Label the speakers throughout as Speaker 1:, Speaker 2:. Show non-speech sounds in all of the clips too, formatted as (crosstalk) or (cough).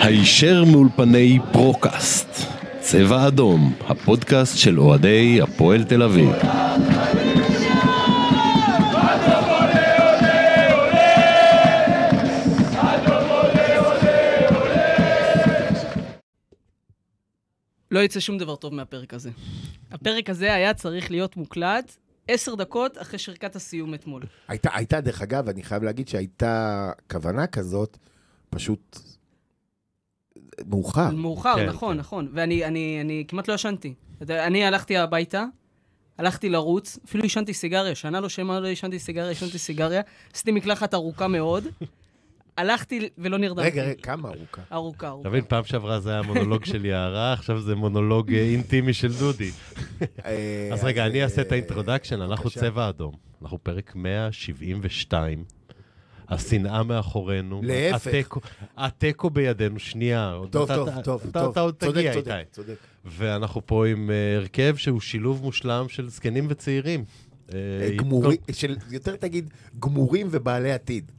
Speaker 1: הישר מאולפני פרוקאסט, צבע אדום, הפודקאסט של אוהדי הפועל תל אביב.
Speaker 2: לא יצא שום דבר טוב מהפרק הזה. הפרק הזה היה צריך להיות מוקלט עשר דקות אחרי שריקת הסיום אתמול.
Speaker 3: הייתה, הייתה, דרך אגב, אני חייב להגיד שהייתה כוונה כזאת, פשוט מאוחר.
Speaker 2: מאוחר,
Speaker 4: כן,
Speaker 2: נכון,
Speaker 4: כן.
Speaker 2: נכון. ואני אני, אני כמעט לא ישנתי. אתה יודע, אני הלכתי הביתה, הלכתי לרוץ, אפילו עישנתי סיגריה, שנה לא שמה לא עישנתי סיגריה, עישנתי סיגריה, עשיתי מקלחת ארוכה מאוד, הלכתי ולא נרדמתי.
Speaker 3: רגע, רגע, כמה ארוכה?
Speaker 2: ארוכה, ארוכה.
Speaker 4: אתה מבין, פעם שעברה זה היה מונולוג של יערה, עכשיו זה מונולוג אה, אינטימי של דודי.
Speaker 3: אה,
Speaker 4: (laughs) אז רגע, אני אעשה את
Speaker 3: אה,
Speaker 4: האינטרודקשן, אנחנו
Speaker 3: בבקשה.
Speaker 4: צבע אדום. אנחנו פרק 172. השנאה מאחורינו.
Speaker 3: להפך.
Speaker 4: התיקו- התיקו בידינו, שנייה. עוד
Speaker 3: טוב,
Speaker 4: אתה-
Speaker 3: טוב,
Speaker 4: אתה-
Speaker 3: טוב,
Speaker 4: אתה-
Speaker 3: טוב.
Speaker 4: אתה עוד
Speaker 3: צודק,
Speaker 4: תגיע,
Speaker 3: צודק,
Speaker 4: איתי.
Speaker 3: צודק.
Speaker 4: ואנחנו פה עם אה, הרכב שהוא שילוב מושלם של זקנים וצעירים. אה,
Speaker 3: אה, גמורים, של- יותר תגיד, גמורים ובעלי
Speaker 4: (laughs)
Speaker 3: עתיד.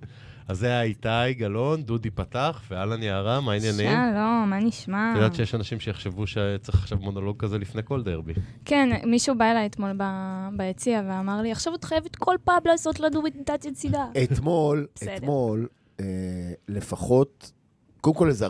Speaker 4: אז זה היה איתי גלאון, דודי פתח, ואהלן יערה, מה העניינים?
Speaker 5: שלום, מה נשמע?
Speaker 4: את יודעת שיש אנשים שיחשבו שצריך עכשיו מונולוג כזה לפני כל דרבי.
Speaker 5: כן, מישהו בא אליי אתמול ב- ביציע ואמר לי, עכשיו את חייבת כל פעם לעשות לנו מדיטציית סידה.
Speaker 3: אתמול,
Speaker 5: בסדר.
Speaker 3: אתמול, אה, לפחות, קודם כל איזה 40-50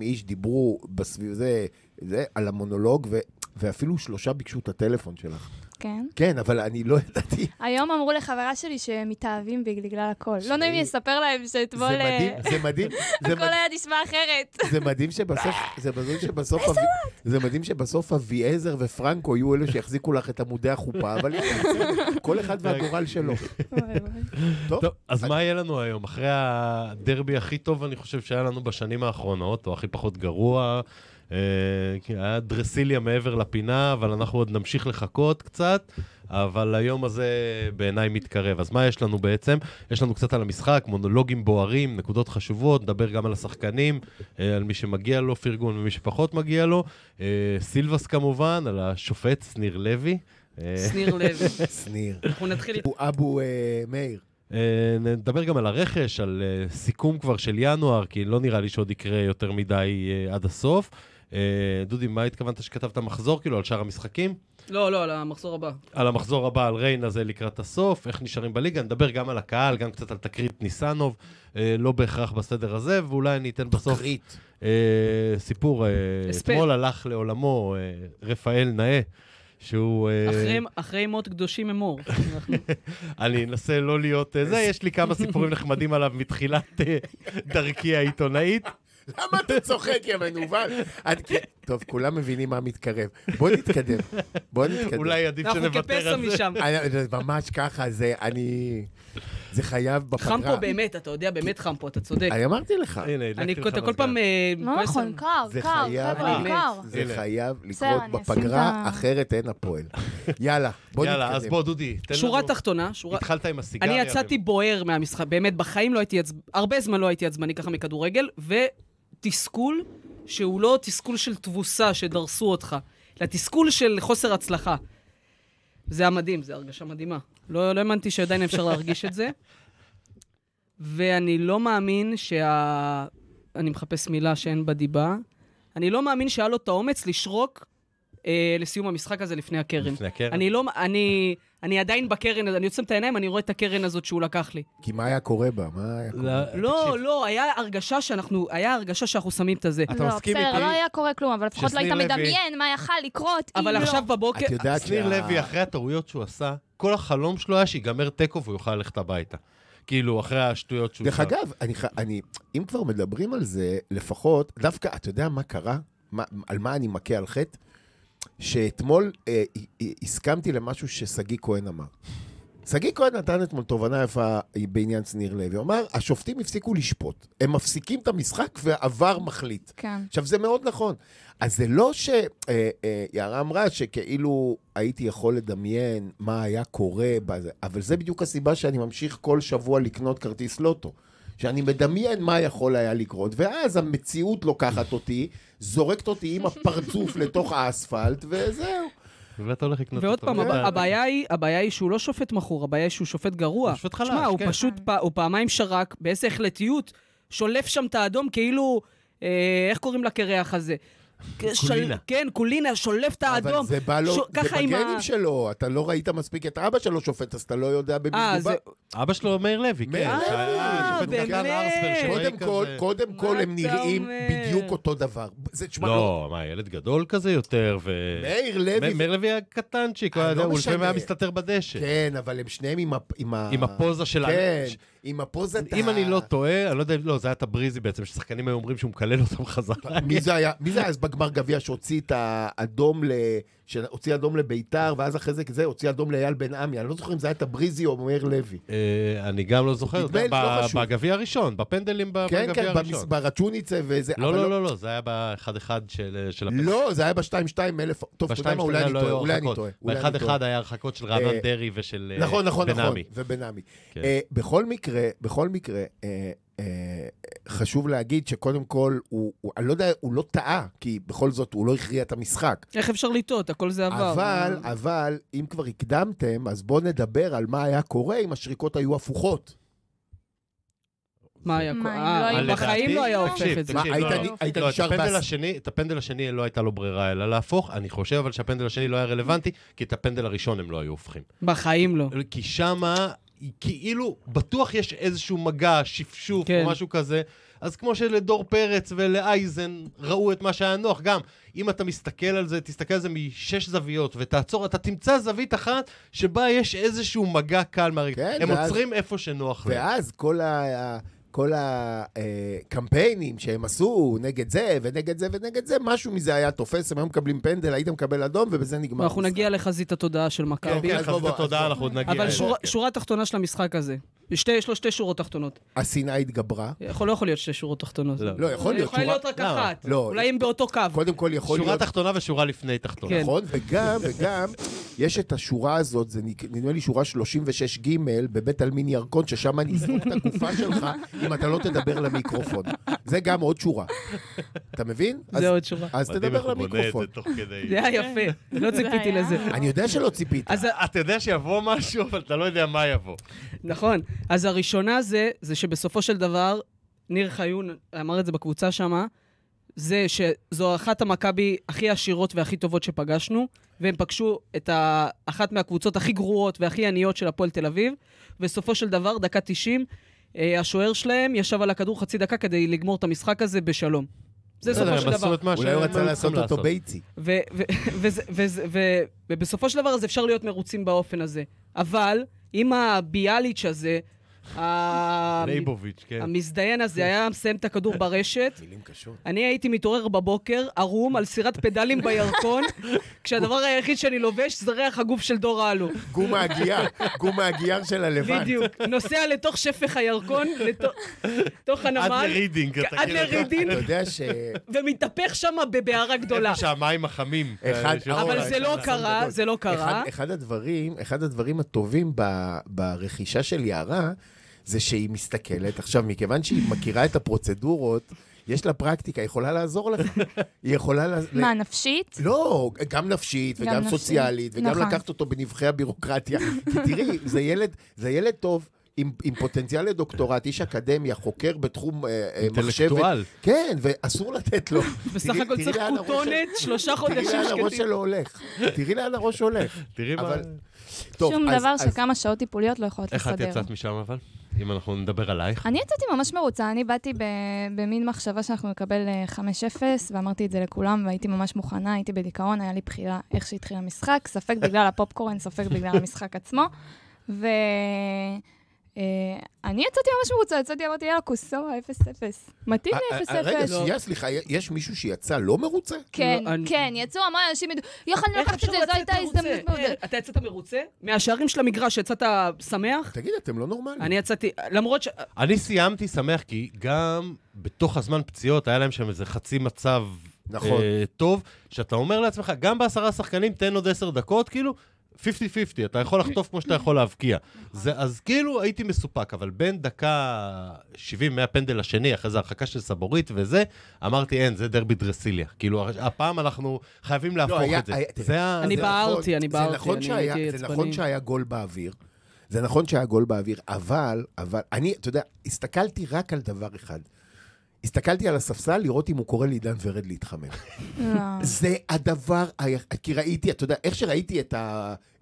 Speaker 3: איש דיברו בסביב זה, זה, על המונולוג, ו- ואפילו שלושה ביקשו את הטלפון שלך.
Speaker 5: כן.
Speaker 3: כן, אבל אני לא ידעתי.
Speaker 5: היום אמרו לחברה שלי שהם מתאהבים בי בגלל הכל. לא נעים לי לספר להם
Speaker 3: זה
Speaker 5: שאתמול... אה,
Speaker 3: מדהים, זה
Speaker 5: (laughs)
Speaker 3: מדהים. זה
Speaker 5: הכל
Speaker 3: מדהים.
Speaker 5: היה נשמע
Speaker 4: (laughs)
Speaker 5: אחרת.
Speaker 3: זה מדהים שבסוף, זה מדהים שבסוף, אבי- זה מדהים שבסוף אביעזר ופרנקו יהיו אלו שיחזיקו לך את עמודי החופה, אבל יאללה, בסדר, כל אחד והגורל שלו. טוב,
Speaker 4: טוב, לא, אז מה יהיה לנו היום? אחרי הדרבי הכי טוב, אני חושב שהיה לנו בשנים האחרונות, או הכי פחות גרוע, אה, כי היה דרסיליה מעבר לפינה, אבל אנחנו עוד נמשיך לחכות קצת, אבל היום הזה בעיניי מתקרב. אז מה יש לנו בעצם? יש לנו קצת על המשחק, מונולוגים בוערים, נקודות חשובות, נדבר גם על השחקנים, אה, על מי שמגיע לו פרגון ומי שפחות מגיע לו. אה, סילבס כמובן, על השופט שניר לוי. אה,
Speaker 2: שניר לב.
Speaker 3: שניר.
Speaker 2: אנחנו נתחיל איתך.
Speaker 3: הוא אבו אה, מאיר.
Speaker 4: אה, נדבר גם על הרכש, על אה, סיכום כבר של ינואר, כי לא נראה לי שעוד יקרה יותר מדי אה, עד הסוף. אה, דודי, מה התכוונת שכתבת מחזור, כאילו, על שאר המשחקים?
Speaker 2: לא, לא, למחזור הבא.
Speaker 4: על המחזור הבא, על ריינה זה לקראת הסוף, איך נשארים בליגה, נדבר גם על הקהל, גם קצת על תקרית ניסנוב, אה, לא בהכרח בסדר הזה, ואולי אני אתן בסוף
Speaker 3: תקרית.
Speaker 4: אה, סיפור. אה,
Speaker 2: הספד.
Speaker 4: אתמול הלך לעולמו אה, רפאל נאה, שהוא... אה,
Speaker 2: אחרי- אחרי מות קדושים אמור.
Speaker 4: (laughs)
Speaker 2: אנחנו-
Speaker 4: אני אנסה לא להיות אה, זה, יש לי כמה סיפורים נחמדים עליו מתחילת אה, דרכי העיתונאית.
Speaker 3: למה אתה צוחק, יא מנוול? את- כן, טוב, כולם מבינים מה מתקרב. בוא נתקדם. בוא נתקדם.
Speaker 4: אולי עדיף
Speaker 2: אנחנו
Speaker 4: שנוותר
Speaker 2: כפסע
Speaker 4: על זה. אה,
Speaker 2: משם.
Speaker 3: אני- זה ממש ככה, זה אני... זה חייב בפגרה.
Speaker 2: חם פה באמת, אתה יודע, באמת חם פה, אתה צודק.
Speaker 3: אני אמרתי
Speaker 5: אה,
Speaker 3: לך,
Speaker 4: הנה, הדלקתי
Speaker 2: אני
Speaker 4: לך
Speaker 2: אתה כל
Speaker 4: מזגן.
Speaker 2: פעם... אה,
Speaker 5: לא
Speaker 2: כועס
Speaker 5: נכון,
Speaker 2: עלינו.
Speaker 5: קר,
Speaker 3: זה
Speaker 5: קר,
Speaker 3: חייב
Speaker 5: חבר'ה,
Speaker 2: להיות.
Speaker 5: קר.
Speaker 3: זה
Speaker 4: הנה.
Speaker 3: חייב
Speaker 5: בסדר,
Speaker 3: לקרות
Speaker 5: אני אשים את
Speaker 3: בפגרה,
Speaker 5: ה-
Speaker 3: אחרת אין הפועל. יאללה, בוא נתקדם.
Speaker 4: יאללה, אז בוא, דודי, תן לנו...
Speaker 2: שורה תחתונה, שורה...
Speaker 4: התחלת עם הסיגריה.
Speaker 2: אני יצאתי בוער מהמשחק, באמת, בחיים לא הייתי עצבני, הרבה זמן לא הייתי עצבני ככה מכדורגל, ותסכול שהוא לא תסכול של תבוסה שדרסו אותך, אלא תסכול של חוסר הצלחה. זה היה מדהים, זו הרגשה מדהימה. לא, לא האמנתי שעדיין אפשר להרגיש את זה. ואני לא מאמין שה... אני מחפש מילה שאין בה דיבה. אני לא מאמין שהיה לו את האומץ לשרוק אה, לסיום המשחק הזה לפני הקרן.
Speaker 4: לפני כן? הקרן.
Speaker 2: אני לא... אני, אני עדיין בקרן, אני עוצם את העיניים, אני רואה את הקרן הזאת שהוא לקח לי.
Speaker 3: כי מה היה קורה בה? מה היה קורה?
Speaker 4: אה,
Speaker 2: לא, לא, היה הרגשה שאנחנו... היה הרגשה שאנחנו שמים את הזה.
Speaker 4: אתה מסכים
Speaker 5: לא,
Speaker 4: איתי?
Speaker 5: בסדר, לא היה קורה כלום, אבל לפחות לא
Speaker 4: ששניר
Speaker 5: היית
Speaker 4: לוי-
Speaker 5: מדמיין מה יכל לקרות, אם
Speaker 2: אבל
Speaker 5: לא.
Speaker 2: עכשיו בבוקר...
Speaker 3: את יודעת
Speaker 4: שניר אוקיי, לוי, אחרי הטעויות שהוא עשה, כל החלום שלו היה שיגמר תיקו והוא יוכל ללכת הביתה. כאילו, אחרי השטויות שהוא...
Speaker 3: דרך
Speaker 4: עשה.
Speaker 3: אגב, אני, ח- אני, אם כבר מדברים על זה, לפחות, דווקא, אתה יודע מה קרה? מה, על מה אני מכה על חטא? שאתמול אה, ה- ה- הסכמתי למשהו ששגיא כהן אמר. שגיא כהן נתן אתמול תובנה יפה אה, בעניין שניר לוי. הוא אמר, השופטים הפסיקו לשפוט. הם מפסיקים את המשחק והעבר מחליט.
Speaker 5: כן.
Speaker 3: עכשיו, זה מאוד נכון. אז זה לא שיערה אה, אה, יערה אמרה שכאילו הייתי יכול לדמיין מה היה קורה, בזה, אבל זה בדיוק הסיבה שאני ממשיך כל שבוע לקנות כרטיס לוטו. שאני מדמיין מה יכול היה לקרות, ואז המציאות לוקחת אותי, זורקת אותי עם הפרצוף (laughs) לתוך האספלט, וזהו.
Speaker 4: ואתה הולך לקנות
Speaker 2: ועוד
Speaker 4: אותו. כן.
Speaker 2: פעם,
Speaker 4: ואתה-
Speaker 2: הבע- הבעיה היא, הבעיה היא שהוא לא שופט מכור, הבעיה היא שהוא שופט גרוע.
Speaker 4: הוא שופט חלש,
Speaker 2: שמע, הוא
Speaker 4: כן.
Speaker 2: פשוט, פ- הוא פעמיים שרק, באיזה החלטיות, שולף שם את האדום כאילו אה, איך קוראים לקרח הזה?
Speaker 4: קולינה.
Speaker 2: כן, קולינה, שולף את האדום.
Speaker 3: אבל זה בא לו,
Speaker 2: ש-
Speaker 3: זה
Speaker 2: ככה עם
Speaker 3: בגנים
Speaker 2: ה-
Speaker 3: שלו, אתה לא ראית מספיק את אבא שלו שופט, אז אתה לא יודע במי
Speaker 2: אה,
Speaker 3: מדובר.
Speaker 2: זה-
Speaker 4: אבא שלו מאיר לוי, כן.
Speaker 3: מאיר לוי.
Speaker 4: שהיה שופט
Speaker 3: אה,
Speaker 4: קק"ל ארסברג,
Speaker 2: באמת.
Speaker 4: שהיה
Speaker 3: קודם כל,
Speaker 4: כזה-
Speaker 3: קודם
Speaker 2: מה
Speaker 3: כל
Speaker 2: אתה
Speaker 3: הם נראים
Speaker 2: אומר?
Speaker 3: בדיוק אותו דבר. זה, תשמע, לא.
Speaker 4: לא, מה, ילד גדול כזה יותר, ו...
Speaker 3: מאיר
Speaker 4: מ-
Speaker 3: לפעמים
Speaker 4: מאיר לוי היה קטנצ'יק,
Speaker 3: אה,
Speaker 4: הוא היה-
Speaker 3: לא
Speaker 4: הוא לפעמים
Speaker 3: משנה.
Speaker 4: היה מסתתר בדשא.
Speaker 3: כן, אבל הם שניהם עם ה... עם, ה...
Speaker 4: עם הפוזה של ה-
Speaker 3: כן,
Speaker 4: ש-
Speaker 3: עם הפוזת
Speaker 4: אם
Speaker 3: ה-
Speaker 4: אני לא טועה, אני לא יודע, לא, זה היה טבריזי בעצם, ששחקנים היו אומרים שהוא מקלל אותם חזרה.
Speaker 3: (laughs) מי זה היה? מי זה היה אז בגמר גביע שהוציא את האדום ל... שהוציא אדום לביתר, ואז אחרי זה כזה, הוציא אדום לאייל בן עמי. אני לא זוכר אם זה היה טבריזי או מאיר לוי.
Speaker 4: אה, אני גם לא זוכר,
Speaker 3: נדמה לי,
Speaker 4: ב-
Speaker 3: לא חשוב.
Speaker 4: בגביע הראשון, בפנדלים ב-
Speaker 3: כן,
Speaker 4: בגביע
Speaker 3: כן, במס...
Speaker 4: הראשון.
Speaker 3: ברצ'וניצה וזה.
Speaker 4: לא,
Speaker 3: אבל
Speaker 4: לא, לא, לא, זה היה באחד-אחד של אה, של הפנדלים.
Speaker 3: לא, זה היה ב-2-2 אלף. טוב, אתה יודע מה, אולי אני
Speaker 4: לא,
Speaker 3: טועה, אולי אני טועה. אולי אני
Speaker 4: באחד
Speaker 3: טועה.
Speaker 4: אחד היה הרחקות של רענן
Speaker 3: אה,
Speaker 4: דרעי ושל אה,
Speaker 3: נכון, נכון, נכון.
Speaker 4: בן-עמי.
Speaker 3: ובנעמי.
Speaker 4: כן.
Speaker 3: אה, בכל מקרה, בכל מקרה, אה, אה, חשוב להגיד שקודם כל, הוא, הוא- אני לא יודע, הוא לא טעה, כי בכל זאת הוא לא הכריע את המשחק.
Speaker 2: איך אפשר לטעות? הכל זה עבר.
Speaker 3: אבל, אבל, אם כבר הקדמתם, אז בואו נדבר על מה היה קורה אם השריקות היו הפוכות.
Speaker 2: מה היה
Speaker 5: מה,
Speaker 2: קורה?
Speaker 5: אם
Speaker 2: אה,
Speaker 5: לא היו-
Speaker 2: בחיים
Speaker 4: לדעתי-
Speaker 2: לא היה הופך
Speaker 4: תקשיב,
Speaker 2: את זה.
Speaker 3: מה,
Speaker 4: תקשיב,
Speaker 3: היית
Speaker 4: לא,
Speaker 3: נ-
Speaker 4: לא.
Speaker 3: היית
Speaker 4: לא, את
Speaker 3: נשאר
Speaker 4: הפנדל
Speaker 3: בס-
Speaker 4: השני, את הפנדל השני לא הייתה לו ברירה אלא להפוך. אני חושב אבל שהפנדל השני לא היה רלוונטי, כי את הפנדל הראשון הם לא היו הופכים.
Speaker 2: בחיים לא.
Speaker 4: כי שמה, כאילו, בטוח יש איזשהו מגע, שפשוף
Speaker 2: כן.
Speaker 4: או משהו כזה. אז כמו שלדור פרץ ולאייזן ראו את מה שהיה נוח, גם אם אתה מסתכל על זה, תסתכל על זה משש זוויות ותעצור, אתה תמצא זווית אחת שבה יש איזשהו מגע קל מהרגע.
Speaker 3: כן,
Speaker 4: הם
Speaker 3: ואז-
Speaker 4: עוצרים איפה שנוח להם.
Speaker 3: ואז כל ה... כל הקמפיינים שהם עשו נגד זה ונגד זה ונגד זה, משהו מזה היה תופס, הם היו מקבלים פנדל, היית מקבל אדום, ובזה נגמר.
Speaker 2: אנחנו
Speaker 3: המשחק.
Speaker 2: נגיע לחזית התודעה של
Speaker 4: כן,
Speaker 2: מכבי.
Speaker 4: כן,
Speaker 3: אוקיי, אז בוא,
Speaker 4: חזית
Speaker 3: בוא, אז
Speaker 4: התודעה,
Speaker 3: בוא.
Speaker 4: אנחנו עוד נגיע.
Speaker 2: אבל
Speaker 4: אליה.
Speaker 2: שורה-
Speaker 4: כן.
Speaker 2: שורה תחתונה של המשחק הזה. שתי- יש לו שתי שורות תחתונות.
Speaker 3: השנאה התגברה.
Speaker 2: יכול- לא יכול להיות שתי שורות תחתונות.
Speaker 4: לא.
Speaker 3: לא, יכול
Speaker 2: יכולה
Speaker 3: להיות. שורה-
Speaker 2: אה, להיות רק
Speaker 4: למה?
Speaker 2: אחת.
Speaker 3: לא.
Speaker 2: אולי הם באותו קו.
Speaker 3: קודם כל יכול
Speaker 4: שורה
Speaker 3: להיות...
Speaker 4: תחתונה ושורה לפני תחתונה.
Speaker 2: כן.
Speaker 3: נכון, וגם, וגם, יש את השורה הזאת, זה נק- נדמה לי שורה 36 ג' בבית עלמין ירקון, ששם אני אזרוק את הגופה שלך, אם אתה לא תדבר למיקרופון. זה גם עוד שורה. אתה מבין? אז-
Speaker 2: זה עוד שורה.
Speaker 3: אז
Speaker 4: מדהים איך
Speaker 3: תדבר
Speaker 4: הוא בונה את
Speaker 3: למיקרופון.
Speaker 4: זה תוך כדי.
Speaker 2: זה היה יפה. לא ציפיתי
Speaker 5: היה-
Speaker 2: לזה.
Speaker 3: אני יודע שלא ציפית.
Speaker 2: (laughs) אז ה-
Speaker 4: אתה יודע שיבוא משהו, אבל אתה לא יודע מה יבוא.
Speaker 2: נכון. אז הראשונה זה, זה שבסופו של דבר, ניר חיון אמר את זה בקבוצה שמה, זה שזו אחת המכבי הכי עשירות והכי טובות שפגשנו, והם פגשו את ה- אחת מהקבוצות הכי גרועות והכי עניות של הפועל תל אביב. בסופו של דבר, דקה 90, אה, השוער שלהם ישב על הכדור חצי דקה כדי לגמור את המשחק הזה בשלום. זה
Speaker 4: בסדר,
Speaker 2: סופו
Speaker 4: לא הם
Speaker 2: של
Speaker 4: עשו
Speaker 2: דבר.
Speaker 4: את מה
Speaker 3: אולי הוא
Speaker 4: שהם
Speaker 3: רצה
Speaker 4: היו
Speaker 3: לעשות
Speaker 4: צריכים
Speaker 3: אותו ביצי.
Speaker 2: ו- ו- (laughs) וזה- וזה- ו- ובסופו של דבר אז אפשר להיות מרוצים באופן הזה. אבל אם הביאליץ' הזה, ה-
Speaker 4: לייבוביץ', כן.
Speaker 2: המזדיין הזה היה מסיים את
Speaker 3: (laughs)
Speaker 2: הכדור ברשת, אני הייתי מתעורר בבוקר ערום על סירת פדלים
Speaker 3: (laughs)
Speaker 2: בירקון, כשהדבר היחיד שאני לובש זה ריח הגוף של דור האלו.
Speaker 3: גום הגייר, גום הגייר של הלבן.
Speaker 2: בדיוק. נוסע לתוך שפך הירקון, לתוך
Speaker 4: עד
Speaker 2: הנמל,
Speaker 4: לרידינג. אתה
Speaker 2: עד
Speaker 4: כאילו-
Speaker 2: לרידינג,
Speaker 3: אתה יודע ש...
Speaker 2: ומתהפך שם בבערה גדולה.
Speaker 4: איפה שהמים החמים.
Speaker 3: אחד-
Speaker 4: אה, שהוא-
Speaker 2: אבל
Speaker 3: אור,
Speaker 2: זה לא
Speaker 3: אסון
Speaker 2: קרה,
Speaker 3: גדול.
Speaker 2: זה לא קרה.
Speaker 3: אחד, אחד, הדברים, אחד הדברים הטובים ב, ברכישה של יערה, זה שהיא מסתכלת. עכשיו, מכיוון שהיא מכירה את הפרוצדורות, יש לה פרקטיקה, היא יכולה לעזור
Speaker 2: (laughs)
Speaker 3: לך. היא יכולה... לה...
Speaker 5: מה, נפשית?
Speaker 3: לא, גם נפשית
Speaker 5: גם
Speaker 3: וגם
Speaker 5: נפשית,
Speaker 3: סוציאלית, וגם
Speaker 5: נכון.
Speaker 3: לקחת אותו בנבחי הבירוקרטיה. כי תראי, זה ילד, זה ילד טוב. עם, עם פוטנציאל לדוקטורט, איש אקדמיה, חוקר בתחום אה, אה, מחשבת.
Speaker 4: אינטלקטואל.
Speaker 3: כן, ואסור לתת לו.
Speaker 2: (laughs) בסך
Speaker 3: תראי-
Speaker 2: הכל
Speaker 3: תראי
Speaker 2: צריך
Speaker 3: לאן הראש
Speaker 2: כותונת, שלושה
Speaker 3: תראי
Speaker 2: חודשים
Speaker 3: לאן הראש
Speaker 2: שקטים.
Speaker 3: שלו הולך. תראי לאן
Speaker 2: (laughs)
Speaker 3: הראש הולך.
Speaker 4: תראי מה...
Speaker 3: אבל- טוב,
Speaker 5: שום
Speaker 3: אז-
Speaker 5: דבר
Speaker 3: אז-
Speaker 5: שכמה שעות טיפוליות לא יכולות
Speaker 4: איך את
Speaker 5: לסדר.
Speaker 4: יצאת משם אבל? אם אנחנו נדבר עלייך.
Speaker 5: אני יצאתי ממש מרוצה, אני באתי ב- במין מחשבה שאנחנו נקבל אה, 5-0, ואמרתי את זה לכולם, והייתי ממש מוכנה, הייתי בדיכאון, היה לי בחילה איך שהתחיל המשחק,
Speaker 3: (laughs)
Speaker 5: ספק בגלל הפופקורן, ספק בגלל המשחק עצמו. ו... אה, אני יצאתי ממש מרוצה, יצאתי, אמרתי, יאללה, קוסובה, 0-0. מתאים
Speaker 3: אה,
Speaker 5: לי 0-0.
Speaker 3: אה, רגע, שנייה, סליחה, יש מישהו שיצא לא מרוצה?
Speaker 5: כן,
Speaker 2: לא, אני-
Speaker 5: כן, יצאו המון אנשים, ידעו, יכולנו
Speaker 2: איך
Speaker 5: לקחת
Speaker 2: אפשר
Speaker 5: את זה, זו
Speaker 2: לצאת
Speaker 5: הייתה הזדמנות
Speaker 2: מרוצה?
Speaker 5: מעודדת.
Speaker 2: אה, אתה יצאת מרוצה? מהשערים של המגרש יצאת שמח?
Speaker 3: תגיד, אתם לא נורמלים.
Speaker 2: אני יצאתי, למרות ש...
Speaker 4: אני סיימתי שמח, כי גם בתוך הזמן פציעות היה להם שם איזה חצי מצב
Speaker 3: נכון.
Speaker 4: אה, טוב, שאתה אומר לעצמך, גם בעשרה שחקנים תן עוד עשר דקות, כאילו... 50-50, אתה יכול לחטוף כמו שאתה יכול להבקיע. זה, אז כאילו הייתי מסופק, אבל בין דקה 70 מהפנדל השני, אחרי זה הרחקה של סבורית וזה, אמרתי, אין, זה דרבי דרסיליה. כאילו, הפעם אנחנו חייבים להפוך
Speaker 3: לא, היה-
Speaker 4: את זה.
Speaker 3: היה-
Speaker 4: זה ה...
Speaker 2: אני
Speaker 3: זה
Speaker 2: בערתי,
Speaker 3: נכון,
Speaker 2: אני
Speaker 3: זה
Speaker 2: בערתי,
Speaker 3: נכון
Speaker 2: אני
Speaker 3: שהיה-
Speaker 2: הייתי
Speaker 3: זה
Speaker 2: עצבני.
Speaker 3: נכון שהיה גול באוויר. זה נכון שהיה גול באוויר, אבל, אבל, אני, אתה יודע, הסתכלתי רק על דבר אחד. הסתכלתי על הספסל לראות אם הוא קורא לעידן ורד להתחמם.
Speaker 5: לא.
Speaker 2: אה.
Speaker 3: זה הדבר, ה- כי ראיתי, אתה יודע, איך שראיתי את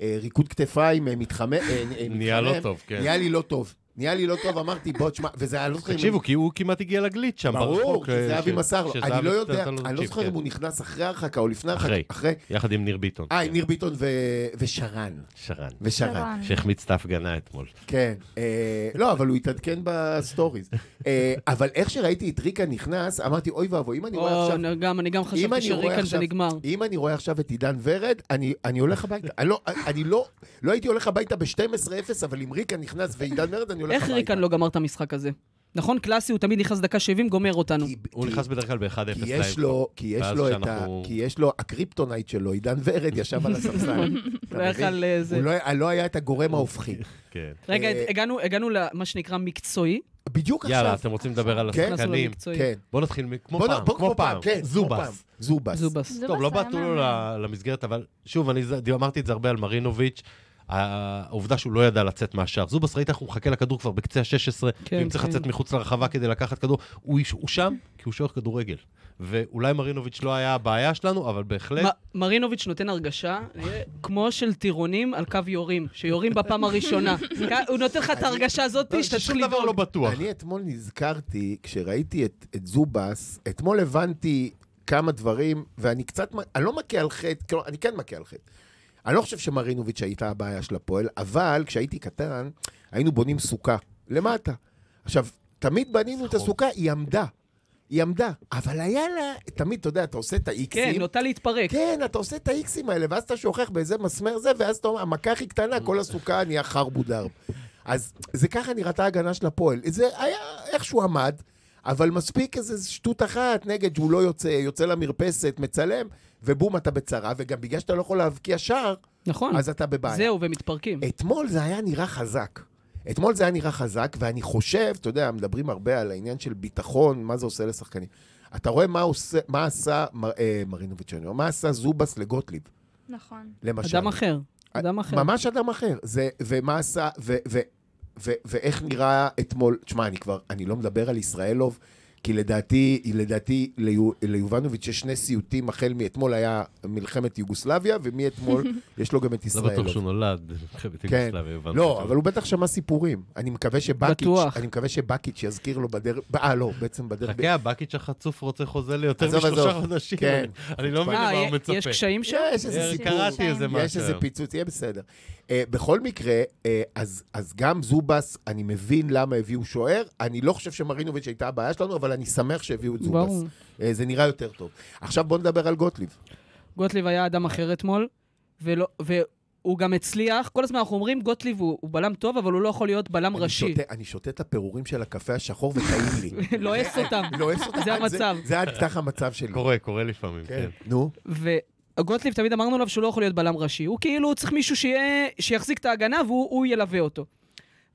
Speaker 3: הריקוד כתפיים אה, מתחמם, אה, אה, מתחמם,
Speaker 4: נהיה לא טוב, כן.
Speaker 3: נהיה לי לא טוב. נהיה לי לא טוב, אמרתי, בוא, תשמע, וזה היה, לא זוכר... אם-
Speaker 4: תקשיבו, כי הוא כמעט הגיע לגליץ' שם.
Speaker 3: ברור,
Speaker 4: ברחוק,
Speaker 3: שזה
Speaker 4: אה,
Speaker 3: אבי
Speaker 4: ש-
Speaker 3: מסר לו.
Speaker 4: שזהבי
Speaker 3: אני לא יודע,
Speaker 4: נתן לו
Speaker 3: אני לא
Speaker 4: צ'יפ,
Speaker 3: זוכר
Speaker 4: כן.
Speaker 3: אם הוא נכנס אחרי הרחקה או לפני
Speaker 4: אחרי.
Speaker 3: הרחקה. אחרי.
Speaker 4: יחד עם ניר ביטון.
Speaker 3: אה, עם
Speaker 4: כן.
Speaker 3: ניר ביטון ו- ושרן.
Speaker 4: שרן.
Speaker 3: ושרן.
Speaker 5: שרן.
Speaker 4: שהחמיץ את ההפגנה אתמול.
Speaker 3: כן, אה, לא, אבל הוא התעדכן בסטוריז. אה, אבל איך שראיתי את ריקה נכנס, אמרתי, אוי ואבוי, אם אני רואה
Speaker 2: או,
Speaker 3: עכשיו...
Speaker 2: אני גם- אני גם
Speaker 3: אם
Speaker 2: חשבתי
Speaker 3: אני רואה
Speaker 2: שריקן זה
Speaker 3: עכשיו-
Speaker 2: נגמר.
Speaker 3: אם אני רואה עכשיו את עידן ורד, אני, אני הולך הביתה. אני, לא, אני לא, לא הייתי הולך הביתה ב-12:0, אבל אם ריקה נכנס ועידן ורד, אני הולך
Speaker 2: איך
Speaker 3: הביתה.
Speaker 2: ריקן לא גמר את המשחק הזה? נכון, קלאסי, הוא תמיד נכנס דקה 70, גומר אותנו.
Speaker 3: כי,
Speaker 4: הוא
Speaker 3: כי-
Speaker 4: נכנס בדרך כלל ב-1-0
Speaker 3: כי יש לו, כי יש
Speaker 4: ואז
Speaker 3: לו את ה...
Speaker 4: כשאנחנו-
Speaker 3: כי יש לו, הקריפטונייט שלו, עידן ורד, ישב על הספסל. אתה
Speaker 2: לא
Speaker 3: מבין?
Speaker 2: יכל, אה, זה.
Speaker 3: הוא לא- לא היה את
Speaker 4: (laughs)
Speaker 3: הגורם ההופכי.
Speaker 4: כן.
Speaker 2: רגע,
Speaker 3: אה,
Speaker 2: הגענו- הגענו למה שנקרא מקצועי.
Speaker 3: בדיוק עכשיו.
Speaker 4: יאללה, אתם רוצים לדבר על
Speaker 3: כן.
Speaker 2: נכנסנו
Speaker 4: השחקנים?
Speaker 2: למקצועי.
Speaker 3: כן.
Speaker 4: בוא נתחיל מ- כמו
Speaker 3: בוא נ-
Speaker 4: פעם,
Speaker 3: בוא-
Speaker 4: כמו פעם.
Speaker 3: כן, כמו פעם.
Speaker 4: זובס.
Speaker 2: זובס.
Speaker 3: זובס.
Speaker 5: זובס
Speaker 4: טוב, לא
Speaker 5: היה
Speaker 4: באתו לו
Speaker 5: מאמן.
Speaker 4: ל- למסגרת, אבל שוב, אני זה- אמרתי את זה הרבה על מרינוביץ', העובדה שהוא לא ידע לצאת מהשער. זובס, ראית איך הוא מחכה לכדור כבר בקצה ה-16,
Speaker 2: כן,
Speaker 4: ואם צריך
Speaker 2: כן.
Speaker 4: לצאת מחוץ לרחבה כדי לקחת כדור, הוא איש- הוא שם כי הוא שוער כדורגל. ואולי מרינוביץ' לא היה הבעיה שלנו, אבל בהחלט...
Speaker 2: מ- מרינוביץ' נותן הרגשה אה, כמו של טירונים על קו יורים, שיורים בפעם
Speaker 3: (laughs)
Speaker 2: הראשונה. כ- הוא נותן לך את ההרגשה הזאת
Speaker 4: לא,
Speaker 2: שאתה צריך
Speaker 4: שום דבר לא
Speaker 2: לדאוג.
Speaker 4: בטוח.
Speaker 3: אני אתמול נזכרתי, כשראיתי את, את זובס, אתמול הבנתי כמה דברים, ואני קצת, מ- אני לא מכה על חטא, כלומר, אני כן מכה על חטא. אני לא חושב שמרינוביץ' הייתה הבעיה של הפועל, אבל כשהייתי קטן, היינו בונים סוכה, למטה. עכשיו, תמיד בנינו
Speaker 4: נכון.
Speaker 3: את הסוכה, היא עמדה. היא עמדה, אבל היה לה, תמיד, אתה יודע, אתה עושה את
Speaker 2: כן,
Speaker 3: האיקסים.
Speaker 2: נוטה להתפרק.
Speaker 3: כן, אתה עושה את האיקסים האלה, ואז אתה שוכח באיזה מסמר זה, ואז אתה אומר, המכה הכי קטנה, כל הסוכה נהיה חרבו דרב. אז זה ככה נראתה ההגנה של הפועל. זה היה איכשהו עמד, אבל מספיק איזו שטות אחת נגד שהוא לא יוצא, יוצא למרפסת, מצלם, ובום, אתה בצרה, וגם בגלל שאתה לא יכול להבקיע שער,
Speaker 2: נכון.
Speaker 3: אז אתה בבעיה.
Speaker 2: זהו, ומתפרקים.
Speaker 3: אתמול זה היה נראה חזק. אתמול זה היה נראה חזק, ואני חושב, אתה יודע, מדברים הרבה על העניין של ביטחון, מה זה עושה לשחקנים. אתה רואה מה, עושה, מה עשה מר, אה, מרינוביץ', אני אומר, מה עשה זובס לגוטליב,
Speaker 5: נכון.
Speaker 3: למשל.
Speaker 2: אדם אחר. אדם אחר.
Speaker 3: ממש אדם אחר. זה, ומה עשה, ו, ו, ו, ואיך נראה אתמול, תשמע, אני כבר, אני לא מדבר על ישראלוב, כי לדעתי, לדעתי ליו, ליובנוביץ' יש שני סיוטים, החל מאתמול היה מלחמת יוגוסלביה, ומאתמול
Speaker 2: (laughs)
Speaker 3: יש לו גם את
Speaker 4: לא
Speaker 3: ישראלוב.
Speaker 4: בטוח שהוא נולד. במלחמת
Speaker 3: כן.
Speaker 4: יוגוסלביה, הבנתי.
Speaker 3: לא, אבל הוא בטח שמע סיפורים. אני מקווה שבקיץ',
Speaker 2: בטוח.
Speaker 3: אני מקווה שבקיץ' יזכיר לו בדרך, אה, לא, בעצם בדרך...
Speaker 4: חכה, הבקיץ' החצוף רוצה חוזה ליותר
Speaker 3: עזוב,
Speaker 4: משלושה
Speaker 3: עזוב.
Speaker 4: חודשים.
Speaker 3: כן.
Speaker 4: אני- אני לא מבין
Speaker 2: אה,
Speaker 4: למה הוא
Speaker 2: י- יש
Speaker 4: מצפה.
Speaker 2: קשיים שם?
Speaker 3: יש איזה
Speaker 4: אה,
Speaker 3: סיפור.
Speaker 4: קראתי איזה משהו.
Speaker 3: יש איזה פיצוץ, יהיה בסדר. אה, בכל מקרה, אה, אז אז גם זובס, אני מבין למה הביאו שוער. אני לא חושב שמרינוביץ' הייתה הבעיה שלנו, אבל אני שמח שהביאו את
Speaker 2: ברור.
Speaker 3: זובס. אה, זה נראה יותר טוב. עכשיו בוא נדבר על גוטליב.
Speaker 2: גוטליב היה אדם אחר אתמול, ולא- והוא גם הצליח. כל הזמן אנחנו אומרים, גוטליב הוא הוא בלם טוב, אבל הוא לא יכול להיות בלם
Speaker 3: אני
Speaker 2: ראשי.
Speaker 3: שותה- אני שותה את הפירורים של הקפה השחור וטעים לי.
Speaker 2: (laughs) לועס אותם.
Speaker 3: לועס אותם.
Speaker 2: לא זה המצב.
Speaker 3: זה עד ככה המצב שלי.
Speaker 4: קורה, קורה לפעמים,
Speaker 3: כן.
Speaker 4: כן.
Speaker 3: נו.
Speaker 2: וגוטליב, תמיד אמרנו עליו שהוא לא יכול להיות בלם ראשי. הוא כאילו צריך מישהו שיהיה, שיחזיק את ההגנה והוא הוא ילווה אותו.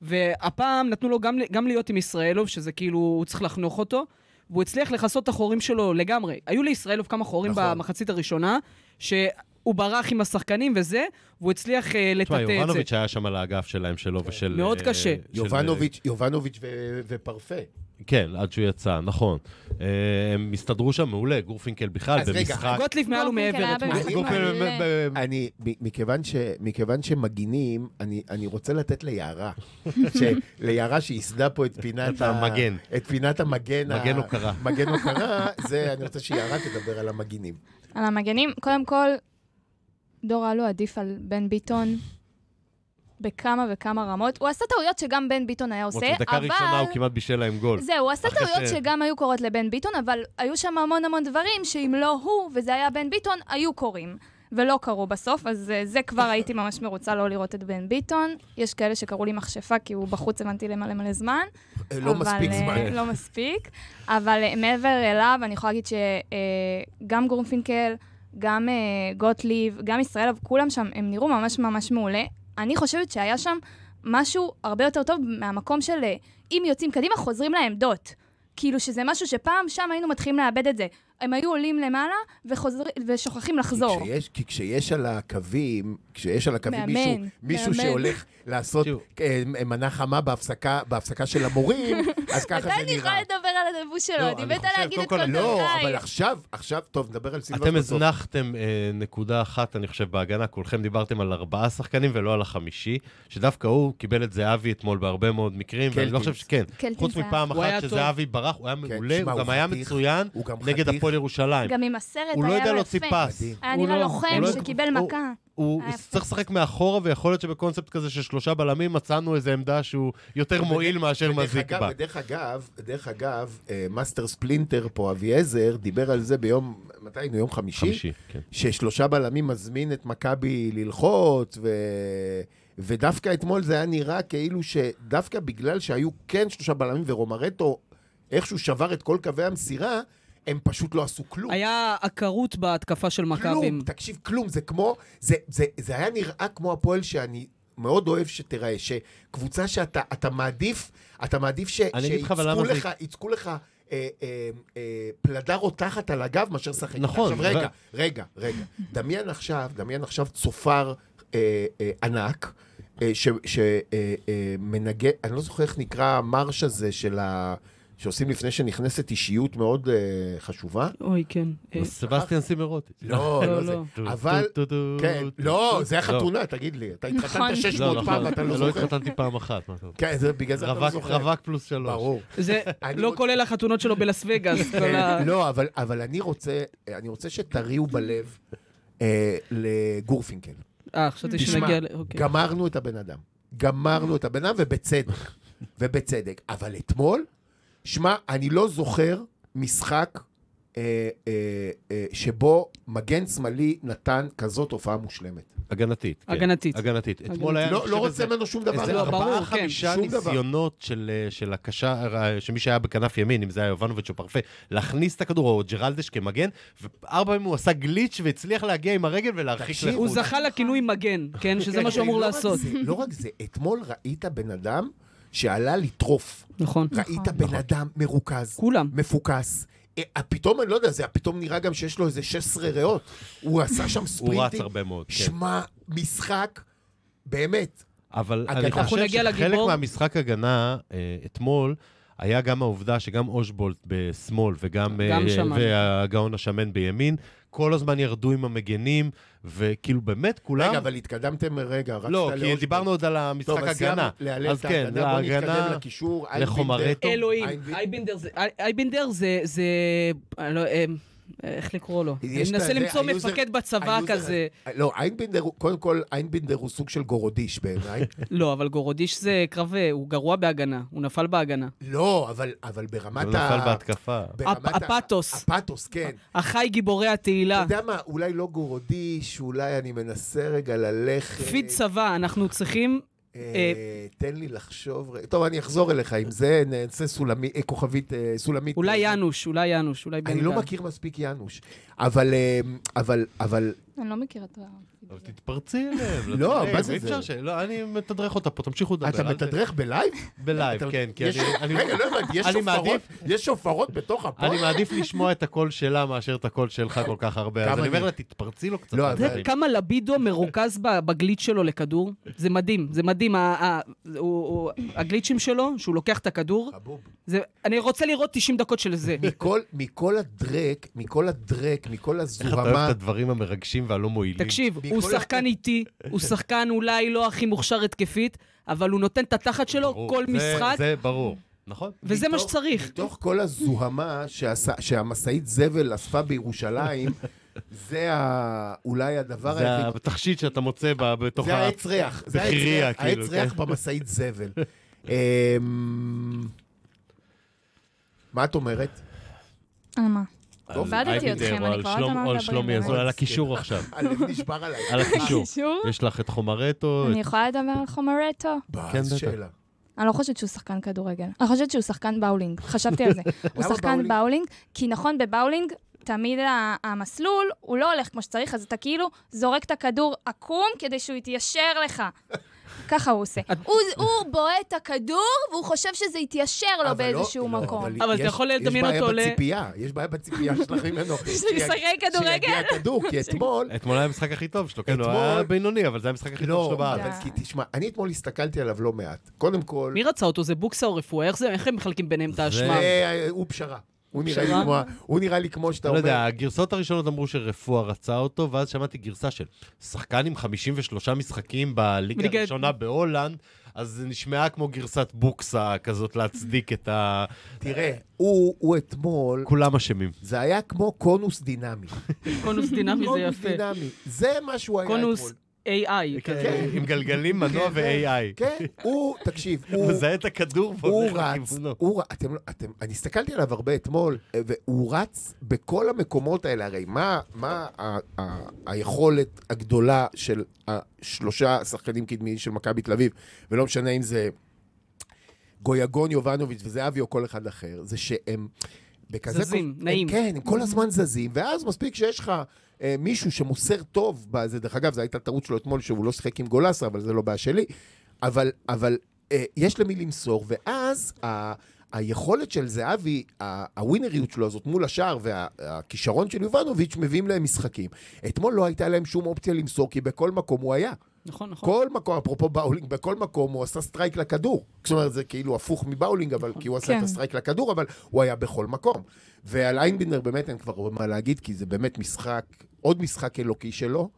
Speaker 2: והפעם נתנו לו גם, גם להיות עם ישראלוב, שזה כאילו, הוא צריך לחנוך אותו, והוא הצליח לכסות את החורים שלו לגמרי. היו לישראלוב כמה חורים
Speaker 3: נכון.
Speaker 2: נכון. במחצית הראשונה, שהוא ברח עם השחקנים וזה, והוא הצליח אה,
Speaker 4: תשמע,
Speaker 2: לטאטא את זה.
Speaker 4: יובנוביץ' היה שם על האגף שלהם שלו ושל...
Speaker 2: מאוד
Speaker 4: אה,
Speaker 2: קשה.
Speaker 4: של-
Speaker 3: יובנוביץ', יובנוביץ' ו- ופרפה.
Speaker 4: כן, עד שהוא יצא, נכון. אה, הם הסתדרו שם מעולה, גורפינקל בכלל,
Speaker 3: אז רגע, אה,
Speaker 4: במשחק.
Speaker 2: גוטליב מעל
Speaker 5: גורפינקל
Speaker 2: ומעבר
Speaker 5: היה
Speaker 2: אתמול.
Speaker 5: במשחק
Speaker 4: גורפינקל
Speaker 5: מעולה.
Speaker 4: ב- ב-
Speaker 3: אני, מ- מכיוון, ש, מכיוון שמגינים, אני, אני רוצה לתת ליערה,
Speaker 4: (laughs)
Speaker 3: ש- ליערה שייסדה פה את פינת,
Speaker 4: את המגן.
Speaker 3: את פינת המגן. ה-
Speaker 4: מגן הוקרה.
Speaker 3: מגן הוקרה, זה, אני רוצה שיערה תדבר על המגינים.
Speaker 5: על המגנים, קודם כל, דור אלו עדיף על בן ביטון בכמה וכמה רמות. הוא עשה טעויות שגם בן ביטון היה
Speaker 4: למרות
Speaker 5: עושה,
Speaker 4: שדקה
Speaker 5: אבל...
Speaker 4: ראשונה הוא כמעט בישל להם גול.
Speaker 5: זהו, הוא עשה
Speaker 4: אחרי
Speaker 5: טעויות
Speaker 4: ש-
Speaker 5: שגם היו קורות לבן ביטון, אבל היו שם המון המון דברים שאם לא הוא, וזה היה בן ביטון, היו קורים. ולא קרו בסוף, אז אה, זה כבר הייתי ממש מרוצה לא לראות את בן ביטון. יש כאלה שקראו לי מכשפה, כי הוא בחוץ, הבנתי למלא מלא זמן.
Speaker 3: אה, לא
Speaker 5: אבל,
Speaker 3: מספיק
Speaker 5: אה,
Speaker 3: זמן.
Speaker 5: לא מספיק, אבל אה, מעבר אליו, אני יכולה להגיד אה, שגם גורפינקל, גם אה, גוטליב, גם ישראל, כולם שם, הם נראו ממש ממש מעולה. אני חושבת שהיה שם משהו הרבה יותר טוב מהמקום של אה, אם יוצאים קדימה, חוזרים לעמדות. כאילו שזה משהו שפעם שם היינו מתחילים לאבד את זה. הם היו עולים למעלה וחוזר, ושוכחים לחזור.
Speaker 3: כי כשיש, כי כשיש על הקווים, כשיש על הקווים
Speaker 5: מאמן,
Speaker 3: מישהו, מישהו
Speaker 5: מאמן.
Speaker 3: שהולך לעשות
Speaker 4: תראו.
Speaker 3: אה, מנה חמה בהפסקה, בהפסקה של המורים, אז ככה זה
Speaker 5: מתי אני
Speaker 3: נראה.
Speaker 5: יכולה לדבר על הלבוש שלו,
Speaker 4: לא,
Speaker 5: אני
Speaker 4: אני
Speaker 5: מתה
Speaker 4: חושב,
Speaker 5: להגיד
Speaker 4: קודם
Speaker 5: את
Speaker 4: כל,
Speaker 5: כל
Speaker 4: אני-
Speaker 3: לא, אבל
Speaker 5: דבריי.
Speaker 3: עכשיו, עכשיו, טוב, נדבר על סילבס
Speaker 4: אתם הזנחתם אה, נקודה אחת, אני חושב, בהגנה. כולכם דיברתם על ארבעה שחקנים ולא על החמישי, שדווקא הוא קיבל את זאבי אתמול בהרבה מאוד מקרים, ואני לא
Speaker 3: קלטינס.
Speaker 4: חושב שכן.
Speaker 5: קלטינס
Speaker 4: חוץ
Speaker 5: היה-
Speaker 4: מפעם
Speaker 2: הוא היה
Speaker 4: אחת
Speaker 2: טוב.
Speaker 4: שזהבי ברח, הוא היה מעולה,
Speaker 3: כן, תשמע,
Speaker 4: הוא גם
Speaker 3: הוא
Speaker 4: היה
Speaker 3: חתיך,
Speaker 4: מצוין
Speaker 3: הוא גם
Speaker 4: נגד
Speaker 3: חתיך.
Speaker 4: הפועל ירושלים.
Speaker 5: גם עם הסרט, היה
Speaker 4: הוא
Speaker 5: לו
Speaker 4: לא
Speaker 5: יפה.
Speaker 4: יודע להוציא פס.
Speaker 3: מדהים.
Speaker 5: היה
Speaker 2: הוא
Speaker 5: נראה
Speaker 2: לא-
Speaker 5: לוחם
Speaker 4: הוא לא-
Speaker 5: שקיבל
Speaker 4: הוא-
Speaker 5: מכה.
Speaker 4: הוא
Speaker 5: היה יפה.
Speaker 4: צריך לשחק מאחורה, ויכול להיות שבקונספט כזה של שלושה בלמים מצאנו איזו עמדה שהוא יותר מועיל מאשר מזיק בה.
Speaker 3: דרך אגב, דרך אגב, אה, מאסטר ספלינטר פה, אביעזר, דיבר על זה ביום, מתי היינו? יום חמישי?
Speaker 4: חמישי, כן.
Speaker 3: ששלושה בלמים מזמין את מכבי ללחוץ, ו... ודווקא אתמול זה היה נראה כאילו שדווקא בגלל שהיו כן שלושה בלמים ורומרטו איכשהו שבר את כל קווי המסירה, הם פשוט לא עשו כלום.
Speaker 2: היה עקרות בהתקפה של מכבים.
Speaker 3: כלום, תקשיב, כלום, זה כמו, זה, זה, זה היה נראה כמו הפועל שאני מאוד אוהב שתראה, שקבוצה שאתה אתה מעדיף, אתה מעדיף ש,
Speaker 4: אני אגיד לך, אבל
Speaker 3: שיצקו
Speaker 4: למה זה-
Speaker 3: לך, יצקו לך אה, אה, אה, פלדה רותחת על הגב מאשר לשחק. איתה.
Speaker 4: נכון,
Speaker 3: עכשיו, רגע,
Speaker 4: ו-
Speaker 3: רגע, רגע. דמיין עכשיו, דמיין עכשיו צופר אה, אה, ענק. אה, שמנגן, אני לא זוכר איך נקרא המרש הזה של ה... שעושים לפני שנכנסת אישיות מאוד אה, חשובה.
Speaker 2: אוי, כן. אה,
Speaker 4: סבסטיאן סימרוטי.
Speaker 3: לא,
Speaker 2: לא,
Speaker 3: לא זה.
Speaker 2: לא.
Speaker 3: אבל,
Speaker 4: טו, טו, טו,
Speaker 3: כן,
Speaker 4: טו,
Speaker 3: לא,
Speaker 4: טו.
Speaker 3: זה היה חתונה, תגיד לי. אתה התחתנת
Speaker 5: נכון.
Speaker 3: 600 פעם ואתה לא
Speaker 4: אה, לא
Speaker 3: זוכר.
Speaker 4: התחתנתי פעם אחת. מה אתה רוצה?
Speaker 3: כן, זה בגלל זה אתה לא
Speaker 4: רווק-
Speaker 3: זוכר.
Speaker 4: רווק פלוס שלוש.
Speaker 3: ברור.
Speaker 2: זה
Speaker 3: (laughs) אני
Speaker 2: לא
Speaker 3: רוצה-
Speaker 2: כולל החתונות שלו בלאס וגאס. כל ה-
Speaker 3: (laughs) כן, לא, אבל- אבל אני רוצה, אני רוצה שתריעו בלב אה, לגורפינקל.
Speaker 2: אה, חשבתי
Speaker 3: תשמע,
Speaker 2: שנגיע ל... אוקיי.
Speaker 3: גמרנו את הבן אדם. גמרנו את הבן אדם, ובצדק. ובצדק. אבל אתמול, שמע, אני לא זוכר משחק אה, אה, אה, שבו מגן שמאלי נתן כזאת הופעה מושלמת.
Speaker 4: הגנתית. כן.
Speaker 2: הגנתית.
Speaker 4: הגנתית. אתמול
Speaker 2: הגנתית.
Speaker 4: היה... אני
Speaker 3: לא
Speaker 4: חושב,
Speaker 3: לא
Speaker 4: איזה-
Speaker 3: רוצה ממנו שום דבר.
Speaker 4: איזה
Speaker 2: לא, ברור,
Speaker 4: ארבעה,
Speaker 2: כן.
Speaker 4: חמישה
Speaker 3: שום דבר.
Speaker 4: ניסיונות של, אה, של הקשר, אה, שמי שהיה בכנף ימין, אם זה היה יובנוביץ' או פרפה, להכניס את הכדור, או ג'רלדש כמגן, וארבע פעמים הוא עשה גליץ' והצליח להגיע עם הרגל ולהרחיק
Speaker 3: תקשיב,
Speaker 2: הוא
Speaker 4: לחוץ.
Speaker 2: זכה לכינוי מגן,
Speaker 3: (laughs)
Speaker 2: כן? שזה מה שהוא אמור
Speaker 3: לא רק
Speaker 2: לעשות.
Speaker 3: זה, לא רק זה, אתמול ראית בן אדם שעלה לטרוף.
Speaker 2: נכון.
Speaker 3: ראית בן אדם מרוכז.
Speaker 2: כולם.
Speaker 3: מפוקס. אה, פתאום, אני לא יודע, זה פתאום נראה גם שיש לו איזה 16 ריאות. הוא עשה שם ספרינטים.
Speaker 4: רץ הרבה מאוד, כן.
Speaker 3: שמע, משחק, באמת.
Speaker 4: אבל
Speaker 3: אגדה.
Speaker 4: אני
Speaker 3: אנחנו
Speaker 4: חושב
Speaker 2: נגיע
Speaker 4: שחלק
Speaker 2: לגיבור.
Speaker 4: מהמשחק הגנה אה, אתמול, היה גם העובדה שגם אושבולט בשמאל וגם אה,
Speaker 2: גם שמן.
Speaker 4: והגאון השמן בימין, כל הזמן ירדו עם המגנים, וכאילו באמת כולם...
Speaker 3: רגע, אבל התקדמתם רגע, רצת
Speaker 4: לא, כי
Speaker 3: לאושבולט.
Speaker 4: דיברנו עוד על
Speaker 3: טוב,
Speaker 4: המשחק
Speaker 3: אז
Speaker 4: הגנה.
Speaker 3: סיימנו להלל
Speaker 4: אז
Speaker 3: את
Speaker 4: כן,
Speaker 3: ההגנה, בוא
Speaker 4: להגנה...
Speaker 3: נתקדם לקישור. אייבינדר.
Speaker 4: לחומרטו.
Speaker 2: אלוהים,
Speaker 3: אייבינדר.
Speaker 2: אייבינדר זה... אי- אייבינדר זה... זה... אני לא- אה, איך לקרוא לו? אני
Speaker 3: יש את
Speaker 2: מנסה
Speaker 3: הזה,
Speaker 2: למצוא
Speaker 3: היוזר-
Speaker 2: מפקד בצבא
Speaker 3: היוזר-
Speaker 2: כזה.
Speaker 3: לא, איינבינדר, הוא- קודם כל, איינבינדר הוא סוג של גורודיש
Speaker 4: (laughs)
Speaker 3: בעיניי.
Speaker 2: לא, אבל גורודיש זה קרבי, הוא גרוע בהגנה, הוא נפל בהגנה.
Speaker 3: לא, אבל, אבל ברמת
Speaker 4: הוא נפל בהתקפה.
Speaker 3: ברמת
Speaker 2: הפ- הפתוס. אה.
Speaker 3: הפתוס, כן.
Speaker 2: אחי גיבורי
Speaker 3: אתה
Speaker 2: התהילה,
Speaker 3: יודע מה, אולי לא גורודיש, אולי אני מנסה רגע ללכת.
Speaker 2: תפיד צבא, אנחנו צריכים...
Speaker 3: אה, תן לי לחשוב. ר- טוב, אני אחזור אליך עם זה, נעשה סולמית, כוכבית, אה, סולמית.
Speaker 2: אולי יאנוש, אולי יאנוש, אולי בן
Speaker 3: אני לא
Speaker 2: גל.
Speaker 3: מכיר מספיק יאנוש, אבל, אה, אבל, אבל,
Speaker 5: אני לא מכירה את ה...
Speaker 4: אבל תתפרצי אליהם.
Speaker 3: לא,
Speaker 4: תראי,
Speaker 3: מה זה
Speaker 4: אי
Speaker 3: זה?
Speaker 4: אפשר ש... לא, אני מתדרך אותה פה, תמשיכו לדבר.
Speaker 3: אתה
Speaker 4: אל ת- (laughs)
Speaker 3: מתדרך בלייב?
Speaker 4: בלייב,
Speaker 3: אתה-
Speaker 4: לא כן, כי
Speaker 3: יש-
Speaker 4: אני- אני...
Speaker 3: רגע, לא הבנתי, יש
Speaker 4: אני
Speaker 3: שופרות-
Speaker 4: מעדיף-
Speaker 3: יש שופרות בתוך הפועל?
Speaker 4: אני מעדיף לשמוע את הקול שלה מאשר את הקול שלך כל כך הרבה.
Speaker 3: גם
Speaker 4: אז אני אומר
Speaker 3: אני.
Speaker 4: לה, תתפרצי לו קצת.
Speaker 3: לא,
Speaker 4: על
Speaker 3: אבל-
Speaker 2: זה
Speaker 4: הדברים.
Speaker 2: כמה לבידו מרוכז ב- בגליץ' שלו לכדור, זה מדהים, זה מדהים. ה- ה- הוא- הוא- הגליצ'ים שלו, שהוא לוקח את הכדור,
Speaker 3: חבוב.
Speaker 2: זה- אני רוצה לראות 90 דקות של
Speaker 3: (laughs)
Speaker 2: זה.
Speaker 3: מכל, מכל הדרק, מכל הדרק, מכל
Speaker 4: איך אתה אוהב
Speaker 3: הזוהמה,
Speaker 4: את הדברים המרגשים והלא מועילים.
Speaker 2: תקשיב,
Speaker 3: מכל
Speaker 2: הוא
Speaker 3: ה-
Speaker 2: שחקן איטי, הוא שחקן אולי לא הכי מוכשר התקפית, אבל הוא נותן את התחת שלו
Speaker 4: ברור.
Speaker 2: כל
Speaker 4: זה-
Speaker 2: משחק,
Speaker 4: זה ברור. נכון.
Speaker 2: וזה מה
Speaker 3: מתוך-
Speaker 2: שצריך.
Speaker 3: מתוך כל הזוהמה שעשה, שהמשאית זבל אספה בירושלים, זה ה, אולי הדבר
Speaker 4: זה
Speaker 3: היחיד.
Speaker 4: התכשיט שאתה מוצא ב- בתוך
Speaker 3: זה
Speaker 4: ה...
Speaker 3: העץ ריח. זה העץ
Speaker 4: בחירייה,
Speaker 3: ריח-
Speaker 4: כאילו,
Speaker 3: העץ ריח
Speaker 4: כן.
Speaker 3: במשאית זבל. אמ, מה את אומרת? (laughs)
Speaker 5: על מה?
Speaker 4: על
Speaker 5: איבדתי
Speaker 4: אייבינדר
Speaker 5: אתכם,
Speaker 4: או
Speaker 5: אני
Speaker 4: על
Speaker 5: כבר לא יודעת
Speaker 4: שלום-
Speaker 5: מה
Speaker 4: או על
Speaker 5: מדברים,
Speaker 4: שלומי
Speaker 5: אבל-
Speaker 4: אזולאי, על הקישור עכשיו.
Speaker 3: הלב נשבר עליי.
Speaker 4: על
Speaker 3: (laughs)
Speaker 4: הקישור.
Speaker 5: קישור?
Speaker 4: יש לך את חומרטו,
Speaker 5: אני יכולה לדבר על חומרטו?
Speaker 3: מה,
Speaker 4: כן,
Speaker 3: איזה
Speaker 4: בטח.
Speaker 3: שאלה.
Speaker 5: אני לא חושבת שהוא שחקן כדורגל. אני חושבת שהוא שחקן באולינג. חשבתי על זה. הוא
Speaker 3: למה
Speaker 5: שחקן
Speaker 3: באולינג?
Speaker 5: באולינג, כי נכון, בבאולינג תמיד ה- המסלול, הוא לא הולך כמו שצריך, אז אתה כאילו זורק את הכדור עקום כדי שהוא יתיישר לך. ככה הוא עושה.
Speaker 2: את-
Speaker 5: הוא- הוא בועט את הכדור, והוא חושב שזה יתיישר
Speaker 3: אבל
Speaker 5: לו
Speaker 3: לא-
Speaker 5: באיזשהו
Speaker 3: לא,
Speaker 5: מקום.
Speaker 2: אבל אתה
Speaker 3: יש-
Speaker 2: יכול לדמיין אותו ל-
Speaker 3: יש בעיה בציפייה, יש בעיה
Speaker 2: (laughs)
Speaker 3: בציפייה שלך ממנו.
Speaker 5: שהוא
Speaker 3: שיג-
Speaker 5: ישחק
Speaker 3: שיגיע
Speaker 5: כדורגל?
Speaker 3: הכדור,
Speaker 5: (laughs)
Speaker 3: כי אתמול...
Speaker 4: אתמול היה המשחק הכי טוב שלו, כן, הוא
Speaker 3: אתמול-
Speaker 4: היה בינוני, אבל זה היה המשחק הכי טוב
Speaker 3: לא,
Speaker 4: שלו בארץ.
Speaker 3: אבל כי תשמע, אני אתמול הסתכלתי עליו לא מעט. קודם כל...
Speaker 2: מי רצה אותו? זה בוקסה או רפואה? איך זה- איך הם מחלקים ביניהם את האשמה?
Speaker 3: אה, הוא פשרה. הוא נראה לי
Speaker 2: פשרה?
Speaker 3: כמו ה- הוא נראה לי כמו שאתה
Speaker 4: לא יודע,
Speaker 3: אומר.
Speaker 4: הגרסאות הראשונות אמרו שרפואה רצה אותו, ואז שמעתי גרסה של שחקן עם 53 משחקים בליגה
Speaker 2: בליגה-
Speaker 4: הראשונה בהולנד, אז זה נשמעה כמו גרסת בוקסה כזאת להצדיק את ה...
Speaker 3: תראה, הוא הוא אתמול...
Speaker 4: כולם אשמים.
Speaker 3: זה היה כמו קונוס
Speaker 2: (laughs)
Speaker 3: דינמי.
Speaker 2: קונוס דינמי זה
Speaker 3: קונוס
Speaker 2: יפה.
Speaker 3: דינמי. זה מה שהוא היה אתמול.
Speaker 2: קונוס AI.
Speaker 3: כן.
Speaker 4: עם גלגלים, מנוע ו-AI.
Speaker 3: כן, הוא, תקשיב, הוא...
Speaker 4: מזהה את הכדור
Speaker 3: הוא
Speaker 4: והולך
Speaker 3: רץ,
Speaker 4: לכיוונו.
Speaker 3: הוא רץ, אתם, לא- אתם, אני הסתכלתי עליו הרבה אתמול, אה, והוא רץ בכל המקומות האלה, הרי מה, מה ה, ה, היכולת הגדולה של השלושה שחקנים קדמיים של מכבי תל אביב, ולא משנה אם זה גויגון, יובנוביץ' וזהבי או כל אחד אחר, זה שהם... בכזה
Speaker 2: זזים,
Speaker 3: כל...
Speaker 2: נעים.
Speaker 3: הם, כן, הם כל הזמן זזים, ואז מספיק שיש לך אה, מישהו שמוסר טוב בזה, דרך אגב, זו הייתה טעות שלו אתמול שהוא לא שיחק עם גולסה, אבל זה לא בעיה שלי, אבל, אבל אה, יש למי למסור, ואז ה, היכולת של זהבי, ה, הווינריות שלו הזאת מול השער והכישרון של יובנוביץ' מביאים להם משחקים. אתמול לא הייתה להם שום אופציה למסור, כי בכל מקום הוא היה.
Speaker 2: נכון, נכון.
Speaker 3: כל מקום, אפרופו באולינג, בכל מקום הוא עשה סטרייק לכדור. זאת אומרת, זה כאילו הפוך מבאולינג, אבל
Speaker 2: נכון.
Speaker 3: כי הוא עשה את
Speaker 5: כן.
Speaker 3: הסטרייק לכדור, אבל הוא היה בכל מקום. ועל איינבינדר באמת אין כבר מה להגיד, כי זה באמת משחק, עוד משחק אלוקי שלו.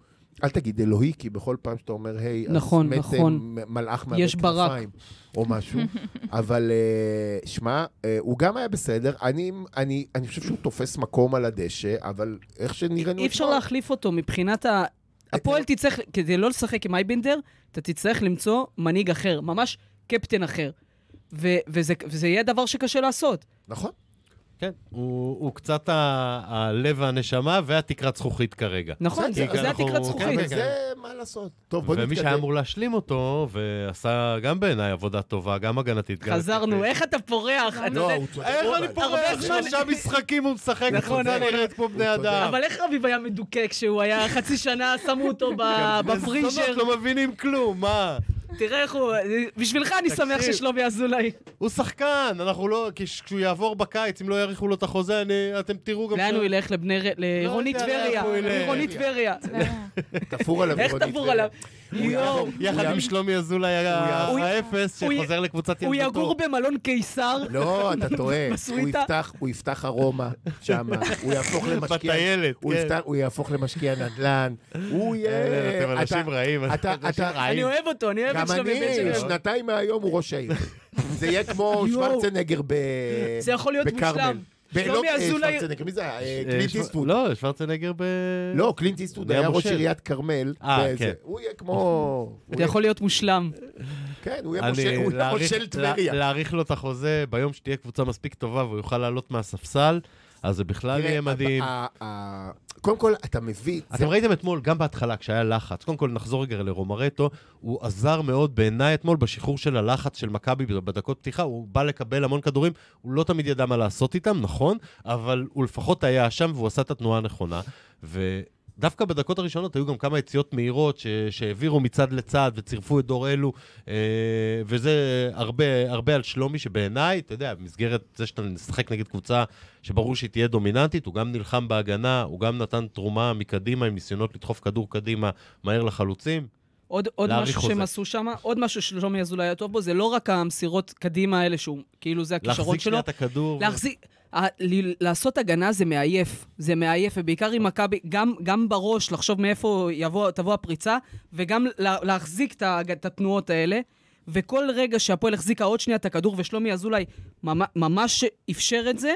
Speaker 3: אל תגיד אלוהי, כי בכל פעם שאתה אומר, היי, אז
Speaker 2: נכון,
Speaker 3: מת,
Speaker 2: נכון.
Speaker 3: אה, מלאך מאבד
Speaker 2: יש ברק.
Speaker 3: כנפיים, או
Speaker 2: (laughs)
Speaker 3: משהו. אבל אה, שמע, אה, הוא גם היה בסדר. אני, אני, אני חושב שהוא תופס מקום על הדשא, אבל איך שנראינו...
Speaker 2: אי אפשר
Speaker 3: אתמול.
Speaker 2: להחליף אותו מבחינת ה... הפועל תצטרך, כדי לא לשחק עם אייבנדר, אתה תצטרך למצוא מנהיג אחר, ממש קפטן אחר. ו- וזה וזה יהיה דבר שקשה לעשות.
Speaker 3: נכון.
Speaker 4: כן, הוא הוא קצת ה- הלב והנשמה והתקרת זכוכית כרגע.
Speaker 2: נכון, זה
Speaker 3: בסדר,
Speaker 2: זה
Speaker 4: אנחנו-
Speaker 2: התקרת
Speaker 4: כן,
Speaker 2: זכוכית.
Speaker 3: אבל
Speaker 4: כן.
Speaker 3: זה, מה לעשות. טוב, בוא נתקדם.
Speaker 4: ומי שהיה אמור להשלים אותו, ועשה גם בעיניי עבודה טובה, גם הגנתית. גם
Speaker 2: חזרנו,
Speaker 4: התקפית.
Speaker 2: איך אתה פורח? אתה
Speaker 3: לא,
Speaker 2: יודע-
Speaker 3: הוא צודק.
Speaker 4: איך אני
Speaker 3: אבל-
Speaker 2: נכון. הרבה
Speaker 4: פורח
Speaker 2: זמן-
Speaker 4: שלושה משחקים הוא משחק, נכון,
Speaker 3: נכון, נכון.
Speaker 4: נראית כמו בני
Speaker 3: הוא צודק.
Speaker 4: אדם.
Speaker 2: אבל איך רביב היה מדוכא כשהוא היה חצי שנה, שמו אותו ב- בפריז'ר?
Speaker 4: זונות כן. לא מבינים כלום, מה?
Speaker 2: תראה איך הוא... בשבילך אני שמח
Speaker 4: תקשיב. לא
Speaker 2: ששלומי אזולאי.
Speaker 4: הוא שחקן, אנחנו לא... כש- כשהוא יעבור בקיץ, אם לא יאריכו לו את החוזה, אני- אתם תראו גם...
Speaker 2: לאן
Speaker 4: ש-
Speaker 2: הוא ילך? לבני... ר- לרוני
Speaker 4: לא יודע
Speaker 2: טבריה.
Speaker 4: לאן הוא ילך.
Speaker 2: לרוני טבריה.
Speaker 5: אה,
Speaker 3: תפור עליו.
Speaker 2: איך
Speaker 3: רוני
Speaker 2: תבור
Speaker 3: טבריה.
Speaker 2: עליו?
Speaker 3: הוא
Speaker 2: יואו.
Speaker 3: יעבור.
Speaker 4: יחד עם שלומי אזולאי
Speaker 2: הוא-
Speaker 4: האפס,
Speaker 2: הוא-
Speaker 4: שחוזר לקבוצת
Speaker 2: הוא
Speaker 4: ילדותו.
Speaker 2: יגור במלון קיסר.
Speaker 3: לא, אתה טועה. הוא
Speaker 2: בסוויטה.
Speaker 3: יפתח, הוא יפתח ארומה שם, הוא יהפוך למשקיע...
Speaker 4: בטיילת,
Speaker 3: הוא
Speaker 4: כן. אה,
Speaker 3: יפתח- הוא יהפוך למשקיע נדל"ן. הוא יהיה...
Speaker 4: אתם אנשים
Speaker 3: אתה-
Speaker 4: רעים,
Speaker 3: אתה-
Speaker 4: אתם (laughs) אנשים
Speaker 3: אתה-
Speaker 2: אני
Speaker 4: רעים.
Speaker 2: אוהב אותו, אני אוהב
Speaker 3: גם
Speaker 2: את שלומי בן
Speaker 3: אני,
Speaker 2: שלו.
Speaker 3: שנתיים מהיום הוא ראש העיר. זה יהיה כמו
Speaker 2: יואו.
Speaker 3: שוורצנגר ב...
Speaker 2: זה יכול להיות
Speaker 3: בכרמל.
Speaker 2: מושלם.
Speaker 3: ב- לא,
Speaker 2: שלומי
Speaker 3: אה,
Speaker 2: אזולאי-
Speaker 3: שוורצנגר, מי זה היה? אה,
Speaker 4: אה,
Speaker 3: קלינט
Speaker 4: שוו-
Speaker 3: איסטווד.
Speaker 4: לא, שוורצנגר ב...
Speaker 3: לא, קלינט איסטווד
Speaker 4: נהיה
Speaker 3: היה ראש
Speaker 4: מושל.
Speaker 3: עיריית כרמל.
Speaker 4: אה,
Speaker 3: וזה.
Speaker 4: כן.
Speaker 3: הוא יהיה כמו... הוא
Speaker 2: אתה
Speaker 3: יהיה-
Speaker 2: יכול להיות מושלם.
Speaker 3: כן, הוא יהיה
Speaker 4: אני-
Speaker 3: מושל- הוא יהיה
Speaker 4: להאריך-
Speaker 3: מושל
Speaker 4: לה-
Speaker 3: טבריה.
Speaker 4: להאריך לו את החוזה ביום שתהיה קבוצה מספיק טובה והוא יוכל לעלות מהספסל, אז זה בכלל
Speaker 3: תראה,
Speaker 4: יהיה מדהים.
Speaker 3: ה- ה- ה- קודם כל, אתה מביא... זה-
Speaker 4: אתם ראיתם אתמול, גם בהתחלה, כשהיה לחץ, קודם כל נחזור רגע לרומרטו, הוא עזר מאוד בעיניי אתמול בשחרור של הלחץ של מכבי בדקות פתיחה, הוא בא לקבל המון כדורים, הוא לא תמיד ידע מה לעשות איתם, נכון, אבל הוא לפחות היה שם והוא עשה את התנועה הנכונה, ודווקא בדקות הראשונות היו גם כמה יציאות מהירות ש... שהעבירו מצד לצד וצירפו את דור אלו, אה, וזה הרבה, הרבה על שלומי, שבעיניי, אתה יודע, במסגרת זה שאתה משחק נגד קבוצה שברור שהיא תהיה דומיננטית, הוא גם נלחם בהגנה, הוא גם נתן תרומה מקדימה עם ניסיונות לדחוף כדור קדימה מהר לחלוצים.
Speaker 2: עוד, עוד
Speaker 4: להאריך
Speaker 2: משהו
Speaker 4: חוזה.
Speaker 2: שהם עשו שם, עוד משהו ששלומי אזולאי היה טוב בו, זה לא רק המסירות קדימה האלה שהוא, כאילו זה הכישרון
Speaker 4: להחזיק
Speaker 2: שלו.
Speaker 4: שנייה את הכדור.
Speaker 2: להחזיק, ה- ל- לעשות הגנה זה מעייף, זה מעייף, ובעיקר עם מכבי, גם, גם בראש, לחשוב מאיפה יבוא, תבוא הפריצה, וגם לה, להחזיק את, ההג- את התנועות האלה. וכל רגע שהפועל החזיקה עוד שנייה את הכדור, ושלומי אזולאי ממ- ממש אפשר את זה,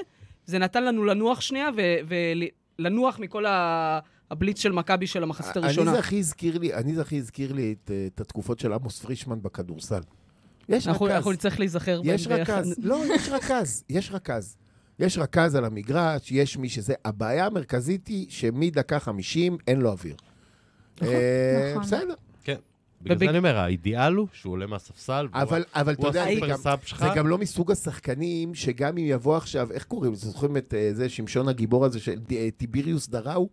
Speaker 2: זה נתן לנו לנוח שנייה, ולנוח מכל ה... הבליץ של מכבי של המחצית הראשונה.
Speaker 3: אני זה הכי הזכיר לי, אני זה הכי הזכיר לי את, אה, את התקופות של עמוס פרישמן בכדורסל. יש
Speaker 2: אנחנו
Speaker 3: רכז,
Speaker 2: אנחנו נצטרך להיזכר בהם
Speaker 3: יש רכז, לא, יש רכז, יש רכז. יש רכז על המגרש, יש מי שזה. הבעיה המרכזית היא שמדקה 50 אין לו אוויר. אה,
Speaker 5: נכון.
Speaker 3: בסדר,
Speaker 4: כן. בגלל
Speaker 2: ובג-
Speaker 4: זה אני אומר, האידיאל הוא שהוא עולה מהספסל, והוא-
Speaker 3: אבל אבל אתה
Speaker 4: הוא
Speaker 3: יודע, זה
Speaker 4: הסופר
Speaker 3: גם-
Speaker 4: סאב שלך.
Speaker 3: זה גם לא מסוג השחקנים שגם אם יבוא עכשיו, איך קוראים? זוכרים את אה, זה, שמשון הגיבור הזה, של אה, טיביריוס דראו?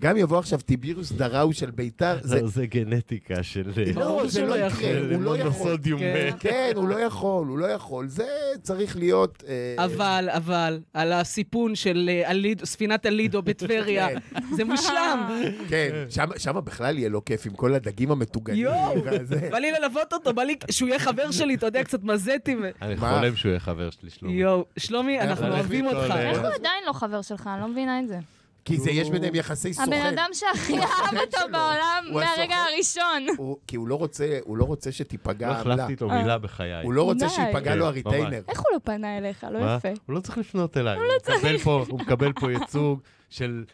Speaker 3: גם יבוא עכשיו טיביריוס דראו של ביתר,
Speaker 4: (laughs)
Speaker 3: זה...
Speaker 4: לא, זה גנטיקה של...
Speaker 3: לא,
Speaker 2: ברור
Speaker 3: זה
Speaker 2: שהוא
Speaker 3: לא
Speaker 2: לא
Speaker 3: יקרה,
Speaker 2: יכול.
Speaker 3: הוא לא יכול.
Speaker 4: מונוסודיום
Speaker 2: כן.
Speaker 4: מת.
Speaker 3: (laughs) כן, הוא לא יכול, הוא לא יכול. זה צריך להיות... אה,
Speaker 2: אבל, אבל, על הסיפון של אה, הליד- ספינת הלידו
Speaker 3: (laughs)
Speaker 2: בטבריה, זה מושלם.
Speaker 3: כן, שם- שם בכלל יהיה לו כיף עם כל הדגים המטוגנים.
Speaker 4: כאילו
Speaker 2: יואו.
Speaker 3: (laughs) וזה.
Speaker 2: בא לי ללוות אותו, בא לי שהוא יהיה חבר שלי, אתה יודע, קצת מזטי. ו-
Speaker 4: אני
Speaker 3: מה?
Speaker 4: חולם שהוא יהיה חבר שלי, שלומי. אה,
Speaker 2: יואו, שלומי, אנחנו
Speaker 4: הולך
Speaker 2: אוהבים
Speaker 4: איתו
Speaker 2: אותך.
Speaker 4: ל-
Speaker 5: איך הוא עדיין לא חבר שלך? אני לא מבינה את זה.
Speaker 3: כי זה, יש ביניהם יחסי סוכן.
Speaker 5: הבן אדם
Speaker 3: (laughs)
Speaker 5: שהכי
Speaker 3: הסוכן
Speaker 5: אהב אותו
Speaker 3: שלו.
Speaker 5: בעולם
Speaker 3: הוא
Speaker 5: מהרגע
Speaker 3: הסוכן.
Speaker 5: הראשון.
Speaker 3: הוא- כי הוא לא רוצה, הוא לא רוצה שתיפגע
Speaker 4: לא
Speaker 3: העמלה.
Speaker 4: החלפתי איתו מילה בחיי.
Speaker 3: הוא לא רוצה
Speaker 5: די.
Speaker 3: שייפגע לו
Speaker 4: כן,
Speaker 3: הריטיינר.
Speaker 5: איך הוא לא פנה אליך? לא
Speaker 4: מה?
Speaker 5: יפה.
Speaker 4: הוא לא צריך לפנות אליי. הוא מקבל פה- הוא מקבל פה ייצוג של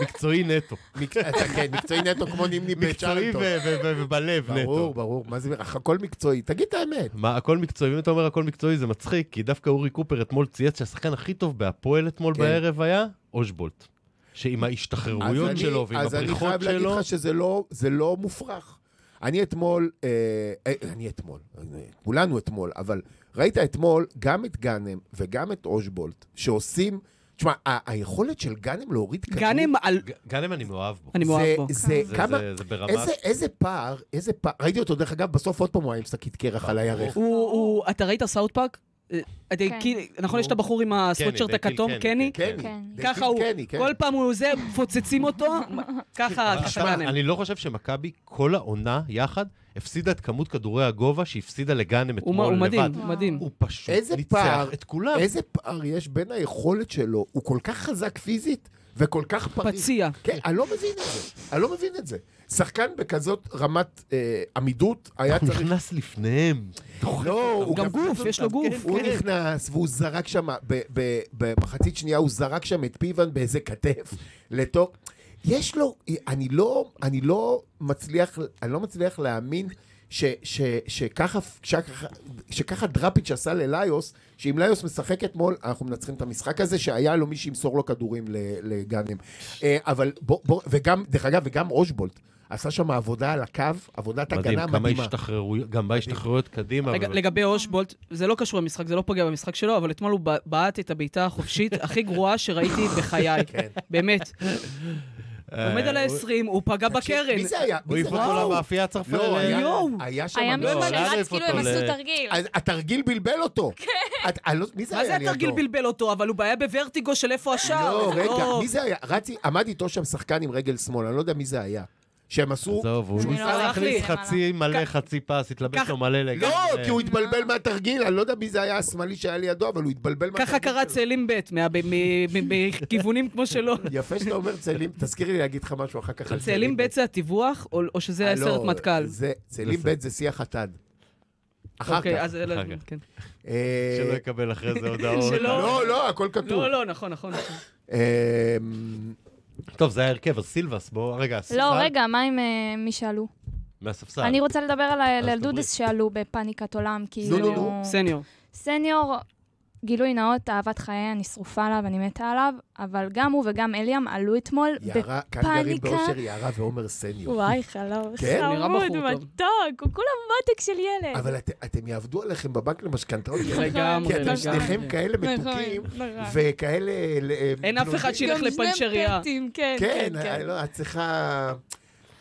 Speaker 4: מקצועי נטו.
Speaker 3: מק- (laughs) אתה כן, מקצועי נטו כמו נימני
Speaker 4: מקצועי
Speaker 3: בצ'רלטון.
Speaker 4: ו- ו- ו- ובלב נטו.
Speaker 3: ברור, ברור. מה זה, הכל מקצועי. תגיד את האמת.
Speaker 4: מה, הכל מקצועי, אם אתה אומר הכל מקצועי זה מצחיק, כי דווקא אורי קופר אתמול צייץ שהשחקן הכי טוב בהפועל אתמול
Speaker 3: כן.
Speaker 4: בערב היה אושבולט. שעם
Speaker 3: אז
Speaker 4: ההשתחררויות
Speaker 3: אני-
Speaker 4: שלו ועם
Speaker 3: אז אני
Speaker 4: הבריחות
Speaker 3: חייב להגיד
Speaker 4: שלו,
Speaker 3: לך שזה לא, זה לא מופרך. אני אתמול, אה, אה, אני אתמול, אה, כולנו אתמול, אבל ראית אתמול גם את גאנם וגם את אושבולט, שעושים, תשמע, ה- היכולת של גאנם להוריד כדור,
Speaker 4: אה,
Speaker 2: גאנם, על-
Speaker 4: ג- גאנם אני מאוהב בו.
Speaker 2: אני
Speaker 3: זה,
Speaker 2: מאוהב בו.
Speaker 3: זה,
Speaker 4: זה-
Speaker 3: כמה,
Speaker 4: זה- זה ברמה...
Speaker 3: איזה, איזה פער, איזה פער, ראיתי אותו, דרך אגב, בסוף עוד פעם הוא היה עם שקית קרח על הירך.
Speaker 2: הוא, הוא- אתה ראית סאוט פארק? אה, אתה-
Speaker 5: כן.
Speaker 2: כי- נכון, יש את הבחור עם הסוואטשרט
Speaker 4: דייקיל
Speaker 2: הכתום,
Speaker 4: קני,
Speaker 2: קני?
Speaker 4: כן.
Speaker 5: כן.
Speaker 3: דייקיל
Speaker 2: ככה הוא,
Speaker 3: קני, כן.
Speaker 2: כל פעם הוא זה,
Speaker 4: (laughs)
Speaker 2: פוצצים אותו, ככה, ככה
Speaker 4: תשמע,
Speaker 2: גאנם.
Speaker 4: אני לא חושב שמכבי כל העונה יחד הפסידה את כמות כדורי הגובה שהפסידה לגאנם
Speaker 2: הוא הוא
Speaker 4: אתמול
Speaker 2: מדהים,
Speaker 4: לבד.
Speaker 2: הוא מדהים.
Speaker 4: הוא פשוט
Speaker 3: איזה
Speaker 4: ניצח
Speaker 3: פער,
Speaker 4: את כולם.
Speaker 3: איזה פער יש בין היכולת שלו, הוא כל כך חזק פיזית וכל כך פריט.
Speaker 2: פציע.
Speaker 3: כן, אני לא מבין את זה, אני לא מבין את זה. שחקן בכזאת רמת אה, עמידות
Speaker 4: (laughs)
Speaker 3: היה
Speaker 4: הוא
Speaker 3: צריך...
Speaker 4: נכנס לפניהם.
Speaker 3: לא, הוא
Speaker 2: גם גוף, יש לו גוף.
Speaker 3: הוא
Speaker 4: כן.
Speaker 3: נכנס והוא זרק שם, ב- ב- במחצית שנייה הוא זרק שם את פיבן באיזה כתף לתוך... יש לו, אני לא, אני לא מצליח, אני לא מצליח להאמין ש, ש, שככה, שככה, שככה דראפיץ' עשה לליוס, שאם ליוס משחק אתמול, אנחנו מנצחים את המשחק הזה, שהיה לו מי שימסור לו כדורים ל- לגאנם. אה, אבל בוא, בוא, וגם, דרך אגב, וגם אושבולט עשה שם עבודה על הקו, עבודת
Speaker 4: מדהים,
Speaker 3: הגנה
Speaker 4: כמה
Speaker 3: מדהימה.
Speaker 4: השתחררויות, גם בהשתחררויות קדימה.
Speaker 2: לג-
Speaker 4: אבל-
Speaker 2: לגבי אושבולט, זה לא קשור למשחק, זה לא פוגע במשחק שלו, אבל אתמול הוא ב- בעט את הבעיטה החופשית הכי גרועה שראיתי בחיי.
Speaker 3: (laughs) כן.
Speaker 2: באמת. הוא
Speaker 4: אה,
Speaker 2: עומד על ה-20, הוא פגע בקרן.
Speaker 3: מי זה היה?
Speaker 4: הוא
Speaker 3: מי זה
Speaker 4: העיף
Speaker 3: היה?
Speaker 4: אותו למאפייה הצרפנית.
Speaker 3: לא, היה-
Speaker 2: יואו.
Speaker 3: היה שם...
Speaker 5: היה מישהו
Speaker 4: לא, לא,
Speaker 5: שרץ
Speaker 4: להעיף
Speaker 5: כאילו
Speaker 4: אותו
Speaker 5: הם עשו
Speaker 4: ל-
Speaker 5: תרגיל.
Speaker 3: אז התרגיל בלבל אותו. כן. מי זה
Speaker 2: מה
Speaker 3: היה
Speaker 2: זה
Speaker 3: לידו?
Speaker 2: התרגיל בלבל אותו? אבל הוא בעיה בוורטיגו של איפה השער.
Speaker 3: לא,
Speaker 2: זה
Speaker 3: רגע, מי זה היה? רצי, עמד איתו שם שחקן עם רגל שמאל, אני לא יודע מי זה היה. שהם עשו...
Speaker 4: עזוב, הוא
Speaker 5: אני לא
Speaker 4: ניסה
Speaker 2: הלך
Speaker 4: להכניס
Speaker 2: לי.
Speaker 4: חצי מלא, חצי פס, התלבש
Speaker 2: ככה-
Speaker 4: לו מלא לגמרי.
Speaker 3: לא, כי הוא התבלבל מהתרגיל, אני לא יודע מי זה היה השמאלי שהיה לידו, אבל הוא התבלבל מהתרגיל.
Speaker 2: ככה קרא
Speaker 3: שלו.
Speaker 2: צאלים ב', מה- ב- מ- מ-
Speaker 3: (laughs)
Speaker 2: מכיוונים כמו שלו.
Speaker 3: יפה שאתה אומר צאלים, תזכירי לי להגיד לך משהו אחר כך על
Speaker 2: צאלים ב' זה הטיווח, או- או שזה
Speaker 3: אה, לא,
Speaker 2: הסרט מטכ"ל?
Speaker 3: זה- צאלים ב' זה שיח חתן. אחר
Speaker 2: אוקיי,
Speaker 3: כך.
Speaker 2: אז אלה-
Speaker 4: אחר כך.
Speaker 2: כן.
Speaker 3: אה,
Speaker 4: שלא יקבל אחרי זה הודעות.
Speaker 2: שלא-
Speaker 3: לא, לא, הכל כתוב.
Speaker 2: לא, לא, נכון, נכון. נכון.
Speaker 3: אה,
Speaker 4: טוב, זה היה הרכב, אז סילבס, בוא, רגע,
Speaker 5: לא,
Speaker 4: הספסל?
Speaker 5: רגע, מה עם אה, מי שעלו?
Speaker 4: מהספסל.
Speaker 5: אני רוצה לדבר על
Speaker 4: אז
Speaker 5: הילדודס שעלו בפאניקת עולם, כאילו...
Speaker 3: נו, נו,
Speaker 2: סניור.
Speaker 5: סניור, גילוי נאות, אהבת חיי, אני שרופה עליו, אני מתה עליו, אבל גם הוא וגם אליאם עלו אתמול
Speaker 3: יערה, כאן גרים
Speaker 5: בפאניקה.
Speaker 3: באושר יערה ועומר סניור.
Speaker 5: וואי, חלום,
Speaker 3: כן?
Speaker 2: נראה
Speaker 5: חמוד,
Speaker 2: בחור טוב.
Speaker 5: מתוק, הוא כולה מותק של ילד.
Speaker 3: אבל את, אתם יעבדו עליכם בבנק
Speaker 5: (laughs)
Speaker 3: למשכנתאות,
Speaker 2: לגמרי,
Speaker 3: כי אתם
Speaker 5: נכון.
Speaker 3: שניכם כן. כאלה מתוקים, וכאלה... ל-
Speaker 2: נכון.
Speaker 3: אה,
Speaker 2: אין אף אחד
Speaker 3: בלונדינים.
Speaker 2: שילך לפנצ'ריה.
Speaker 5: כן,
Speaker 3: כן, אה, לא, את צריכה...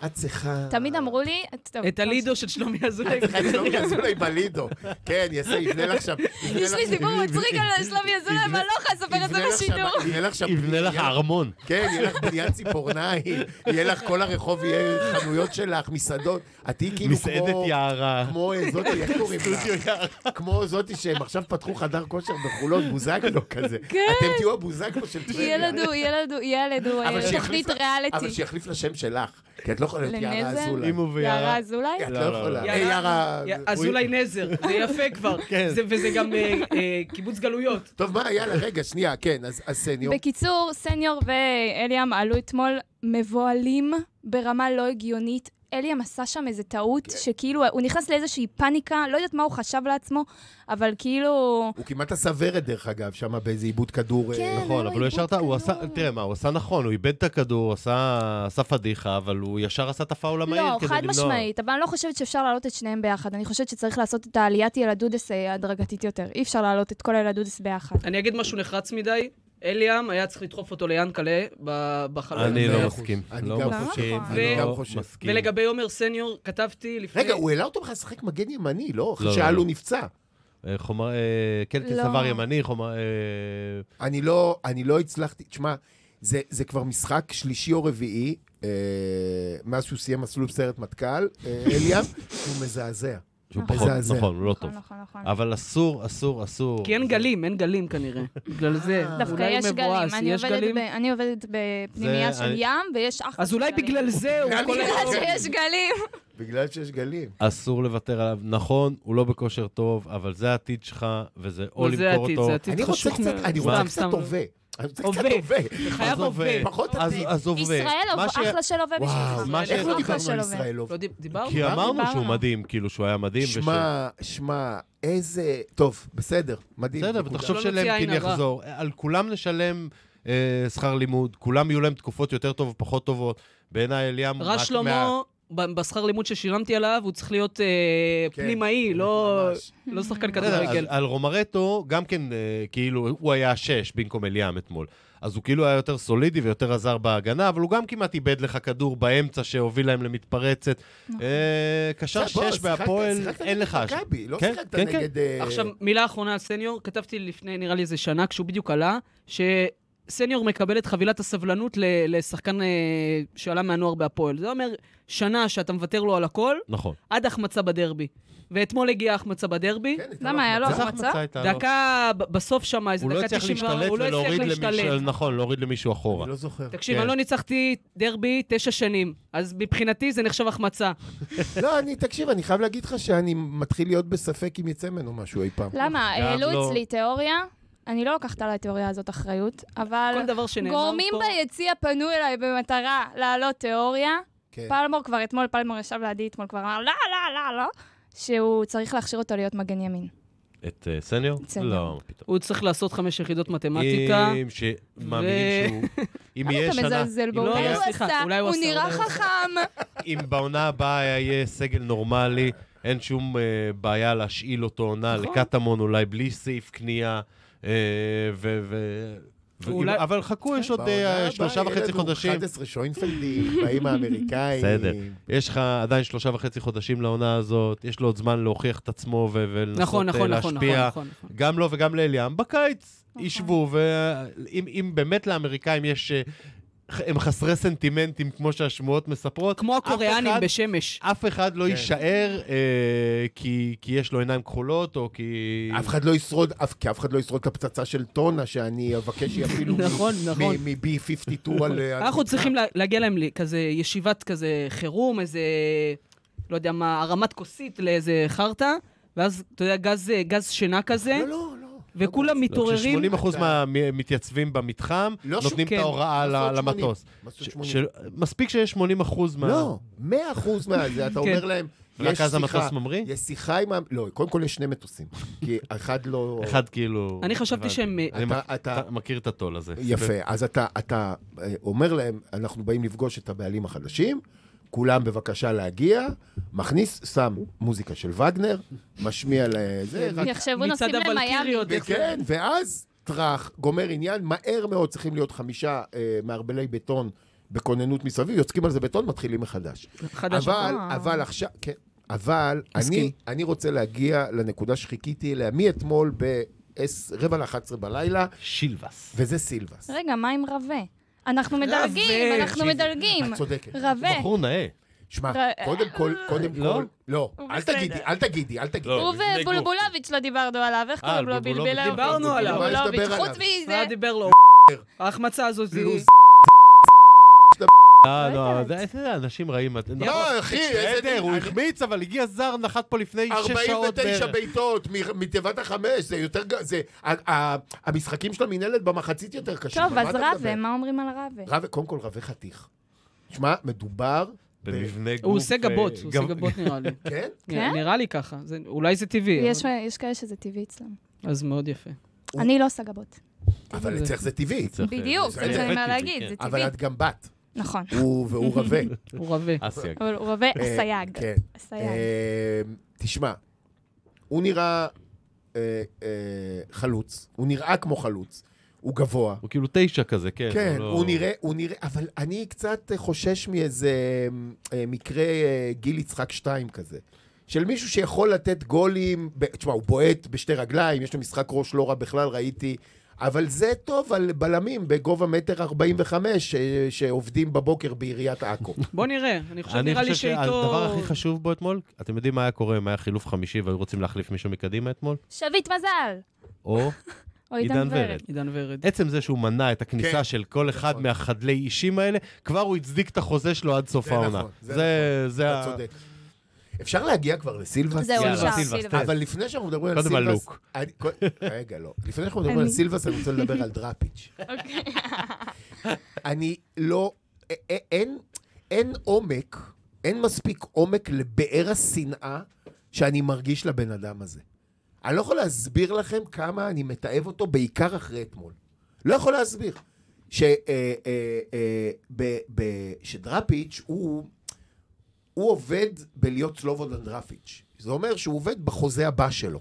Speaker 3: את צריכה...
Speaker 5: תמיד אמ-
Speaker 3: (laughs)
Speaker 5: אמרו לי, טוב,
Speaker 2: את הלידו של שלומי אזולאי.
Speaker 3: אני לא מבין, אולי בלידו. כן, יעשה, יבנה לך שם. יבנה
Speaker 5: יש לי
Speaker 3: לך-
Speaker 5: סיפור מצחיק על שלומי אזולאי, אבל לא יכולה לספר את זה
Speaker 3: יבנה לך שם-
Speaker 5: בשידור.
Speaker 3: יבנה לך שם...
Speaker 4: יבנה לך ארמון.
Speaker 3: כן, יהיה לך בניית ציפורניים, יהיה לך כל הרחוב, יהיה חנויות שלך, מסעדות. את תהיי כאילו כמו...
Speaker 4: מסעדת יערה.
Speaker 3: כמו אה, זאתי, איך קוראים
Speaker 4: סטודיו
Speaker 3: לה? כמו זאתי שהם עכשיו פתחו חדר כושר בחולון,
Speaker 5: (laughs)
Speaker 3: בוזגלו
Speaker 5: כן.
Speaker 3: כזה. אתם תהיו הבוזגלו של טבריה.
Speaker 5: ילד הוא, ילד הוא, ילד הוא,
Speaker 3: אבל
Speaker 5: אה,
Speaker 3: שיחליף
Speaker 5: תוכנית
Speaker 3: לה- אבל
Speaker 5: ריאליטי.
Speaker 3: שיחליף לשם שלך, כי את לא יכולה להיות יערה
Speaker 5: לנזם?
Speaker 3: אזולאי.
Speaker 4: אם הוא
Speaker 5: יערה
Speaker 4: ויערה.
Speaker 5: אזולאי?
Speaker 3: את לא
Speaker 4: לא, לא,
Speaker 3: יכולה.
Speaker 4: לא.
Speaker 3: אה, יערה...
Speaker 2: אזולאי נזר, זה יפה כבר.
Speaker 3: (laughs)
Speaker 4: כן.
Speaker 2: זה- וזה גם אה, אה, קיבוץ גלויות.
Speaker 3: טוב, מה, יאללה, רגע, שנייה, כן, אז אז סניור.
Speaker 5: בקיצור, סניור ואליאם עלו אתמול מבוהלים ברמה לא הגיונית. אליאם עשה שם איזה טעות,
Speaker 3: כן.
Speaker 5: שכאילו, הוא נכנס לאיזושהי פאניקה, לא יודעת מה הוא חשב לעצמו, אבל כאילו...
Speaker 3: הוא כמעט עשה ורד, דרך אגב, שם באיזה עיבוד כדור. אה,
Speaker 5: כן.
Speaker 4: נכון,
Speaker 5: לא,
Speaker 4: אבל הוא ישר,
Speaker 5: עיבוד
Speaker 4: ת- הוא עשה,
Speaker 5: כדור.
Speaker 4: תראה מה, הוא עשה נכון, הוא איבד את הכדור, עשה עשה פדיחה, אבל הוא ישר עשה את הפאול המהיר
Speaker 5: לא,
Speaker 4: כדי למנוע.
Speaker 5: חד משמעית, אבל אני לא חושבת שאפשר להעלות את שניהם ביחד. אני חושבת שצריך לעשות את העליית ילדודס אה, הדרגתית יותר. אי אפשר להעלות את כל הילדודס ביחד.
Speaker 2: אני אגיד משהו נחרץ מדי. אליאם היה צריך לדחוף אותו ליאנקלה ב- בחלון.
Speaker 4: אני
Speaker 3: מאה
Speaker 4: לא
Speaker 3: אחוז.
Speaker 4: מסכים.
Speaker 3: אני
Speaker 4: לא
Speaker 3: גם
Speaker 4: מסכים.
Speaker 5: חושב.
Speaker 4: לא
Speaker 2: אני
Speaker 3: גם חושב.
Speaker 4: מסכים.
Speaker 2: ולגבי עומר סניור, כתבתי לפני...
Speaker 3: רגע, הוא העלה אותו בכלל לשחק מגן ימני, לא?
Speaker 4: לא,
Speaker 3: אחרי
Speaker 4: לא,
Speaker 3: שאל
Speaker 4: לא.
Speaker 3: הוא נפצע.
Speaker 4: אה, חומר... אה, קלטס
Speaker 5: לא.
Speaker 4: עבר ימני, חומר... אה,
Speaker 3: אני לא, אני לא הצלחתי, תשמע, זה, זה כבר משחק שלישי או רביעי, אה, מאז שהוא סיים מסלול סיירת מטכ"ל, אה, אליאם, הוא מזעזע.
Speaker 4: שהוא
Speaker 5: נכון.
Speaker 4: פחות,
Speaker 3: מזעזע.
Speaker 4: נכון, הוא לא טוב.
Speaker 5: נכון, נכון, נכון. כן.
Speaker 4: אבל אסור, אסור, אסור.
Speaker 2: כי אין גלים, אין גלים
Speaker 3: (laughs)
Speaker 2: כנראה. בגלל זה.
Speaker 3: אה.
Speaker 5: דווקא
Speaker 2: אולי
Speaker 5: יש
Speaker 2: מבואס,
Speaker 5: גלים, אני
Speaker 2: יש
Speaker 5: עובדת
Speaker 2: גלים?
Speaker 5: ב- אני עובדת בפנימייה
Speaker 4: זה-
Speaker 5: של
Speaker 4: אני-
Speaker 5: ים, ויש אחלה
Speaker 2: אז אולי
Speaker 5: גלים.
Speaker 2: בגלל זה הוא
Speaker 3: גלים.
Speaker 2: כל
Speaker 5: (laughs) בגלל
Speaker 2: היום...
Speaker 5: שיש גלים.
Speaker 3: בגלל שיש גלים.
Speaker 4: אסור לוותר עליו. נכון, הוא לא בכושר טוב, אבל זה העתיד שלך, וזה או
Speaker 2: אבל זה
Speaker 4: למכור
Speaker 2: העתיד,
Speaker 4: אותו.
Speaker 2: זה עתיד
Speaker 3: אני רוצה
Speaker 2: חשוב.
Speaker 3: קצת,
Speaker 2: מאוד.
Speaker 3: אני
Speaker 2: סתם,
Speaker 3: רוצה קצת
Speaker 2: סתם. לא.
Speaker 3: הווה. אני רוצה קצת
Speaker 2: הווה.
Speaker 3: הווה.
Speaker 2: חייב
Speaker 4: אז
Speaker 2: עובד.
Speaker 4: עובד.
Speaker 3: פחות
Speaker 4: אז-
Speaker 3: עתיד.
Speaker 4: אז עובד.
Speaker 5: ישראל,
Speaker 4: אה, מה ש-
Speaker 5: אחלה של הווה
Speaker 3: וואו,
Speaker 5: בשבילך.
Speaker 4: מה ש-
Speaker 3: איך לא
Speaker 5: אחלה
Speaker 3: דיברנו
Speaker 5: של
Speaker 3: על
Speaker 5: הווה.
Speaker 3: ישראל
Speaker 2: לא, דיב- דיברנו?
Speaker 4: כי אמרנו שהוא
Speaker 5: דיברנו.
Speaker 4: מדהים, כאילו שהוא היה מדהים. וש-
Speaker 3: שמע, שמע, איזה... טוב, בסדר, מדהים.
Speaker 4: בסדר,
Speaker 3: נקודה.
Speaker 4: ותחשוב
Speaker 2: שלא נוציא
Speaker 4: שלאמקין
Speaker 2: עין הרע.
Speaker 4: יחזור. על כולם נשלם אה, שכר לימוד, כולם יהיו להם תקופות יותר טובות, פחות טובות. בעיניי אליאם...
Speaker 2: רע
Speaker 4: רק
Speaker 2: שלמה,
Speaker 4: מה-
Speaker 2: ב- בשכר לימוד ששילמתי עליו, הוא צריך להיות אה,
Speaker 3: כן,
Speaker 2: פנימאי, לא
Speaker 3: ממש.
Speaker 2: לא
Speaker 4: (laughs)
Speaker 2: שחקן
Speaker 4: בסדר, אז
Speaker 2: כדורגל.
Speaker 4: על רומרטו, גם כן, אה, כאילו, הוא היה שש במקום אליאם אתמול. אז הוא כאילו היה יותר סולידי ויותר עזר בהגנה, אבל הוא גם כמעט איבד לך כדור באמצע שהוביל להם למתפרצת. אה, קשר
Speaker 3: בוא,
Speaker 4: שש
Speaker 3: שיחקת-
Speaker 4: בהפועל,
Speaker 3: שיחקת
Speaker 4: אין
Speaker 3: נגד
Speaker 4: לך... אש-
Speaker 3: מכבי, לא
Speaker 4: כן,
Speaker 3: שיחקת
Speaker 4: כן, כן.
Speaker 3: נגד... אה,
Speaker 2: עכשיו, מילה אחרונה על סניור, כתבתי לפני, נראה לי, איזה שנה, כשהוא בדיוק עלה, שסניור מקבל את חבילת הסבלנות ל- לשחקן אה, שעלה מהנוער בהפועל. זה אומר, שנה שאתה מוותר לו על הכל,
Speaker 4: נכון.
Speaker 2: עד החמצה בדרבי. ואתמול הגיעה החמצה בדרבי.
Speaker 3: כן, הייתה לו
Speaker 5: למה, היה לו
Speaker 3: החמצה.
Speaker 5: החמצה?
Speaker 4: החמצה הייתה לו.
Speaker 2: דקה, ב- בסוף שם, איזה
Speaker 4: הוא לא
Speaker 2: דקה
Speaker 4: הצליח
Speaker 2: 90,
Speaker 4: להשתלט
Speaker 2: הוא לא הצליח
Speaker 4: ולהוריד
Speaker 2: להשתלט.
Speaker 4: למישהו, נכון, להוריד למישהו אחורה.
Speaker 3: אני לא זוכר.
Speaker 2: תקשיב,
Speaker 4: כן.
Speaker 2: אני לא ניצחתי דרבי תשע שנים, אז מבחינתי זה נחשב החמצה.
Speaker 3: לא, אני, תקשיב, אני חייב להגיד לך שאני מתחיל להיות בספק אם יצא ממנו משהו אי פעם.
Speaker 5: למה?
Speaker 4: גם
Speaker 5: העלו
Speaker 4: לא.
Speaker 5: אצלי תיאוריה, אני לא לוקחת על התיאוריה הזאת אחריות, אבל
Speaker 2: כל דבר שנאמר פה...
Speaker 5: גורמים ביציע פנו אליי במטרה להעלות תיאוריה.
Speaker 3: כן.
Speaker 5: פלמור כבר אתמול, פלמור ישב לידי אתמול, כבר אמר לא, לא, לא, לא, שהוא צריך להכשיר אותו להיות מגן ימין.
Speaker 3: לא-
Speaker 4: את אה, סניור?
Speaker 5: סניור.
Speaker 4: לא, פתאום.
Speaker 2: הוא צריך לעשות חמש יחידות מתמטיקה.
Speaker 4: אם שמאמינים שהוא...
Speaker 3: (laughs)
Speaker 4: אם
Speaker 5: למה
Speaker 4: יהיה
Speaker 5: אתה
Speaker 4: שנה...
Speaker 5: מזלזל בו?
Speaker 2: לא,
Speaker 5: אולי הוא
Speaker 2: סליחה,
Speaker 5: עשה,
Speaker 2: אולי הוא
Speaker 5: הוא
Speaker 2: עשה,
Speaker 5: נראה
Speaker 2: אולי הוא עשה.
Speaker 5: חכם.
Speaker 4: אם בעונה הבאה היה- יהיה סגל נורמלי, אין שום אה, בעיה להשאיל אותו עונה
Speaker 2: נכון.
Speaker 4: לקטמון, אולי בלי סעיף קנייה, אה, ו... ו- ו-
Speaker 2: ואולי-
Speaker 4: אבל חכו, יש עוד אה,
Speaker 3: בעונה הבאה
Speaker 4: שלושה
Speaker 3: יהיה
Speaker 4: וחצי
Speaker 3: לנו
Speaker 4: חודשים.
Speaker 3: 11 שוינפלדים, באים האמריקאים.
Speaker 4: בסדר. יש לך עדיין שלושה וחצי חודשים לעונה הזאת, יש לו עוד זמן להוכיח את עצמו ו- ולנסות
Speaker 2: נכון,
Speaker 4: אה,
Speaker 2: נכון, נכון, נכון,
Speaker 4: להשפיע.
Speaker 2: נכון. נכון.
Speaker 4: גם לו וגם לאליאם, בקיץ
Speaker 2: אוקיי.
Speaker 5: נכון.
Speaker 4: ישבו, ואם באמת לאמריקאים יש... אה, ח- הם חסרי סנטימנטים, כמו שהשמועות מספרות.
Speaker 2: כמו
Speaker 4: אף
Speaker 2: הקוריאנים
Speaker 4: אחד-
Speaker 2: בשמש.
Speaker 4: אף אחד לא
Speaker 3: כן.
Speaker 4: יישאר אה, כי, כי יש לו עיניים כחולות, או כי...
Speaker 3: אף אחד לא ישרוד, אף, כי אף אחד לא ישרוד את הפצצה של טונה שאני אבקש שיפילו
Speaker 2: נכון, נכון.
Speaker 3: מ-B52 על... אה,
Speaker 2: אנחנו צריכים לה- להגיע להם לכזה ישיבת כזה חירום, איזה, לא יודע מה, הרמת כוסית לאיזה חרטא, ואז, אתה יודע, גז אה, גז שינה כזה,
Speaker 3: לא, לא, לא.
Speaker 2: וכולם מתעוררים.
Speaker 4: ש-80% מהמתייצבים במתחם
Speaker 3: לא ש-
Speaker 4: נותנים
Speaker 2: כן.
Speaker 4: את ההוראה
Speaker 3: מה
Speaker 4: ל-
Speaker 3: זאת שמונים?
Speaker 4: למטוס.
Speaker 3: מה
Speaker 4: ש-
Speaker 3: זאת שמונים?
Speaker 4: של- מספיק שיש 80% מה...
Speaker 3: לא, 100% מהזה, אתה אומר להם,
Speaker 4: ורק
Speaker 3: יש
Speaker 4: אז
Speaker 3: שיחה-
Speaker 4: המטוס ממריא?
Speaker 3: יש שיחה עם ה... לא, קודם כל יש שני מטוסים. כי אחד לא...
Speaker 4: אחד כאילו...
Speaker 2: אני חשבתי
Speaker 4: הבנתי.
Speaker 2: שהם- אה,
Speaker 4: אני
Speaker 3: אתה-
Speaker 4: מכ-
Speaker 3: אתה-
Speaker 4: אתה מכיר את הטול הזה.
Speaker 3: יפה, אז אתה, אתה אה, אומר להם, אנחנו באים לפגוש את הבעלים החדשים, כולם בבקשה להגיע, מכניס, שם מוזיקה של וגנר, משמיע לזה,
Speaker 5: כן,
Speaker 3: רק...
Speaker 5: יחשבו
Speaker 2: מצעד
Speaker 5: נוסעים למיאמי.
Speaker 2: הוולקיריות.
Speaker 3: וכן, כן, ואז טראח, גומר עניין, מהר מאוד צריכים להיות חמישה אה, מערבלי בטון בכוננות מסביב, יוצקים על זה בטון, מתחילים מחדש.
Speaker 2: חדש.
Speaker 3: אבל,
Speaker 5: אה.
Speaker 3: אבל עכשיו, כן, אבל
Speaker 2: מסכים.
Speaker 3: אני, אני רוצה להגיע לנקודה שחיכיתי אליה מאתמול ברבע ל-11 בלילה,
Speaker 4: שילבס.
Speaker 3: וזה סילבס.
Speaker 5: רגע, מה עם רווה? אנחנו מדלגים, אנחנו
Speaker 4: תקשיבי,
Speaker 5: מדלגים.
Speaker 3: כן. את צודקת.
Speaker 5: רווה,
Speaker 4: בחור נאה.
Speaker 3: שמע,
Speaker 5: ר-
Speaker 3: קודם כל, קודם
Speaker 4: לא?
Speaker 3: כל, לא,
Speaker 5: אה, הוא
Speaker 3: אל
Speaker 5: בסדר.
Speaker 3: תגידי, אל תגידי, אל תגידי.
Speaker 4: לא,
Speaker 5: הוא
Speaker 4: מבנה גוף.
Speaker 5: ובולבולביץ' לא דיברנו עליו, איך
Speaker 4: אה,
Speaker 5: קוראים
Speaker 4: על
Speaker 5: לו
Speaker 4: בולבולוביץ'
Speaker 5: בלבלר?
Speaker 2: דיברנו עליו.
Speaker 3: בולבולוביץ',
Speaker 5: בולבולוביץ',
Speaker 3: לדבר
Speaker 5: חוץ
Speaker 3: עליו.
Speaker 2: מה
Speaker 5: מזה,
Speaker 2: דיבר לו? ההחמצה הזאת זה...
Speaker 3: לוז.
Speaker 4: אה,
Speaker 5: לא
Speaker 4: לא,
Speaker 5: יודעת.
Speaker 4: זה- זה אנשים רעים. את- נכון.
Speaker 3: לא, אחי, איזה...
Speaker 4: בסדר, הוא
Speaker 3: אני-
Speaker 4: החמיץ, אבל הגיע זר, נחת פה לפני שש שעות
Speaker 3: 49
Speaker 4: בערך.
Speaker 3: בעיטות מ- מתיבת החמש, זה יותר... ג- זה... ה- ה- המשחקים של המינהלת במחצית יותר קשים.
Speaker 5: טוב,
Speaker 3: על מה
Speaker 5: אז
Speaker 3: אתה מדבר?
Speaker 5: רווה, מה אומרים על רווה?
Speaker 3: רב, קודם כל רבי חתיך. שמע, מדובר... ב-
Speaker 4: במבנה גוף.
Speaker 2: הוא עושה גבות,
Speaker 4: אה,
Speaker 2: הוא עושה
Speaker 4: גב- (laughs)
Speaker 2: גבות נראה לי.
Speaker 3: כן?
Speaker 5: (laughs) כן?
Speaker 2: נראה לי ככה, זה- אולי זה טבעי. אבל-
Speaker 5: יש- יש כאלה שזה טבעי אצלם.
Speaker 2: אז מאוד יפה.
Speaker 3: הוא-
Speaker 5: אני לא עושה גבות.
Speaker 3: אבל
Speaker 2: זה.
Speaker 3: אצלך זה טבעי.
Speaker 4: צריך, אה,
Speaker 5: בדיוק,
Speaker 4: זה
Speaker 5: זה מה
Speaker 4: טבעי,
Speaker 5: שאני
Speaker 4: כן.
Speaker 5: באה להגיד, זה טבעי.
Speaker 3: אבל את גם בת.
Speaker 5: נכון.
Speaker 3: הוא- והוא
Speaker 5: (laughs)
Speaker 3: רבה.
Speaker 2: הוא רבה. (laughs)
Speaker 4: אסיה.
Speaker 5: אבל הוא רווה
Speaker 3: אה,
Speaker 5: אסייג.
Speaker 3: כן.
Speaker 5: אסייג.
Speaker 3: אמ, תשמע, הוא נראה אה, אה, חלוץ, הוא נראה כמו חלוץ. הוא גבוה.
Speaker 4: הוא כאילו תשע כזה, כן.
Speaker 3: כן,
Speaker 4: לא-
Speaker 3: הוא נראה, הוא נראה, אבל אני קצת חושש מאיזה אה, מקרה אה, גיל יצחק שתיים כזה. של מישהו שיכול לתת גולים, ב- תשמע, הוא בועט בשתי רגליים, יש לו משחק ראש לא רע בכלל, ראיתי, אבל זה טוב על בלמים בגובה מטר 45 ש- שעובדים בבוקר
Speaker 4: (laughs)
Speaker 3: בעיריית עכו.
Speaker 2: בוא נראה, אני חושב,
Speaker 4: אני
Speaker 2: נראה לי
Speaker 4: חושב
Speaker 2: שאיתו...
Speaker 4: שהדבר הכי חשוב בו אתמול, אתם יודעים מה היה קורה אם היה חילוף חמישי והיו רוצים להחליף מישהו מקדימה אתמול?
Speaker 5: שביט מזל!
Speaker 2: (laughs)
Speaker 4: או
Speaker 5: או
Speaker 4: עידן ורד.
Speaker 2: עידן ורד.
Speaker 4: עצם זה שהוא מנע את הכניסה
Speaker 3: כן,
Speaker 4: של כל אחד
Speaker 3: נכון.
Speaker 4: מהחדלי אישים האלה, כבר הוא הצדיק את החוזה שלו עד סוף
Speaker 3: זה
Speaker 4: העונה.
Speaker 3: נכון, זה
Speaker 4: זה זה
Speaker 3: אתה
Speaker 4: ה-
Speaker 3: צודק. אפשר להגיע כבר לסילבס?
Speaker 5: זהו,
Speaker 4: יאללה,
Speaker 5: אפשר.
Speaker 4: סילבס,
Speaker 5: סילבס.
Speaker 4: תן.
Speaker 3: אבל לפני שאנחנו מדברים על סילבס...
Speaker 4: קודם על לוק.
Speaker 3: אני- קו- רגע, לא. לפני שאנחנו מדברים
Speaker 5: אני-
Speaker 3: על סילבס, אני רוצה לדבר על דראפיץ'. אוקיי. אני לא... א- א- אין- אין עומק, אין מספיק עומק לבאר השנאה שאני מרגיש לבן אדם הזה. אני לא יכול להסביר לכם כמה אני מתעב אותו, בעיקר אחרי אתמול. לא יכול להסביר. ש, אה, אה, אה, ב, ב, שדראפיץ' הוא, הוא עובד בלהיות סלובודן דראפיץ'. זה אומר שהוא עובד בחוזה הבא שלו.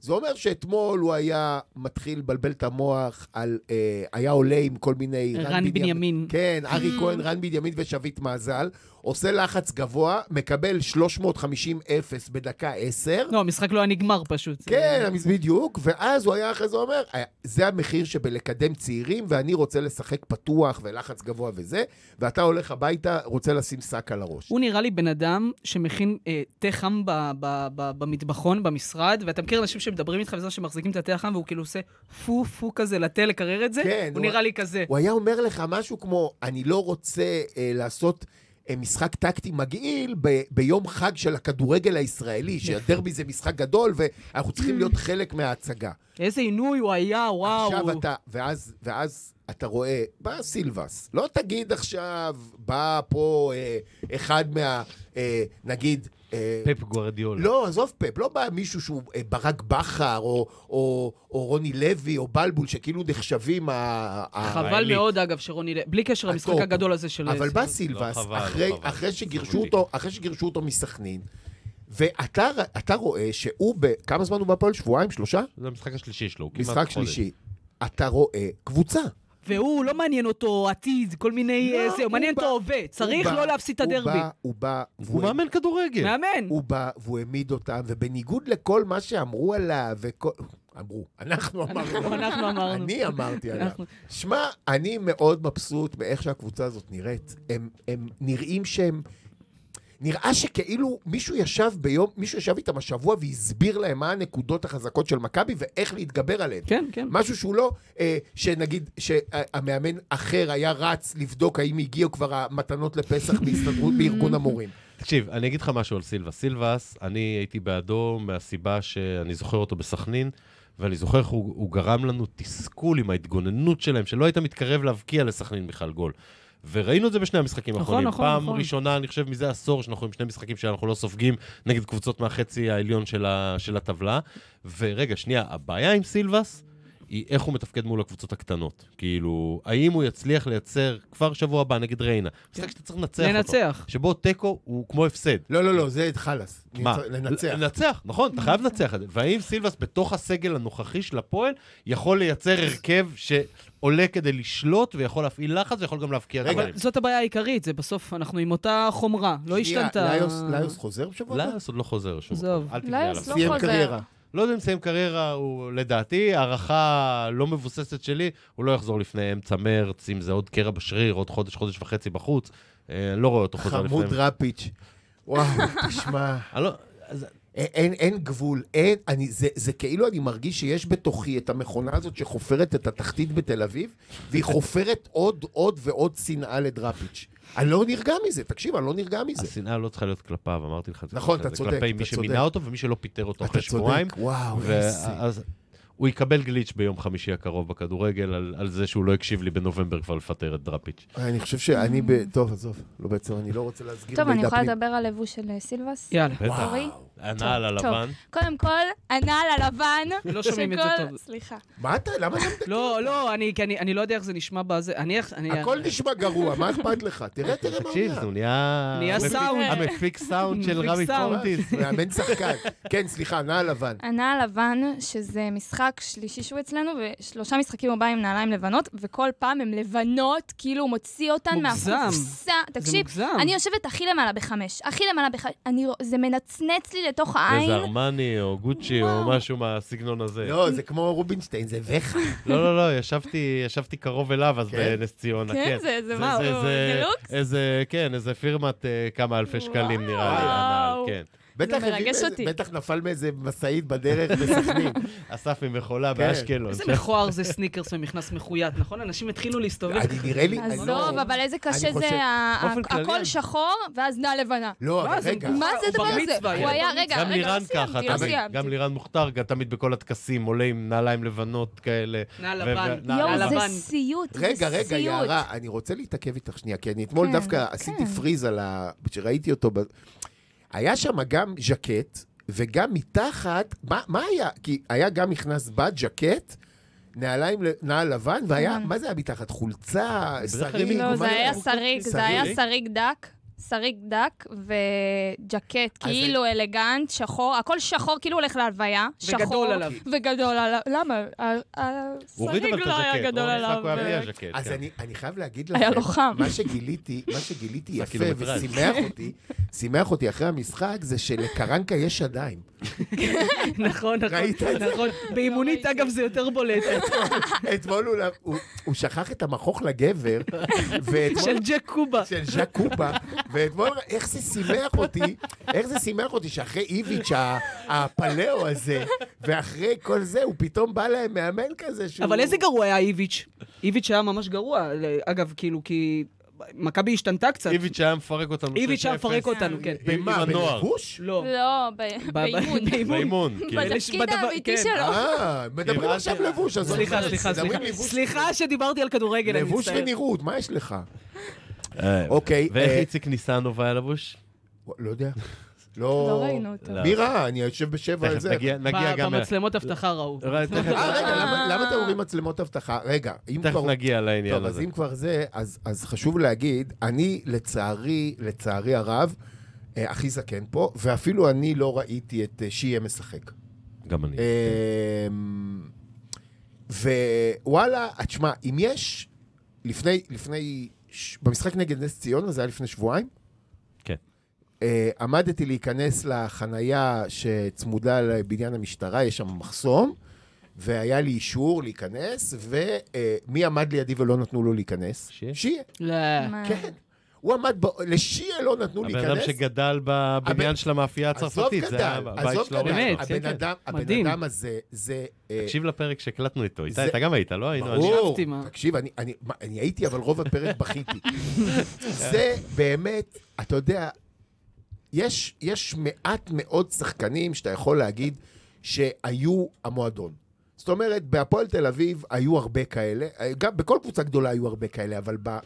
Speaker 3: זה אומר שאתמול הוא היה מתחיל לבלבל את המוח על... אה, היה עולה עם כל מיני...
Speaker 2: רן בנימין.
Speaker 3: כן, ארי כהן, רן בנימין ושביט מזל. עושה לחץ גבוה, מקבל 350-0 בדקה 10.
Speaker 2: לא, המשחק לא היה נגמר פשוט. אה,
Speaker 3: כן, המס- בדיוק, ואז הוא היה אחרי זה אומר, "אה, זה המחיר שבלקדם צעירים, ואני רוצה לשחק פתוח ולחץ גבוה וזה, ואתה הולך הביתה, רוצה לשים שק על הראש.
Speaker 2: הוא נראה לי בן אדם שמכין אה, תה חם ב- ב- ב- במטבחון, במשרד, ואתה מכיר אנשים שמדברים איתך בזמן שמחזיקים את התה החם, והוא כאילו עושה פו פו כזה לתה לקרר את זה?
Speaker 3: כן,
Speaker 2: הוא
Speaker 3: הוא-
Speaker 2: נראה לי כזה.
Speaker 3: הוא היה אומר לך משהו כמו, אני לא רוצה אה, לעשות אה, משחק טקטי מגעיל ב- ביום חג של הכדורגל הישראלי, שהדרבי זה משחק גדול, ואנחנו צריכים להיות חלק מההצגה.
Speaker 2: איזה עינוי הוא היה, וואו.
Speaker 3: עכשיו
Speaker 2: הוא-
Speaker 3: אתה, ואז, ואז אתה רואה, בא סילבס, לא תגיד עכשיו, בא פה אה, אחד מה, אה, נגיד... אה,
Speaker 4: פפ גוורדיאול.
Speaker 3: לא, עזוב פפ, לא בא מישהו שהוא אה, ברק בכר, או, או, או רוני לוי, או בלבול, שכאילו נחשבים ה... ה-
Speaker 2: חבל
Speaker 4: האליט.
Speaker 2: מאוד, אגב, שרוני... ל- בלי קשר למשחק
Speaker 3: הטופ.
Speaker 2: הגדול הזה של...
Speaker 3: אבל בא
Speaker 2: של-
Speaker 3: סילבס,
Speaker 4: לא חבל, לא
Speaker 3: אחרי,
Speaker 4: חבל.
Speaker 3: אחרי, שגירשו
Speaker 4: זכותי.
Speaker 3: אותו, אחרי שגירשו אותו מסכנין, ואתה ר- אתה רואה שהוא, ב, כמה זמן הוא בהפועל? שבועיים? שלושה?
Speaker 4: זה המשחק השלישי שלו, הוא כמעט חודש.
Speaker 3: משחק שלישי. אתה רואה קבוצה.
Speaker 2: והוא, לא מעניין אותו עתיד, כל מיני...
Speaker 3: לא,
Speaker 2: אה, זה, הוא
Speaker 3: הוא
Speaker 2: מעניין אותו
Speaker 3: בא-
Speaker 2: הווה. צריך
Speaker 3: הוא בא-
Speaker 2: לא להפסיד את
Speaker 3: הוא
Speaker 2: הדרבי.
Speaker 3: בא- הוא בא,
Speaker 4: הוא מאמן כדורגל.
Speaker 2: מאמן.
Speaker 3: הוא בא והוא העמיד אותם, ובניגוד לכל מה שאמרו עליו, וכל... אמרו, אנחנו אמרנו.
Speaker 2: אנחנו אמרנו.
Speaker 3: אני אמרתי עליו.
Speaker 2: אנחנו-
Speaker 3: שמע, אני מאוד מבסוט מאיך שהקבוצה הזאת נראית. הם, הם נראים שהם... נראה שכאילו מישהו ישב ביום, מישהו ישב איתם השבוע והסביר להם מה הנקודות החזקות של מכבי ואיך להתגבר עליהן.
Speaker 2: כן, כן.
Speaker 3: משהו שהוא לא, אה, שנגיד, שהמאמן אחר היה רץ לבדוק האם הגיעו כבר המתנות לפסח בהסתדרות, בארגון המורים.
Speaker 4: תקשיב, אני אגיד לך משהו על סילבס. סילבס, אני הייתי בעדו מהסיבה שאני זוכר אותו בסכנין, ואני זוכר איך הוא, הוא גרם לנו תסכול עם ההתגוננות שלהם, שלא היית מתקרב להבקיע לסכנין בכלל גול. וראינו את זה בשני המשחקים
Speaker 2: נכון,
Speaker 4: האחרונים.
Speaker 2: נכון,
Speaker 4: פעם
Speaker 2: נכון.
Speaker 4: ראשונה, אני חושב, מזה עשור שאנחנו עם שני משחקים שאנחנו לא סופגים נגד קבוצות מהחצי העליון של, ה, של הטבלה. ורגע, שנייה, הבעיה עם סילבס היא איך הוא מתפקד מול הקבוצות הקטנות. כאילו, האם הוא יצליח לייצר כבר שבוע הבא נגד ריינה? משחק שאתה צריך לנצח אותו.
Speaker 2: כן. לנצח.
Speaker 4: שבו תיקו הוא כמו הפסד.
Speaker 3: לא, לא, לא, זה חלאס.
Speaker 4: מה?
Speaker 3: לנצח.
Speaker 4: לנצח, נכון, אתה חייב לנצח את זה. והאם סילבס בתוך הסגל הנוכחי של הפועל יכול לייצר הרכב שעולה כדי לשלוט ויכול להפעיל לחץ ויכול גם להבקיע
Speaker 3: רגע,
Speaker 4: דברים?
Speaker 2: אבל זאת הבעיה העיקרית, זה בסוף, אנחנו עם אותה חומרה, לא
Speaker 3: שנייה,
Speaker 2: השתנתה.
Speaker 3: ליוס- ליוס חוזר בשבוע הבא?
Speaker 4: לאס עוד לא חוזר שוב.
Speaker 2: עזוב.
Speaker 4: אל תבנה עליו.
Speaker 5: ליוס לא
Speaker 3: סיים
Speaker 5: חוזר.
Speaker 3: קריירה.
Speaker 4: לא יודע אם מסיים קריירה, הוא לדעתי, הערכה לא מבוססת שלי, הוא לא יחזור לפני אמצע מרץ, אם זה עוד קרע בשריר, עוד חודש, חודש וחצי בחוץ. אה, אני לא רואה אותו חוזר לפני...
Speaker 3: חמוד רפיץ'. וואו, תשמע,
Speaker 4: אני לא- אז-
Speaker 3: אין- אין, אין גבול, אין, אני, זה, זה כאילו אני מרגיש שיש בתוכי את המכונה הזאת שחופרת את התחתית בתל אביב, והיא חופרת עוד, עוד ועוד שנאה לדראפיץ'. אני לא נרגע מזה, תקשיב, אני לא נרגע מזה.
Speaker 4: השנאה לא צריכה להיות כלפיו, אמרתי לך את זה.
Speaker 3: נכון,
Speaker 4: קודם,
Speaker 3: אתה
Speaker 4: זה
Speaker 3: צודק,
Speaker 4: כלפי
Speaker 3: אתה
Speaker 4: מי
Speaker 3: צודק.
Speaker 4: שמינה אותו ומי שלא פיטר אותו
Speaker 3: אתה
Speaker 4: אחרי שבועיים.
Speaker 3: צודק, וואו,
Speaker 4: Oh,
Speaker 3: איזה...
Speaker 4: ואז הוא יקבל גליץ' ביום חמישי הקרוב בכדורגל על, על זה שהוא לא הקשיב לי בנובמבר כבר לפטר את דראפיץ'.
Speaker 3: אני חושב שאני ב... טוב, עזוב, לא בעצם, אני לא רוצה להסגיר
Speaker 5: טוב, אני
Speaker 3: מידע
Speaker 5: יכולה
Speaker 3: פנים.
Speaker 5: לדבר על לבוש של אה, סילבס?
Speaker 2: יאללה.
Speaker 4: בטח.
Speaker 5: אורי?
Speaker 3: וואו,
Speaker 4: הנעל
Speaker 5: טוב.
Speaker 4: הלבן.
Speaker 5: קודם כל, הנעל הלבן.
Speaker 2: לא שומעים את זה
Speaker 5: שכל-
Speaker 2: טוב.
Speaker 5: סליחה.
Speaker 3: מה אתה, למה אתה מדבר?
Speaker 2: לא, לא, אני, כי אני, אני לא יודע איך זה נשמע בזה. אני איך... אני,
Speaker 3: הכל נשמע גרוע, מה אכפת לך? תראה, תראה מה הוא
Speaker 4: תקשיב,
Speaker 3: נהיה.
Speaker 4: זה נהיה...
Speaker 2: נהיה
Speaker 4: המפיק-
Speaker 2: סאונד.
Speaker 4: המפיק סאונד של
Speaker 2: מפיק
Speaker 4: רמי
Speaker 2: סאונד.
Speaker 4: פורטיס.
Speaker 3: מאמן שחקן. כן, סליחה, נעל לבן.
Speaker 5: הנעל לבן, שזה משחק שלישי שהוא אצלנו, ושלושה משחקים הוא בא עם נעליים לבנות, וכל פעם הן לבנות, כאילו הוא מוציא אותן
Speaker 2: מוגזם.
Speaker 5: מהקופסה.
Speaker 2: זה
Speaker 5: תקשיב,
Speaker 2: מוגזם.
Speaker 5: אני יושבת הכי למעלה בחמש, הכי למעלה בחמש, אני רוא- זה מנצנץ לי לתוך העין.
Speaker 4: איזה ארמני או גוצ'י או משהו מהסגנון הזה.
Speaker 3: לא, זה כמו רובינשטיין, זה וכי.
Speaker 4: לא, לא, לא, ישבתי, ישבתי קרוב אליו אז
Speaker 3: כן?
Speaker 4: בנס ציונה,
Speaker 5: כן,
Speaker 4: כן.
Speaker 5: זה- זה מה, הוא- זה לוקס?
Speaker 4: איזה, כן, איזה פירמת אה, כמה אלפי שקלים נראה לי,
Speaker 5: וואו.
Speaker 4: הנעל, כן.
Speaker 3: בטח הביא
Speaker 5: מרגש
Speaker 3: מאיזה-
Speaker 5: אותי.
Speaker 3: בטח נפל מאיזה משאית בדרך
Speaker 5: (laughs)
Speaker 3: בסכנין.
Speaker 4: אסף ממכולה
Speaker 3: כן.
Speaker 4: באשקלון.
Speaker 2: איזה מכוער זה סניקרס ומכנס מחויית, נכון? אנשים התחילו להסתובב.
Speaker 3: אני נראה לי... אני לא-
Speaker 5: עזוב, אבל איזה קשה
Speaker 3: אני חושב-
Speaker 5: זה, ה-
Speaker 4: באופן
Speaker 5: ה-
Speaker 4: כללי,
Speaker 5: הכל
Speaker 4: אני-
Speaker 5: שחור, ואז נעל לבנה.
Speaker 3: לא,
Speaker 2: מה,
Speaker 3: אבל
Speaker 2: זה
Speaker 3: רגע.
Speaker 2: מגוחך.
Speaker 5: מה זה הדבר
Speaker 2: כן. בר
Speaker 5: הזה?
Speaker 2: מצווה,
Speaker 5: הוא
Speaker 2: ילד
Speaker 5: היה,
Speaker 2: בר
Speaker 5: רגע,
Speaker 4: גם
Speaker 5: רגע,
Speaker 4: לירן
Speaker 5: לא
Speaker 4: ככה,
Speaker 5: סיימתי, לא
Speaker 4: תמיד.
Speaker 5: סיימתי.
Speaker 4: גם לירן מוכתר, גם תמיד בכל הטקסים עולה עם נעליים לבנות כאלה.
Speaker 2: נעל
Speaker 4: ו-
Speaker 2: לבן.
Speaker 4: ו- נעל
Speaker 5: יואו,
Speaker 4: לבן.
Speaker 5: זה
Speaker 2: לבן.
Speaker 5: סיוט, זה סיוט.
Speaker 3: רגע, רגע, יערה, אני רוצה להתעכב איתך שנייה, כי אני אתמול
Speaker 5: כן,
Speaker 3: דווקא
Speaker 5: כן.
Speaker 3: עשיתי פריז על ה... כשראיתי אותו, ב- היה שם גם ז'קט, וגם מתחת, מה- מה היה? כי היה גם נכנס בד, ז'קט, נעליים, ל- נעל לבן, והיה,
Speaker 5: כן.
Speaker 3: מה זה היה מתחת? חולצה,
Speaker 4: בדרך כלל
Speaker 3: שריג?
Speaker 5: לא, זה
Speaker 3: מה-
Speaker 5: היה שריג, זה היה שריג דק. שריג דק וג'קט,
Speaker 3: אז
Speaker 5: כאילו אלגנט, שחור, הכל שחור, כאילו הולך להלוויה, שחור.
Speaker 2: וגדול עליו.
Speaker 4: כן.
Speaker 5: וגדול עליו. למה? ה- ה-
Speaker 4: הוא הוריד
Speaker 5: השריג
Speaker 4: אבל את
Speaker 5: לא היה
Speaker 4: הז'קט,
Speaker 5: גדול
Speaker 4: לא? יצחק
Speaker 5: עליו. אה,
Speaker 4: הוא היה בלי
Speaker 5: באמת.
Speaker 4: הז'קט.
Speaker 3: אז
Speaker 4: כן.
Speaker 3: אני, אני חייב להגיד לכם,
Speaker 5: היה לו חם.
Speaker 3: מה שגיליתי, מה שגיליתי יפה
Speaker 4: הקילומטראז'.
Speaker 3: ושימח אותי, שימח אותי אחרי המשחק, זה שלקרנקה יש שדיים.
Speaker 2: נכון,
Speaker 3: ראית את
Speaker 2: נכון, נכון.
Speaker 3: לא
Speaker 2: באימונית, אגב, זה יותר
Speaker 3: (laughs)
Speaker 2: בולט. (laughs)
Speaker 3: אתמול הוא, הוא, הוא שכח את המכוך לגבר, ואתמול...
Speaker 2: של ג'ק קובה.
Speaker 3: (laughs) של ז'ק קובה, ואתמול, איך זה שימח אותי, איך זה שימח אותי שאחרי איביץ' ה- הפלאו הזה, ואחרי כל זה, הוא פתאום בא להם מאמן כזה שהוא...
Speaker 2: אבל איזה גרוע היה איביץ'? איביץ' היה ממש גרוע. אגב, כאילו, כי... מכבי השתנתה קצת.
Speaker 4: איביץ' היה מפרק אותנו.
Speaker 2: איביץ' היה
Speaker 4: 6-0.
Speaker 2: מפרק אותנו, כן.
Speaker 4: עם
Speaker 3: במה,
Speaker 4: הנוער.
Speaker 3: בלבוש?
Speaker 2: לא.
Speaker 5: לא, ב-
Speaker 2: ב-
Speaker 5: באימון.
Speaker 4: באימון. כאילו.
Speaker 2: בזה-
Speaker 5: בתפקיד
Speaker 2: בדבר-
Speaker 5: האמיתי
Speaker 2: כן.
Speaker 5: שלו.
Speaker 3: אה, מדברים
Speaker 4: הבנתי.
Speaker 3: עכשיו לבוש, אז...
Speaker 2: סליחה, סליחה,
Speaker 3: מדברים
Speaker 2: סליחה.
Speaker 3: לבוש-
Speaker 2: סליחה שדיברתי על כדורגל, אני
Speaker 3: לבוש
Speaker 2: מצטער.
Speaker 3: ונראות, מה יש לך?
Speaker 4: אה,
Speaker 3: אוקיי,
Speaker 4: ואיך
Speaker 3: אה,
Speaker 4: איציק ניסנוב היה לבוש?
Speaker 3: לא יודע.
Speaker 5: לא
Speaker 3: לא...
Speaker 5: ראינו אותו.
Speaker 4: לא.
Speaker 3: מי ראה? אני יושב בשבע על
Speaker 4: תכף
Speaker 3: זה.
Speaker 4: נגיע נגיע
Speaker 2: ב-
Speaker 4: גם...
Speaker 2: במצלמות אבטחה ראו.
Speaker 4: ר- תכף-
Speaker 3: אה, רגע, למה- למה אתם אומרים מצלמות אבטחה? רגע, אם
Speaker 4: תכף
Speaker 3: כבר...
Speaker 4: נגיע לעניין
Speaker 3: טוב,
Speaker 4: הזה.
Speaker 3: אז אם כבר זה, אז, אז חשוב להגיד, אני לצערי, לצערי הרב, אה, הכי זקן פה, ואפילו אני לא ראיתי את אה, שיהיה משחק.
Speaker 4: גם אני.
Speaker 3: אה, ווואלה, אה, תשמע, אם יש, לפני, לפני, ש- במשחק נגד נס ציונה, זה היה לפני שבועיים?
Speaker 4: כן.
Speaker 3: אה, עמדתי להיכנס לחנייה שצמודה לבניין המשטרה, יש שם מחסום, והיה לי אישור להיכנס, ומי עמד לידי ולא נתנו לו להיכנס?
Speaker 4: שיה?
Speaker 3: שיה,
Speaker 2: לא.
Speaker 5: מה?
Speaker 3: כן. הוא עמד, ב... לשיה לא נתנו
Speaker 4: הבן אדם
Speaker 3: להיכנס.
Speaker 4: שגדל בבניין של המאפייה הצרפתית, זה היה הבית
Speaker 3: עזוב
Speaker 4: של ההורים.
Speaker 2: גדל.
Speaker 3: גדל,
Speaker 4: שלו.
Speaker 2: באמת,
Speaker 3: הבן
Speaker 4: כן, כן.
Speaker 3: אדם, הבן
Speaker 2: מדהים.
Speaker 3: אדם הזה, זה... אה,
Speaker 4: תקשיב לפרק שהקלטנו איתו, איתי,
Speaker 3: זה-
Speaker 4: אתה גם היית, לא היינו? אני-
Speaker 3: ברור,
Speaker 2: אהבתי, מה.
Speaker 3: תקשיב, אני, אני, מה, אני הייתי, אבל רוב הפרק בכיתי. זה באמת, אתה יודע, יש, יש מעט מאוד שחקנים שאתה יכול להגיד שהיו המועדון. זאת אומרת, בהפועל תל אביב היו הרבה כאלה, גם בכל קבוצה גדולה היו הרבה כאלה, אבל ב...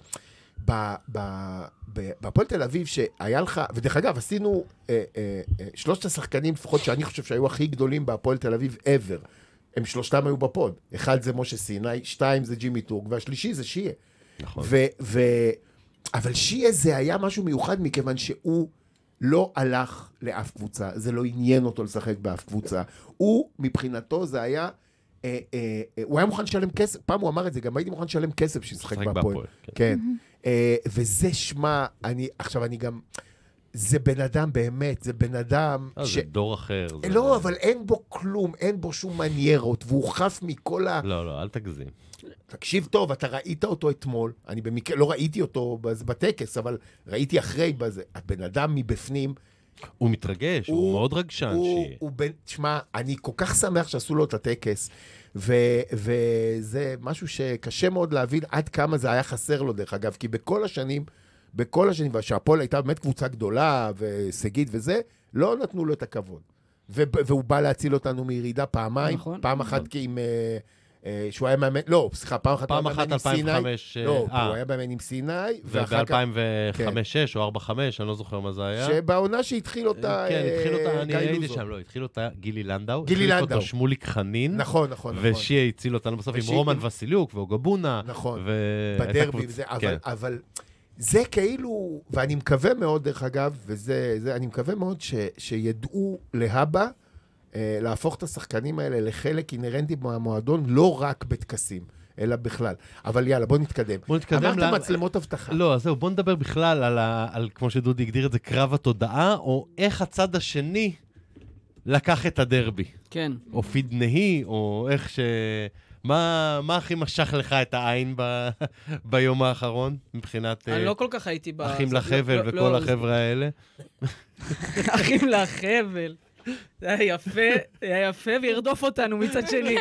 Speaker 3: ב- ב- ב- בהפועל תל אביב שהיה לך, ודרך אגב, עשינו אה, אה, אה, שלושת השחקנים לפחות שאני חושב שהיו הכי גדולים בהפועל תל אביב ever. הם שלושתם היו בפוד. אחד זה משה סיני, שתיים זה ג'ימי טורק, והשלישי זה שיה.
Speaker 4: נכון.
Speaker 3: ו- ו- אבל שיה זה היה משהו מיוחד מכיוון שהוא לא הלך לאף קבוצה, זה לא עניין אותו לשחק באף קבוצה. הוא, מבחינתו זה היה, אה, אה, אה, הוא היה מוכן לשלם כסף, פעם הוא אמר את זה, גם הייתי מוכן לשלם כסף שישחק
Speaker 4: לשחק
Speaker 3: בהפועל.
Speaker 4: בהפועל, כן.
Speaker 3: כן. אה, וזה שמע, אני, עכשיו אני גם, זה בן אדם באמת, זה בן אדם
Speaker 4: אה,
Speaker 3: ש...
Speaker 4: זה דור אחר. זה-
Speaker 3: לא, אבל אין בו כלום, אין בו שום מניירות, והוא חף מכל ה...
Speaker 4: לא, לא, אל תגזים.
Speaker 3: תקשיב טוב, אתה ראית אותו אתמול, אני במקרה לא ראיתי אותו בז- בטקס, אבל ראיתי אחרי בזה. הבן אדם מבפנים,
Speaker 4: הוא מתרגש, הוא מאוד רגשן
Speaker 3: הוא,
Speaker 4: שיהיה.
Speaker 3: הוא בן, תשמע, אני כל כך שמח שעשו לו את הטקס, ו, וזה משהו שקשה מאוד להבין עד כמה זה היה חסר לו, דרך אגב, כי בכל השנים, בכל השנים, ושהפועל הייתה באמת קבוצה גדולה והישגית וזה, לא נתנו לו את הכבוד. ו, והוא בא להציל אותנו מירידה פעמיים,
Speaker 2: נכון.
Speaker 3: פעם אחת כי עם... אה, אה, שהוא היה מאמן, לא, סליחה, פעם אחת
Speaker 4: פעם
Speaker 3: הוא היה
Speaker 4: אחת
Speaker 3: מאמן עם סיני.
Speaker 4: 2005, אה,
Speaker 3: לא,
Speaker 4: אה.
Speaker 3: הוא היה מאמן עם סיני, ואחר כך...
Speaker 4: וב-2005-2006 או 2005, אני לא זוכר מה זה היה.
Speaker 3: שבעונה שהתחיל אותה
Speaker 4: כן, התחיל
Speaker 3: אה,
Speaker 4: אותה, אני
Speaker 3: גיא
Speaker 4: הייתי
Speaker 3: לוזון.
Speaker 4: שם, לא, התחיל אותה גילי לנדאו.
Speaker 3: גילי
Speaker 4: החליף
Speaker 3: לנדאו.
Speaker 4: אותו שמוליק חנין.
Speaker 3: נכון, נכון, נכון.
Speaker 4: ושיה הציל אותנו בסוף עם
Speaker 3: ושיה-
Speaker 4: רומן וסיליוק ואוגבונה.
Speaker 3: נכון.
Speaker 4: ו- הייתה
Speaker 3: בדרבי
Speaker 4: קבוצ-
Speaker 3: וזה,
Speaker 4: כן.
Speaker 3: אבל, אבל זה כאילו, ואני מקווה מאוד, דרך אגב, וזה, זה, אני מקווה מאוד ש, שידעו להבא אה, להפוך את השחקנים האלה לחלק אינהרנטי מהמועדון, לא רק בטקסים, אלא בכלל. אבל יאללה, בוא נתקדם.
Speaker 4: בוא נתקדם
Speaker 3: אמרת
Speaker 4: ל-
Speaker 3: מצלמות אבטחה.
Speaker 4: לא, אז זהו, בוא נדבר בכלל על, ה... על, כמו שדודי הגדיר את זה, קרב התודעה, או איך הצד השני לקח את הדרבי.
Speaker 2: כן.
Speaker 4: או פידנהי, או איך ש... מה, מה הכי משך לך את העין ב... (laughs) ביום האחרון, מבחינת
Speaker 2: אני
Speaker 4: אה,
Speaker 2: לא כל כך הייתי ב...
Speaker 4: אחים
Speaker 2: זה- לא-
Speaker 4: לחבל
Speaker 2: לא-
Speaker 4: וכל
Speaker 2: לא-
Speaker 4: החבר'ה האלה?
Speaker 2: (laughs) אחים לחבל. זה היה יפה, היה יפה, וירדוף אותנו מצד שני.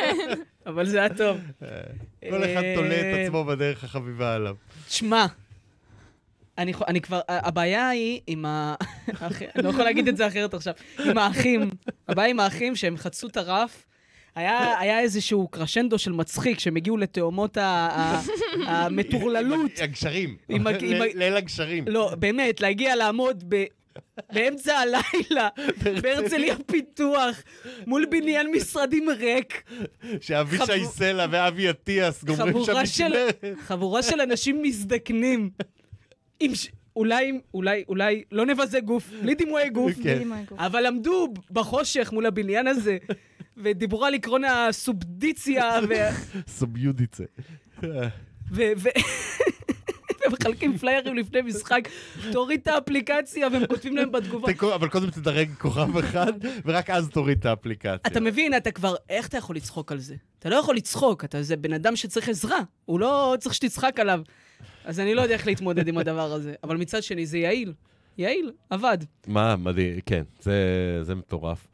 Speaker 2: אבל זה היה טוב.
Speaker 4: כל אחד תולה את
Speaker 2: אה,
Speaker 4: עצמו בדרך החביבה עליו.
Speaker 2: תשמע, אני, חו- אני כבר, הבעיה היא עם ה... (laughs) האח- אני לא יכול להגיד את זה אחרת עכשיו. עם האחים. הבעיה עם האחים שהם חצו את הרף. היה, היה איזשהו קרשנדו של מצחיק, שהם הגיעו לתאומות ה- ה- המטורללות.
Speaker 4: הגשרים.
Speaker 2: עם ה- עם ה-
Speaker 4: ל- ליל הגשרים.
Speaker 2: לא, באמת, להגיע לעמוד ב... באמצע הלילה, בהרצליה פיתוח, מול בניין משרדים ריק,
Speaker 4: שאבישי
Speaker 2: חבו-
Speaker 4: סלע ואבי אטיאס גומרים שם
Speaker 2: חבורה של,
Speaker 4: משמרת.
Speaker 2: חבורה של אנשים מזדקנים. עם ש... אולי, אולי, אולי, לא נבזה גוף, בלי דימויי גוף,
Speaker 4: כן.
Speaker 5: בלי דימוי גוף.
Speaker 2: אבל עמדו בחושך מול הבניין הזה,
Speaker 3: (laughs)
Speaker 2: ודיברו על עקרון הסובדיציה, ו...
Speaker 4: סוביודיצה.
Speaker 2: ו... ו... (laughs) ומחלקים פליירים לפני משחק, תוריד את האפליקציה, והם כותבים להם בתגובה.
Speaker 4: (laughs) תקו- אבל קודם תדרג
Speaker 2: (laughs)
Speaker 4: כוכב אחד, ורק אז תוריד את האפליקציה.
Speaker 2: אתה מבין, אתה כבר, איך אתה יכול לצחוק על זה? אתה לא יכול לצחוק, אתה זה בן אדם שצריך עזרה, הוא לא צריך שתצחק עליו. אז אני לא יודע איך להתמודד עם הדבר הזה. אבל מצד שני, זה יעיל. יעיל, עבד.
Speaker 4: מה, מדהים, כן, זה, זה מטורף.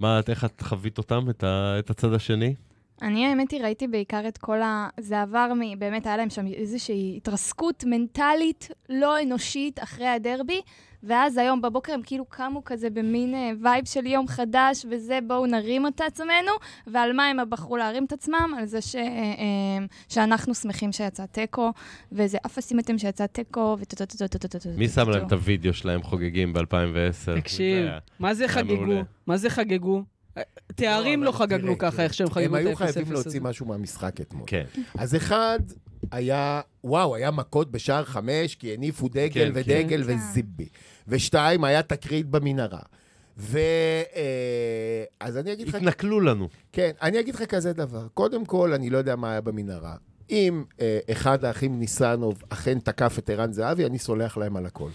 Speaker 4: מה, את- איך את חווית אותם, את, ה, את הצד השני?
Speaker 5: אני, האמת היא, ראיתי בעיקר את כל ה... זה עבר מ... באמת, היה להם שם איזושהי התרסקות מנטלית לא אנושית אחרי הדרבי, ואז היום בבוקר הם כאילו קמו כזה במין אה, וייב של יום חדש, וזה, בואו נרים את עצמנו, ועל מה הם בחרו להרים את עצמם? על זה ש... אה, אה, שאנחנו שמחים שיצא תיקו, וזה אפסים אתם שיצא תיקו, וטו-טו-טו-טו-טו-טו-טו.
Speaker 4: מי שם להם את הוידאו שלהם חוגגים ב-2010?
Speaker 2: תקשיב, מה זה
Speaker 4: זה היה מעולה.
Speaker 2: חגגו? מה זה חגגו? תארים
Speaker 3: אבל
Speaker 2: לא חגגנו
Speaker 3: תראה,
Speaker 2: ככה,
Speaker 3: תראה,
Speaker 2: איך שהם
Speaker 3: הם
Speaker 2: חגגו את
Speaker 3: היו
Speaker 2: ה-0-0
Speaker 3: חייבים
Speaker 2: הזה.
Speaker 3: להוציא משהו מהמשחק אתמול.
Speaker 4: כן.
Speaker 3: אז אחד היה, וואו, היה מכות בשער חמש, כי הניפו דגל
Speaker 4: כן,
Speaker 3: ודגל
Speaker 5: כן.
Speaker 3: וזיבי. ושתיים, היה תקרית במנהרה. ו... אה, אז אני אגיד לך...
Speaker 4: התנכלו לנו.
Speaker 3: כן, אני אגיד לך כזה דבר. קודם כל, אני לא יודע מה היה במנהרה. אם אה, אחד האחים ניסנוב אכן תקף את ערן זהבי, אני סולח להם
Speaker 4: (laughs)
Speaker 3: על הכל.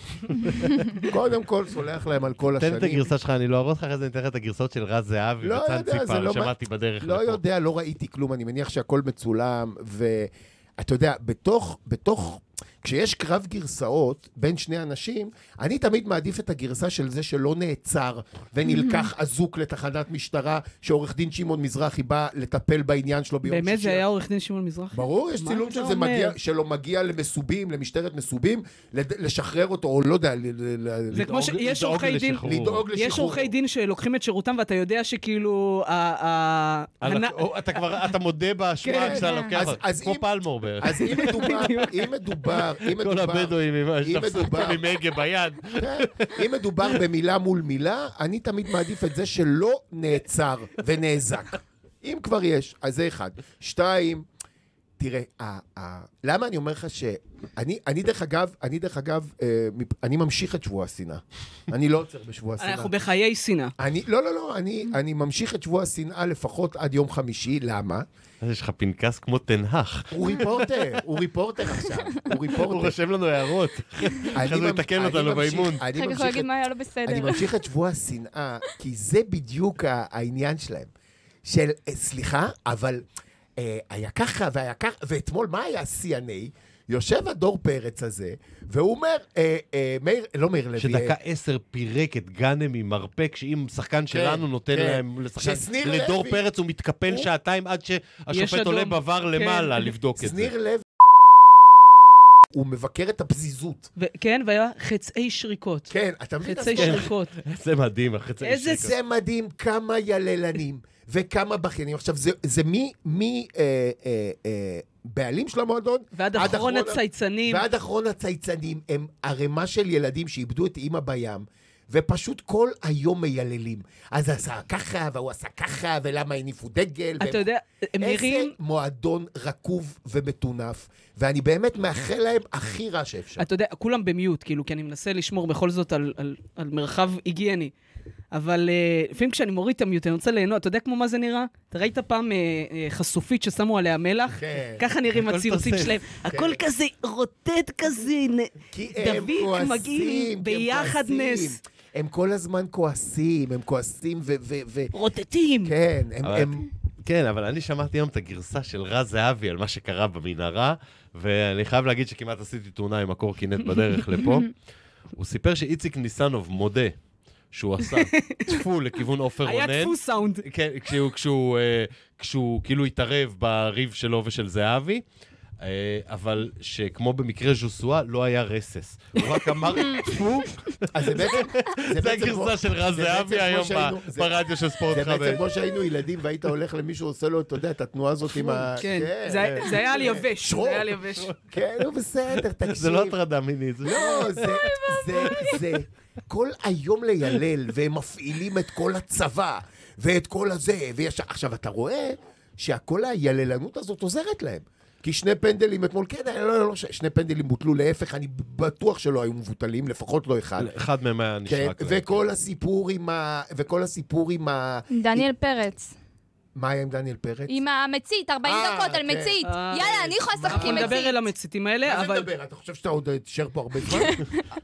Speaker 3: קודם כל, סולח להם על כל
Speaker 4: תן
Speaker 3: השנים.
Speaker 4: את הגרסה שלך, אני לא ארוס לך, אחרי זה אני אתן לך את הגרסות של רז זהבי
Speaker 3: לא
Speaker 4: וצאן
Speaker 3: יודע, זה
Speaker 4: ציפה,
Speaker 3: לא מה-
Speaker 4: שמעתי בדרך.
Speaker 3: לא
Speaker 4: לפה.
Speaker 3: יודע, לא ראיתי כלום, אני מניח שהכל מצולם, ואתה יודע, בתוך, בתוך, כשיש קרב גרסאות בין שני אנשים, אני תמיד מעדיף את הגרסה של זה שלא נעצר
Speaker 2: (laughs)
Speaker 3: ונלקח אזוק לתחנת משטרה, שעורך דין שמעון מזרחי בא לטפל בעניין שלו ביום שישי.
Speaker 2: באמת, זה היה עורך דין שמעון מזרחי?
Speaker 3: ברור, יש
Speaker 2: מה
Speaker 3: צילום
Speaker 2: אתה
Speaker 3: של זה
Speaker 2: אומר?
Speaker 3: מגיע, שלו מגיע למסובים, למשטרת מסובים, לד- לשחרר אותו, או לא יודע, ל- ל- ל-
Speaker 2: זה כמו ש-
Speaker 4: לדאוג-
Speaker 2: יש
Speaker 4: לדאוג
Speaker 2: עורכי דין-
Speaker 4: לשחרורו.
Speaker 3: לדאוג לשחרור.
Speaker 2: יש עורכי דין שלוקחים את שירותם, ואתה יודע שכאילו... ה- ה-
Speaker 4: על
Speaker 2: הנ-
Speaker 4: הכ- או, אתה כבר, אתה מודה באשמה
Speaker 5: כן.
Speaker 4: כשאתה לוקח,
Speaker 3: אז- אז
Speaker 4: כמו
Speaker 3: אם-
Speaker 4: פלמור בערך.
Speaker 3: אז אם
Speaker 2: (laughs)
Speaker 3: מדובר, אם מדובר,
Speaker 4: כל
Speaker 3: אם מדובר,
Speaker 4: הבדואים עם
Speaker 3: אם
Speaker 4: שתפסו
Speaker 3: מדובר-
Speaker 4: אותם עם הגה ביד.
Speaker 3: כן, אם מדובר במילה מול מילה, אני תמיד מעדיף את זה שלא נעצר ונאזק. אם כבר יש, אז זה אחד. שתיים, תראה, ה, ה, למה אני אומר לך ש... אני, אני דרך אגב, אני דרך אגב, אה, מפ- אני ממשיך את שבוע השנאה. אני לא עוצר בשבוע השנאה.
Speaker 2: אנחנו בחיי שנאה.
Speaker 3: אני, לא, לא, לא, אני, אני ממשיך את שבוע השנאה לפחות עד יום חמישי, למה?
Speaker 4: אז יש לך פנקס כמו תנהך.
Speaker 3: הוא ריפורטר, הוא ריפורטר עכשיו, הוא
Speaker 4: הוא
Speaker 3: ריפורטר.
Speaker 4: רושם לנו הערות.
Speaker 3: אני
Speaker 4: אחרי זה הוא
Speaker 3: ממש-
Speaker 4: יתקן
Speaker 3: אני
Speaker 4: אותנו
Speaker 3: ממשיך-
Speaker 4: באימון.
Speaker 3: אני
Speaker 5: אחר כך הוא
Speaker 3: ממשיך
Speaker 5: יגיד
Speaker 3: את
Speaker 5: מה היה לו בסדר.
Speaker 3: אני ממשיך את שבוע השנאה, כי זה בדיוק ה- העניין שלהם. של, אה, סליחה, אבל אה, היה ככה והיה ככה, ואתמול, מה היה CNA? יושב הדור פרץ הזה, והוא אומר, אה, אה, מאיר, לא מאיר לוי,
Speaker 4: שדקה
Speaker 3: אה,
Speaker 4: עשר פירק את גאנם עם מרפק, שאם שחקן שלנו נותן
Speaker 3: כן.
Speaker 4: להם לשחקן,
Speaker 3: ששניר
Speaker 4: לדור
Speaker 3: לוי-
Speaker 4: פרץ הוא מתקפל
Speaker 3: הוא-
Speaker 4: שעתיים עד
Speaker 2: יש
Speaker 4: שהשופט
Speaker 2: אדום.
Speaker 4: עולה בVAR
Speaker 2: כן.
Speaker 4: למעלה לבדוק את זה.
Speaker 3: שניר לב... הוא מבקר את הפזיזות.
Speaker 2: ו- כן, והיה חצאי שריקות.
Speaker 3: כן, אתה מבין?
Speaker 2: חצי
Speaker 3: אז כל-
Speaker 2: שריקות.
Speaker 4: זה מדהים, החצי
Speaker 2: איזה
Speaker 4: אישי.
Speaker 3: זה מדהים כמה יללנים וכמה בכיינים. עכשיו, זה, זה מי, מי אה, אה, אה, בעלים של המועדון
Speaker 2: ועד
Speaker 3: עד
Speaker 2: אחרון
Speaker 3: אחרון ה-
Speaker 2: הצייצנים.
Speaker 3: ועד אחרון הצייצנים הם ערימה של ילדים שאיבדו את אימא בים. ופשוט כל היום מייללים. אז עשה ככה, והוא עשה ככה, ולמה הניפו דגל.
Speaker 2: אתה
Speaker 3: והם-
Speaker 2: יודע, הם נראים...
Speaker 3: איזה מועדון רקוב ומטונף, ואני באמת מאחל להם הכי רע שאפשר.
Speaker 2: אתה יודע, כולם במיוט, כאילו, כי אני מנסה לשמור בכל זאת על, על, על מרחב היגייני. אבל אה, לפעמים כשאני מוריד את המיוט, אני רוצה ליהנות, אתה יודע כמו מה זה נראה? אתה ראית פעם אה, אה, חשופית ששמו עליה מלח?
Speaker 3: כן.
Speaker 2: ככה נראים
Speaker 4: הכל
Speaker 2: הציוצים
Speaker 4: תוסס.
Speaker 2: שלהם. הכל כזה רוטט כזה, נ-
Speaker 3: כי הם
Speaker 2: דביק,
Speaker 3: כועסים, כי
Speaker 2: מגעיל,
Speaker 3: הם
Speaker 2: ביחד
Speaker 3: כועסים.
Speaker 2: נס,
Speaker 3: הם כל הזמן כועסים, הם כועסים ו... ו, ו
Speaker 2: רוטטים.
Speaker 3: כן, הם...
Speaker 4: אבל-
Speaker 3: הם
Speaker 4: כן, אבל אני שמעתי היום את הגרסה של רז זהבי על מה שקרה במנהרה, ואני חייב להגיד שכמעט עשיתי תאונה עם הקורקינט בדרך
Speaker 2: (laughs)
Speaker 4: לפה. הוא סיפר שאיציק ניסנוב מודה שהוא
Speaker 2: (laughs)
Speaker 4: עשה טפו לכיוון עופר רונן.
Speaker 2: היה דפוס סאונד.
Speaker 4: כן, כשהוא, כשהוא, אה, כשהוא כאילו התערב בריב שלו ושל זהבי. אה, אבל שכמו במקרה ז'וסואה, לא היה רסס. הוא רק
Speaker 3: (laughs)
Speaker 4: אמר, טפו,
Speaker 3: אז זה בעצם...
Speaker 4: זה
Speaker 3: בעצם כמו-
Speaker 4: הגרסה של רז
Speaker 3: זה בעצם
Speaker 4: זהבי
Speaker 3: כמו
Speaker 4: היום
Speaker 3: שהיינו-
Speaker 4: ב-
Speaker 3: זה-
Speaker 4: ברדיו של ספורט
Speaker 3: זה בעצם
Speaker 4: חמש.
Speaker 3: כמו שהיינו ילדים והיית הולך למישהו, עושה לו, אתה יודע, את התנועה הזאת עם ה...
Speaker 2: כן, זה- זה היה על יבש,
Speaker 3: שרוק.
Speaker 2: זה היה על יבש.
Speaker 3: כן, נו
Speaker 2: (laughs)
Speaker 3: בסדר, תקשיב.
Speaker 4: זה לא הטרדה מינית. זה-
Speaker 3: לא, זה, זה, זה, כל היום לילל, והם מפעילים את כל הצבא, ואת כל הזה, ויש... עכשיו, אתה רואה שהכל היללנות הזאת עוזרת להם. כי שני פנדלים אתמול, כן, לא, לא, לא, ש- שני פנדלים בוטלו, להפך, אני בטוח שלא היו מבוטלים, לפחות לא אחד.
Speaker 4: אחד מהם היה
Speaker 3: כן,
Speaker 4: נשרק. להם.
Speaker 3: וכל הסיפור עם ה... וכל הסיפור עם ה...
Speaker 5: דניאל פרץ,
Speaker 3: מה היה עם דניאל פרץ?
Speaker 5: עם המצית, 40
Speaker 3: אה,
Speaker 5: דקות על
Speaker 3: כן.
Speaker 5: מצית.
Speaker 2: אה,
Speaker 5: יאללה, אני יכולה לשחק
Speaker 2: אנחנו
Speaker 5: עם
Speaker 2: נדבר אל
Speaker 5: מצית.
Speaker 2: המציתים האלה,
Speaker 3: מה זה
Speaker 2: אבל...
Speaker 3: מדבר? אתה חושב שאתה עוד אה, תישאר פה הרבה זמן?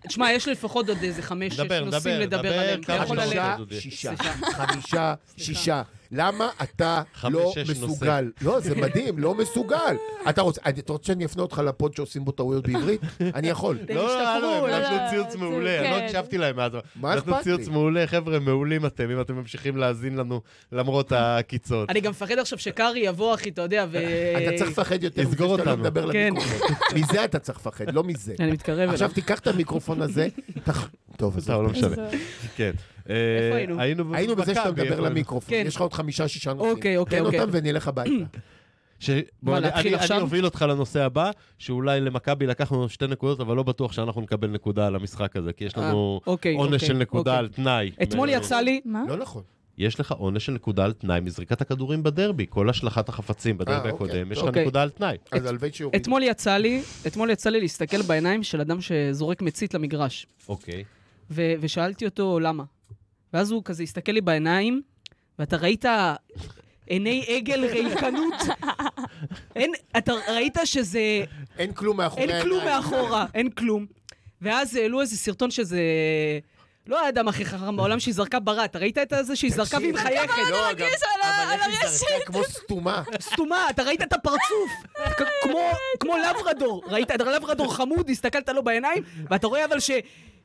Speaker 2: תשמע, יש לפחות עוד איזה חמש, שש
Speaker 4: דבר,
Speaker 2: נושאים
Speaker 4: דבר,
Speaker 2: לדבר
Speaker 4: דבר,
Speaker 2: עליהם. (laughs) אתה
Speaker 4: כמה
Speaker 2: יכול
Speaker 4: שאתה
Speaker 2: ללכת.
Speaker 4: רוצה.
Speaker 3: חמישה,
Speaker 4: דודי.
Speaker 3: שישה,
Speaker 2: סליחה.
Speaker 3: חמישה, שישה. למה אתה
Speaker 4: חמש,
Speaker 3: לא
Speaker 4: שש נושא.
Speaker 3: מסוגל? לא, זה מדהים, לא מסוגל. אתה רוצה אתה רוצה שאני אפנה אותך לפוד שעושים בו טעויות בעברית?
Speaker 2: (laughs)
Speaker 3: אני יכול.
Speaker 4: לא, לא, לא,
Speaker 5: לא,
Speaker 4: הם
Speaker 5: לא,
Speaker 4: נתנו ציוץ
Speaker 5: זה-
Speaker 4: מעולה, אני לא
Speaker 5: כן.
Speaker 4: הקשבתי להם מאז.
Speaker 3: מה
Speaker 4: נתנו
Speaker 3: אכפת
Speaker 4: ציוץ
Speaker 3: לי?
Speaker 4: מעולה, חבר'ה, מעולים אתם, אם אתם ממשיכים להאזין לנו למרות הקיצות.
Speaker 2: אני גם מפחד עכשיו שקארי יבוא, אחי, אתה יודע, ו...
Speaker 3: אה, אתה צריך לפחד יותר
Speaker 4: תסגור
Speaker 3: מזה שאתה לא
Speaker 4: אותנו.
Speaker 3: מדבר
Speaker 2: כן. (laughs)
Speaker 3: למיקרופון. מזה אתה צריך לפחד, לא מזה.
Speaker 2: אני מתקרב אליו.
Speaker 3: עכשיו תיקח את
Speaker 2: (laughs)
Speaker 3: המיקרופון הזה, תח- טוב, אז אוקיי.
Speaker 4: טוב, לא
Speaker 3: (laughs)
Speaker 4: משנה. כן. אה,
Speaker 2: היינו?
Speaker 3: היינו בזה שאתה
Speaker 4: במכבי,
Speaker 3: מדבר
Speaker 4: אבל-
Speaker 3: למיקרופון,
Speaker 2: כן.
Speaker 3: יש לך עוד חמישה-שישה נושאים.
Speaker 2: אוקיי, אוקיי,
Speaker 3: תן
Speaker 2: אוקיי.
Speaker 3: אותם ונלך הביתה.
Speaker 4: ש... בוא, אני,
Speaker 2: להתחיל
Speaker 4: אני,
Speaker 2: עכשיו?
Speaker 4: אני אוביל אותך לנושא הבא, שאולי למכבי לקחנו שתי נקודות, אבל לא בטוח שאנחנו נקבל נקודה על המשחק הזה, כי יש לנו
Speaker 2: אה, אוקיי,
Speaker 4: עונש
Speaker 2: אוקיי,
Speaker 4: של נקודה
Speaker 2: אוקיי.
Speaker 4: על תנאי.
Speaker 2: אתמול
Speaker 4: מ-
Speaker 2: יצא לי...
Speaker 5: מה?
Speaker 3: לא נכון.
Speaker 4: יש לך עונש של נקודה על תנאי מזריקת הכדורים בדרבי, כל השלכת החפצים בדרבי
Speaker 3: אה, אוקיי,
Speaker 4: הקודם, יש לך
Speaker 2: אוקיי.
Speaker 4: נקודה על תנאי.
Speaker 3: אז הלוואי שיורידו.
Speaker 2: אתמול יצא לי, אתמול יצא לי להסתכל בעיניים של אדם שזורק מצית למגרש,
Speaker 4: אוקיי.
Speaker 2: ו- ושאלתי אותו למה. ואז הוא כזה הסתכל לי בעיניים, ואתה ראית עיני עגל
Speaker 4: (laughs)
Speaker 2: ריקנות. אין, אתה ראית שזה
Speaker 3: אין כלום מאחורי
Speaker 2: אין כלום
Speaker 3: העיניים.
Speaker 2: מאחורה, אין כלום. ואז העלו איזה סרטון שזה... לא האדם הכי חכם בעולם שהיא זרקה ברת, ראית את זה שהיא זרקה והיא
Speaker 3: תקשיב,
Speaker 2: מחייכת?
Speaker 3: לא, גם-
Speaker 5: מרגיש על ה-
Speaker 3: אבל
Speaker 5: על
Speaker 3: איך היא זרקה כמו סתומה.
Speaker 2: סתומה, אתה ראית את הפרצוף, כ- כמו- כמו לברדור, ראית את לברדור חמוד, הסתכלת לו בעיניים, ואתה רואה אבל ש...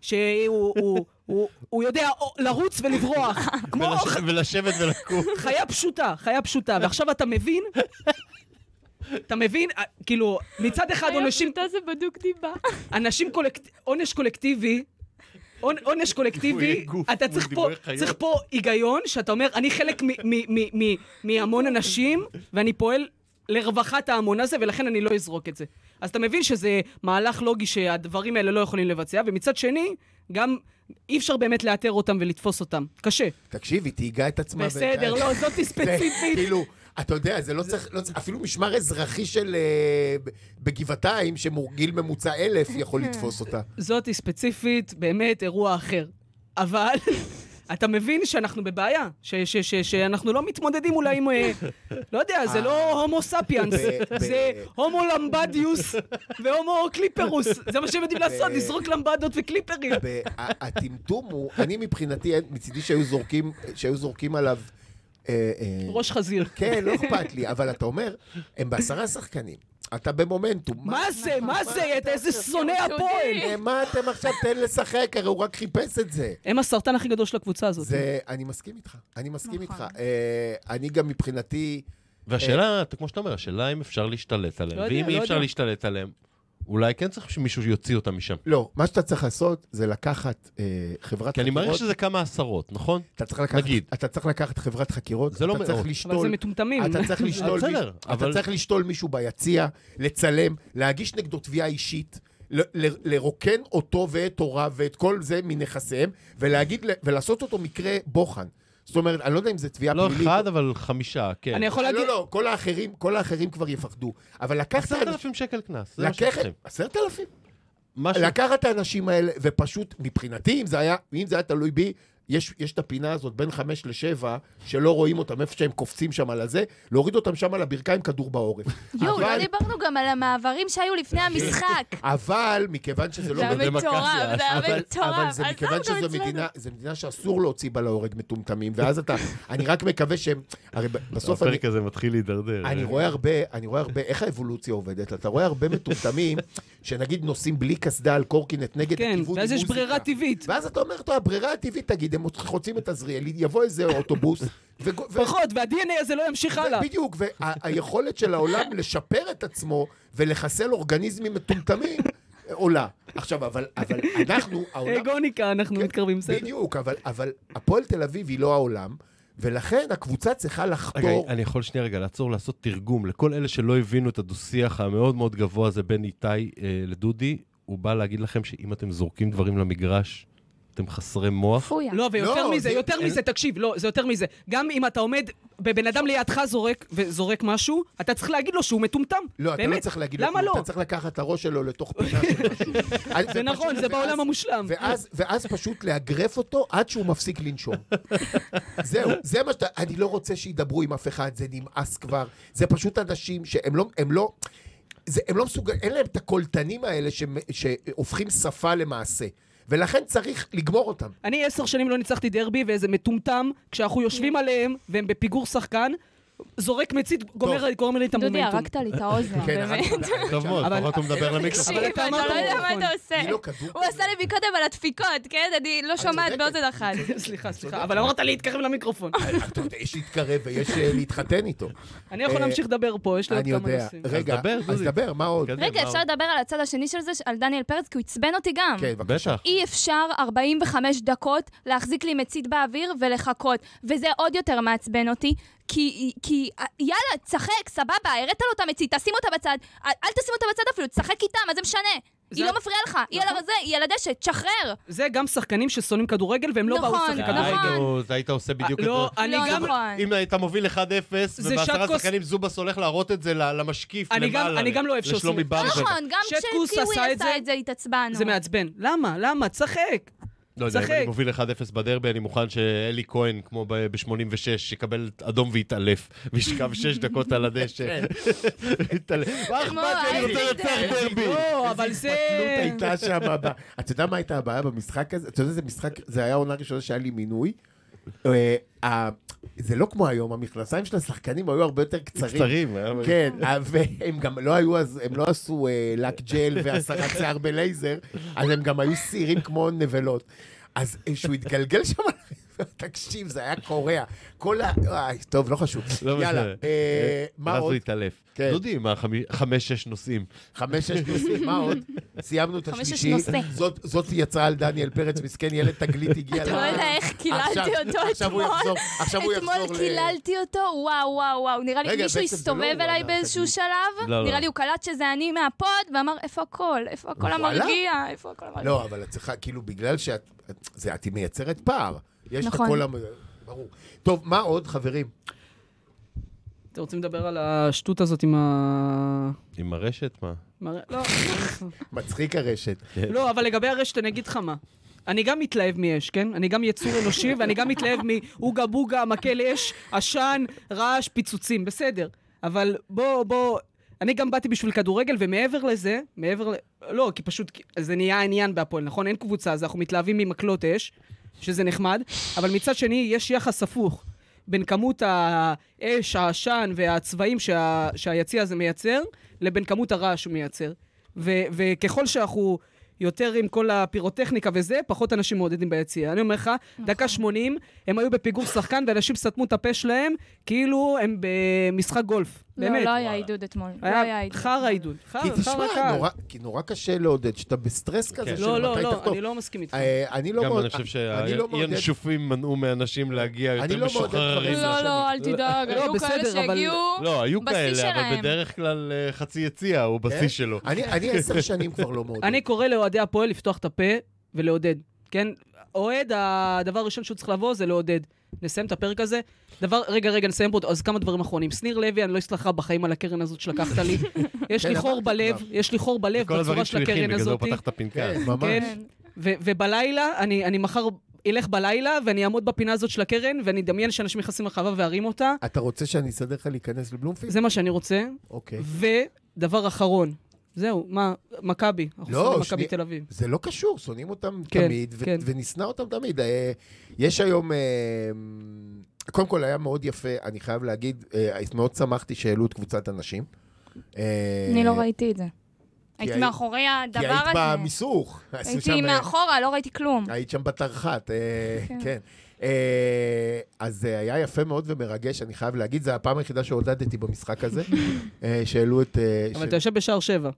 Speaker 2: שהוא הוא- הוא- הוא יודע או- לרוץ ולברוח, כמו
Speaker 4: ולש- ולשבת (laughs) ולקום.
Speaker 2: חיה פשוטה, חיה פשוטה, ועכשיו אתה מבין? אתה מבין? אה, כאילו, מצד אחד עונשים
Speaker 5: זה בדוק דיבה.
Speaker 2: אנשים קולקט... עונש קולקטיבי, עונ- עונש קולקטיבי,
Speaker 4: דימויי גוף
Speaker 2: אתה
Speaker 4: מול
Speaker 2: צריך פה,
Speaker 4: דימויי חיות.
Speaker 2: צריך פה היגיון, שאתה אומר, אני חלק מ- מ- מ- מ- מהמון אנשים, ואני פועל לרווחת ההמון הזה, ולכן אני לא אזרוק את זה. אז אתה מבין שזה מהלך לוגי שהדברים האלה לא יכולים לבצע, ומצד שני, גם אי אפשר באמת לאתר אותם ולתפוס אותם. קשה.
Speaker 3: תקשיב, היא תהיגה את עצמה.
Speaker 2: בסדר,
Speaker 3: ואת-
Speaker 2: לא, זאתי
Speaker 3: (laughs) זה,
Speaker 2: ספציפית.
Speaker 3: כאילו, אתה יודע, זה לא צריך, לא צריך- אפילו משמר אזרחי של... אה, ב- בגבעתיים, שמורגיל ממוצע אלף,
Speaker 2: (laughs)
Speaker 3: יכול לתפוס אותה.
Speaker 2: זאתי ספציפית, באמת אירוע אחר. אבל (laughs) אתה מבין שאנחנו בבעיה, ש- ש- ש- שאנחנו לא מתמודדים אולי עם... אה, לא יודע, זה לא הומו ספיאנס,
Speaker 3: אה. ב-
Speaker 2: זה הומו למבדיוס והומו קליפרוס. זה מה שהם יודעים לעשות, לזרוק למבדות וקליפרים.
Speaker 3: ב- ה- הטמטום הוא, אני מבחינתי, אין- מצידי שהיו זורקים, שהיו זורקים עליו... אה, אה,
Speaker 2: ראש חזיר.
Speaker 3: כן, לא אכפת לי, אבל אתה אומר, הם בעשרה שחקנים, אתה במומנטום.
Speaker 2: מה זה, מה זה, את איזה שונא הפועל.
Speaker 3: אה, מה אתם עכשיו, תן לשחק, הרי הוא רק חיפש את זה.
Speaker 2: הם הסרטן הכי גדול של הקבוצה הזאת.
Speaker 3: זה, אני מסכים איתך, אני מסכים
Speaker 5: נכון.
Speaker 3: איתך. אה, אני גם מבחינתי,
Speaker 4: והשאלה, אתה- כמו שאתה אומר, השאלה אם אפשר להשתלט עליהם,
Speaker 2: לא יודע,
Speaker 4: ואם
Speaker 2: לא
Speaker 4: אי
Speaker 2: יודע.
Speaker 4: אפשר להשתלט עליהם, אולי כן צריך שמישהו יוציא אותם משם.
Speaker 3: לא, מה שאתה צריך לעשות זה לקחת אה, חברת
Speaker 4: כי אני
Speaker 2: אוקיי.
Speaker 4: מעריך
Speaker 3: חקירות.
Speaker 4: שזה כמה עשרות, נכון?
Speaker 3: אתה צריך לקחת,
Speaker 4: נגיד.
Speaker 3: אתה צריך לקחת חברת חקירות,
Speaker 4: זה לא
Speaker 3: אתה צריך
Speaker 4: מאות.
Speaker 2: אבל זה
Speaker 3: לשתול,
Speaker 2: מטומטמים.
Speaker 3: אתה צריך לשתול,
Speaker 4: בסדר,
Speaker 3: מישהו- אתה
Speaker 4: אבל-
Speaker 3: צריך לשתול מישהו ביציע, לצלם, להגיש נגדו תביעה אישית. ל- ל- לרוקן אותו ואת הוריו ואת כל זה מנכסיהם, ולהגיד, ל- ולעשות אותו מקרה בוחן. זאת אומרת, אני לא יודע אם זה תביעה
Speaker 4: לא
Speaker 3: פלילית.
Speaker 4: אחד, אבל חמישה, כן.
Speaker 2: אני יכול
Speaker 3: לא,
Speaker 2: להגיד...
Speaker 3: לא, לא, כל האחרים, כל האחרים כבר יפחדו. אבל לקחת...
Speaker 4: עשרת אלפים שקל קנס, זה מה
Speaker 3: לקחת...
Speaker 4: שצריכים.
Speaker 3: עשרת אלפים.
Speaker 4: משהו-
Speaker 3: לקחת את האנשים האלה, ופשוט, מבחינתי, אם זה היה, אם זה היה תלוי בי, יש, יש את הפינה הזאת בין חמש לשבע, שלא רואים אותם, איפה שהם קופצים שם על הזה, להוריד אותם שם על הברכיים כדור בעורף.
Speaker 5: יואו, לא
Speaker 3: אבל- לא,
Speaker 5: דיברנו גם על המעברים שהיו לפני המשחק.
Speaker 3: אבל מכיוון שזה לא...
Speaker 5: זה היה מטורף, זה היה
Speaker 3: אבל, אבל
Speaker 5: מטורף.
Speaker 3: זה מכיוון
Speaker 5: עזוב
Speaker 3: שזו
Speaker 5: גם לא אצלנו.
Speaker 3: מדינה, זו מדינה שאסור להוציא בה להורג מטומטמים, ואז אתה, (laughs) אני רק מקווה שהם, הרי ב- בסוף אני,
Speaker 4: הפרק הזה מתחיל להידרדר.
Speaker 3: אני רואה הרבה, אני רואה הרבה, איך האבולוציה עובדת? אתה רואה הרבה מטומטמים, שנגיד נוסעים בלי קסדה על קורקינט נגד
Speaker 2: כן,
Speaker 3: הכיוון עם
Speaker 2: ואז יש
Speaker 3: מוזיקה.
Speaker 2: ברירה טבעית.
Speaker 3: ואז אתה אומר, טוב, הברירה הטבעית, תגיד, הם חוצים את עזריאל, יבוא איזה אוטובוס, וגו- ו-
Speaker 2: פחות, וה-DNA הזה לא ימשיך הלאה.
Speaker 3: בדיוק, והיכולת של העולם לשפר את עצמו ולחסל אורגניזמים מטומטמים אה, עולה. עכשיו, אבל אבל אנחנו, העולם...
Speaker 2: אה,
Speaker 3: כן.
Speaker 2: גוניקה, אנחנו מתקרבים, בסדר.
Speaker 3: בדיוק, אבל- אבל הפועל תל אביב היא לא העולם, ולכן הקבוצה צריכה
Speaker 4: רגע,
Speaker 3: לחתור...
Speaker 4: אני יכול שנייה רגע לעצור, לעשות תרגום לכל אלה שלא הבינו את הדו-שיח המאוד מאוד גבוה הזה בין איתי אה, לדודי. הוא בא להגיד לכם שאם אתם זורקים דברים למגרש, אתם חסרי מוח.
Speaker 5: פויה.
Speaker 2: לא, ויותר
Speaker 3: לא,
Speaker 2: מזה,
Speaker 3: זה-
Speaker 2: יותר מזה, תקשיב, לא, זה יותר מזה. גם אם אתה עומד, בבן אדם לידך זורק וזורק משהו, אתה צריך להגיד לו שהוא מטומטם.
Speaker 3: לא, אתה לא
Speaker 2: באמת.
Speaker 3: צריך להגיד לו
Speaker 2: למה
Speaker 3: כלום,
Speaker 2: לא?
Speaker 3: אתה צריך לקחת את הראש שלו לתוך פינה של משהו. אז
Speaker 2: (laughs) זה נכון,
Speaker 3: פשוט-
Speaker 2: זה בעולם
Speaker 3: ואז-
Speaker 2: המושלם.
Speaker 3: ואז- ואז פשוט לאגרף אותו עד שהוא מפסיק לנשום. זהו, זה מה שאתה... אני לא רוצה שידברו עם אף אחד, זה נמאס כבר. זה פשוט אנשים שהם לא... הם לא... זה, הם לא מסוגלים, אין להם את הקולטנים האלה ש, שהופכים שפה למעשה. ולכן צריך לגמור אותם.
Speaker 2: אני עשר שנים לא ניצחתי דרבי, ואיזה מטומטם,
Speaker 5: כן.
Speaker 2: כשאנחנו יושבים עליהם, והם בפיגור שחקן, זורק מצית, גומר גומר לי את
Speaker 5: דודי,
Speaker 2: המומנטום.
Speaker 5: הרגת לי את האוזן,
Speaker 3: כן, הרמת
Speaker 5: אה, באמת.
Speaker 4: טוב מאוד,
Speaker 2: אבל-
Speaker 4: לפחות הוא מדבר למיקרופון.
Speaker 5: תקשיב,
Speaker 2: אתה
Speaker 5: אתה לא
Speaker 2: אמרת
Speaker 5: יודע מה
Speaker 2: נכון.
Speaker 5: אתה עושה.
Speaker 3: היא לא כדור
Speaker 5: הוא
Speaker 3: כזה.
Speaker 5: עשה לי מקודם על הדפיקות, כן? אני לא שומעת
Speaker 3: צודקת,
Speaker 5: באוזן אחת.
Speaker 2: (laughs) סליחה, סליחה, אבל אמרת להתקרב
Speaker 3: (laughs)
Speaker 2: למיקרופון.
Speaker 3: אתה יודע, יש להתקרב ויש אה, להתחתן איתו.
Speaker 2: אני יכול
Speaker 3: אה,
Speaker 2: להמשיך לדבר פה, יש לי עוד
Speaker 3: אני
Speaker 2: כמה
Speaker 3: יודע.
Speaker 2: נושאים.
Speaker 3: רגע,
Speaker 4: דבר,
Speaker 3: אז
Speaker 4: דודי. כן.
Speaker 3: דבר, מה עוד?
Speaker 4: קדימה,
Speaker 5: רגע,
Speaker 4: מה
Speaker 5: אפשר לדבר על הצד השני של זה, ש- על דניאל פרץ, כי הוא עצבן אותי גם.
Speaker 3: כן,
Speaker 4: עוד?
Speaker 3: בבקשה.
Speaker 4: בטח.
Speaker 5: אי אפשר 45 דקות להחזיק לי מצית באוויר ולחכות, וזה עוד יותר מעצבן אותי, כי, כי אה, יאללה, תשחק, סבבה, הראת לו את המצית, תשים אותה בצד, אל אל תשים אותה בצד אפילו, תשחק איתה, מה זה משנה?
Speaker 2: זה- נכון.
Speaker 5: היא לא מפריעה לך, היא על הרזה, היא על הדשא, תשחרר.
Speaker 2: זה גם שחקנים ששונאים כדורגל, והם לא באו
Speaker 5: נכון,
Speaker 2: לשחק
Speaker 5: נכון.
Speaker 2: כדורגל.
Speaker 4: די, נו, אז היית עושה בדיוק את זה.
Speaker 2: לא, אני
Speaker 5: לא
Speaker 2: גם...
Speaker 5: נכון.
Speaker 4: אם היית מוביל 1-0,
Speaker 2: זה
Speaker 4: ובעשרה
Speaker 2: שט כוס-
Speaker 4: שחקנים זובס הולך להראות את זה ל- למשקיף
Speaker 2: אני גם-
Speaker 4: למעלה,
Speaker 2: אני גם לא אוהב שעושים
Speaker 4: לשלומי
Speaker 2: את זה.
Speaker 5: לא
Speaker 4: ברזל.
Speaker 5: נכון, גם
Speaker 2: שטקוס
Speaker 5: כשקיווי
Speaker 2: עשה את זה-
Speaker 5: עשה את זה התעצבנו.
Speaker 2: זה מעצבן. למה? למה? תשחק.
Speaker 4: לא יודע, אם
Speaker 2: שחק.
Speaker 4: אני מוביל 1-0 בדרבי, אני מוכן שאלי כהן, כמו ב-86, יקבל אדום ויתעלף, וישכב 6 דקות על
Speaker 3: כן.
Speaker 4: הדשא. יתעלף. מה
Speaker 5: כמו
Speaker 4: אכפת לי, אני רוצה
Speaker 5: אלי
Speaker 4: לנצח
Speaker 5: כהן.
Speaker 4: דרבי.
Speaker 2: לא, אבל זה...
Speaker 3: התלות הייתה שם. ב- אתה יודע מה הייתה הבעיה במשחק הזה? אתה יודע, זה משחק, זה היה עונה ראשונה שהיה לי מינוי. אה, ה- זה לא כמו היום, המכנסיים של השחקנים היו הרבה יותר קצרים.
Speaker 4: קצרים, היה-
Speaker 3: כן, אה, והם גם לא היו אז, הם לא עשו אה, לק ג'ל והסרת שיער בלייזר, אז הם גם היו שעירים כמו נבלות. אז אה, שהוא התגלגל שם, תקשיב, זה היה קורע. כל ה... איי, טוב, לא חשוב.
Speaker 4: לא
Speaker 3: יאללה,
Speaker 4: משנה.
Speaker 3: אה, מה
Speaker 4: ואז הוא
Speaker 3: עוד?
Speaker 4: יתעלף.
Speaker 3: כן.
Speaker 4: דודי, מה, חמי- חמש-שש נושאים.
Speaker 3: חמש, שש נושאים, מה
Speaker 5: (laughs)
Speaker 3: עוד? סיימנו את
Speaker 5: חמש, שש
Speaker 3: השלישי.
Speaker 5: נושא.
Speaker 3: זאת- זאת יצרה על דניאל פרץ, מסכן ילד תגלית הגיע
Speaker 5: אתה לא
Speaker 3: לארץ.
Speaker 5: יודע איך קיללתי
Speaker 3: עכשיו-
Speaker 5: אותו
Speaker 3: עכשיו הוא
Speaker 5: אתמול.
Speaker 3: יחזור, עכשיו הוא יחזור ל...
Speaker 5: אתמול קיללתי אותו, וואו, וואו, וואו. נראה לי
Speaker 3: רגע,
Speaker 5: מישהו
Speaker 3: בעצם זה לא
Speaker 5: הסתובב
Speaker 3: הוא
Speaker 5: אליי
Speaker 3: ענה,
Speaker 5: באיזשהו
Speaker 3: תגיד.
Speaker 5: שלב,
Speaker 4: לא, לא.
Speaker 5: נראה לי הוא קלט שזה אני מהפוד, ואמר, איפה הקול? איפה הקול
Speaker 3: וואלה?
Speaker 5: המרגיע? איפה הקול המרגיע?
Speaker 3: לא, אבל את צריכה, כאילו, בגלל שאת... את- זה- את מייצרת פער. יש את
Speaker 5: נכון.
Speaker 3: הכל... המ- ברור. טוב, מה עוד, חברים?
Speaker 2: אתם רוצים לדבר על השטות הזאת עם ה...
Speaker 4: עם הרשת, מה?
Speaker 2: מראה- לא,
Speaker 3: מצחיק הרשת.
Speaker 2: לא, אבל לגבי הרשת, אני אגיד לך מה. אני גם מתלהב מאש, כן? אני גם יצור אנושי, ואני גם מתלהב מאוגה בוגה, מקל אש, עשן, רעש, פיצוצים, בסדר. אבל בוא, בוא, אני גם באתי בשביל כדורגל, ומעבר לזה, מעבר ל... לא, כי פשוט זה נהיה העניין בהפועל, נכון? אין קבוצה, אז אנחנו מתלהבים ממקלות אש, שזה נחמד, אבל מצד שני, יש יחס הפוך בין כמות האש, העשן והצבעים שה... שהיציע הזה מייצר, לבין כמות הרעש שהוא מייצר. ו- וככל שאנחנו יותר עם כל הפירוטכניקה וזה, פחות אנשים מעודדים ביציע. אני אומר לך,
Speaker 5: נכון.
Speaker 2: דקה 80, הם היו בפיגור שחקן, ואנשים סתמו את הפה שלהם, כאילו הם במשחק גולף.
Speaker 5: לא,
Speaker 2: באמת.
Speaker 5: לא היה עידוד אתמול. לא היה
Speaker 2: היה
Speaker 5: עידוד.
Speaker 2: חרא עידוד. חרא,
Speaker 3: כי
Speaker 2: חרא
Speaker 3: תשמע,
Speaker 2: קל.
Speaker 3: נורא- כי נורא קשה לעודד, שאתה בסטרס כזה
Speaker 4: כן.
Speaker 3: של
Speaker 2: לא, לא,
Speaker 3: מתי
Speaker 2: לא,
Speaker 3: תחתום.
Speaker 2: אני לא מסכים איתך.
Speaker 3: אה, אני לא
Speaker 4: גם
Speaker 3: מאוד-
Speaker 4: אני חושב
Speaker 3: אני לא מעודד-
Speaker 4: שהינשופים מנעו מאנשים להגיע
Speaker 3: אני
Speaker 4: יותר
Speaker 3: לא מעודד
Speaker 4: משוחררים.
Speaker 3: דברים
Speaker 5: לא, לא, אל תדאג,
Speaker 2: לא,
Speaker 5: היו כאלה
Speaker 2: בסדר, אבל-
Speaker 5: שהגיעו...
Speaker 4: לא, היו
Speaker 5: בשיא
Speaker 4: כאלה, אבל
Speaker 5: שלהם.
Speaker 4: בדרך כלל אה, חצי יציע הוא
Speaker 3: כן?
Speaker 4: בשיא שלו.
Speaker 3: אני- אני עשר שנים כבר לא מעודד.
Speaker 2: אני קורא לאוהדי הפועל לפתוח את הפה ולעודד, כן? אוהד, הדבר הראשון שהוא צריך לבוא זה לעודד. נסיים את הפרק הזה. דבר, רגע, רגע, נסיים פה, אז כמה דברים אחרונים. שניר לוי, אני לא אסלח לך בחיים על הקרן הזאת שלקחת
Speaker 4: (laughs)
Speaker 2: לי. יש לי
Speaker 3: כן,
Speaker 2: חור
Speaker 3: אמרתי
Speaker 2: בלב,
Speaker 3: כבר.
Speaker 2: יש לי חור בלב
Speaker 4: כל הדברים
Speaker 2: בצורה של
Speaker 4: שהוא הכין,
Speaker 2: הקרן
Speaker 4: בגלל זה הוא
Speaker 2: הזאת.
Speaker 4: פתח את הפנקס.
Speaker 3: כן, ממש.
Speaker 2: כן. ו- ובלילה, אני אני מחר אלך בלילה ואני אעמוד בפינה הזאת של הקרן, ואני אדמיין שאנשים נכנסים לחווה וארים אותה.
Speaker 3: אתה רוצה שאני אסדר לך להיכנס לבלומפילד?
Speaker 2: זה מה שאני רוצה.
Speaker 4: כן.
Speaker 3: אוקיי.
Speaker 2: ודבר אחרון, זהו, מה, מכבי. אנחנו
Speaker 3: לא,
Speaker 2: שונאים מכבי
Speaker 3: שנייה.
Speaker 2: תל אביב.
Speaker 3: זה לא קשור, שונאים אותם
Speaker 2: כן,
Speaker 3: תמיד, ו-
Speaker 2: כן.
Speaker 3: ונשנא אותם תמיד. אה, יש היום... אה, קודם כל, היה מאוד יפה, אני חייב להגיד, אה, מאוד שמחתי שהעלו את קבוצת הנשים. אה,
Speaker 5: אני לא ראיתי את זה.
Speaker 3: היית-
Speaker 5: הייתי מאחורי הדבר
Speaker 3: כי היית
Speaker 5: הזה.
Speaker 3: במיסוך. עשו
Speaker 5: הייתי
Speaker 3: שם, אה,
Speaker 5: מאחורה, לא ראיתי כלום.
Speaker 3: היית שם בתרח"ט, אה, כן. אה, אז זה היה יפה מאוד ומרגש, אני חייב להגיד, זו הפעם היחידה שעודדתי במשחק הזה, אה, שהעלו את... אה,
Speaker 2: אבל
Speaker 3: ש-
Speaker 2: אתה יושב בשער שבע.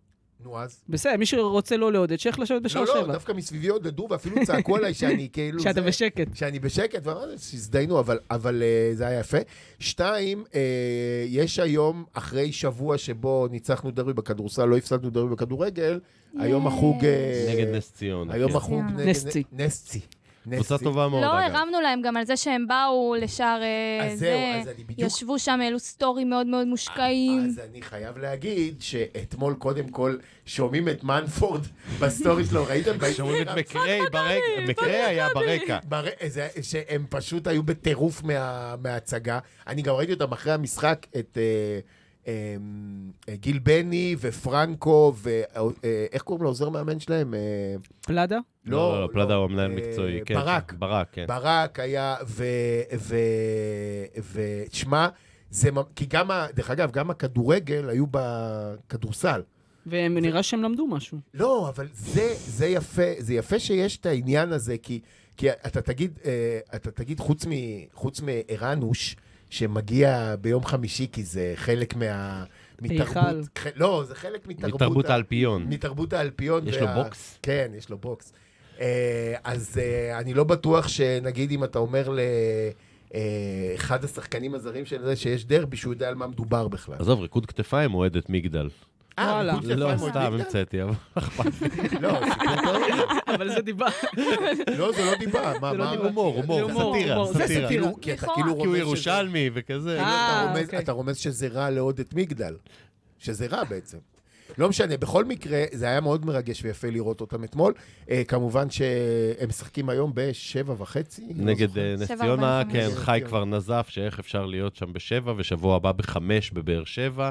Speaker 3: נו, אז...
Speaker 2: בסדר, מי שרוצה לא לעודד, שייך לשבת בשער
Speaker 3: לא, לא,
Speaker 2: שבע.
Speaker 3: דווקא מסביבי עודדו ואפילו צעקו עליי
Speaker 2: (laughs)
Speaker 3: שאני כאילו...
Speaker 2: שאתה
Speaker 3: זה-
Speaker 2: בשקט.
Speaker 3: שאני בשקט, ואמרתי, שהזדיינו, אבל, אבל אה, זה היה יפה. שתיים, אה, יש היום, אחרי שבוע שבו ניצחנו דרבי בכדורסל, לא הפסדנו דרבי בכדורגל, היום החוג... אה,
Speaker 4: נגד נס ציונה.
Speaker 3: היום
Speaker 4: כן.
Speaker 3: החוג
Speaker 5: ציונה.
Speaker 3: נגד-
Speaker 2: נסצי.
Speaker 3: נסצי.
Speaker 4: קבוצה
Speaker 3: נסצי.
Speaker 4: טובה מאוד,
Speaker 5: לא
Speaker 4: אגב.
Speaker 5: הרמנו להם גם על זה שהם באו לשער אה,
Speaker 3: אז זהו,
Speaker 5: זה.
Speaker 3: אז אני בדיוק... אה,
Speaker 5: ישבו שם, העלו סטורים מאוד מאוד מושקעים.
Speaker 3: אז אני חייב להגיד שאתמול קודם כל שומעים את מנפורד בסטורי שלו, ראיתם?
Speaker 4: שומעים את
Speaker 3: באינסטגרם?
Speaker 4: מקריי ברקע, מקריי היה ברקע.
Speaker 3: ברא- זה- שהם פשוט היו בטירוף מה- מההצגה. אני גם ראיתי אותם אחרי המשחק, את אה, אה, אה, גיל בני ופרנקו, ואיך קוראים לעוזר מאמן שלהם? אה,
Speaker 2: פלדה?
Speaker 4: לא, לא, פלדה הוא המנהל
Speaker 3: אה,
Speaker 4: מקצועי. כן,
Speaker 3: ברק.
Speaker 4: ברק, כן.
Speaker 3: ברק היה, ו... ו... ו... שמע, זה... ממ- כי גם, ה- דרך אגב, גם הכדורגל היו בכדורסל.
Speaker 2: ונראה שהם למדו משהו.
Speaker 3: לא, אבל זה, זה יפה, זה יפה שיש את העניין הזה, כי, כי אתה תגיד, אה, אתה תגיד חוץ, מ, חוץ מערנוש, שמגיע ביום חמישי, כי זה חלק מה... מתרבות,
Speaker 2: היכל.
Speaker 3: ח, לא, זה חלק מתרבות,
Speaker 4: מתרבות
Speaker 3: ה-
Speaker 4: האלפיון.
Speaker 3: מתרבות האלפיון.
Speaker 4: יש לו בוקס?
Speaker 3: כן, יש לו בוקס. אה, אז אה, אני לא בטוח שנגיד אם אתה אומר לאחד השחקנים הזרים של זה שיש דרבי, שהוא יודע על מה מדובר בכלל.
Speaker 4: עזוב, ריקוד כתפיים אוהדת מגדל.
Speaker 3: אה,
Speaker 2: וואלה.
Speaker 3: ריקוד כתפיים
Speaker 4: לא,
Speaker 3: הוא
Speaker 4: סתם
Speaker 3: הדליק?
Speaker 4: המצאתי, אבל
Speaker 3: לא, סיפור טוב.
Speaker 2: (laughs) אבל זה דיבה.
Speaker 3: לא, זה לא דיבה. מה,
Speaker 2: זה לא
Speaker 3: מה?
Speaker 2: דיבה.
Speaker 4: הומור, הומור,
Speaker 2: הומור,
Speaker 4: סאטירה,
Speaker 2: הומור. זה
Speaker 4: סאטירה.
Speaker 2: סאטירה.
Speaker 3: כאילו, כי אתה
Speaker 5: לכאורה.
Speaker 3: כאילו רומז
Speaker 4: כי הוא
Speaker 3: שזה-
Speaker 4: ירושלמי וכזה.
Speaker 2: אה,
Speaker 3: אתה רומז-
Speaker 2: אוקיי.
Speaker 3: אתה רומז שזה רע לעוד את מגדל. שזה רע בעצם. לא משנה, בכל מקרה, זה היה מאוד מרגש ויפה לראות אותם אתמול. אה, כמובן שהם משחקים היום בשבע וחצי. אני לא
Speaker 4: נגד
Speaker 3: זוכר.
Speaker 4: אה, נס
Speaker 5: שבע,
Speaker 4: ציונה,
Speaker 5: ארבעים,
Speaker 4: כן,
Speaker 5: חמש.
Speaker 4: חי כבר נזף שאיך אפשר להיות שם בשבע, ושבוע הבא בחמש בבאר שבע.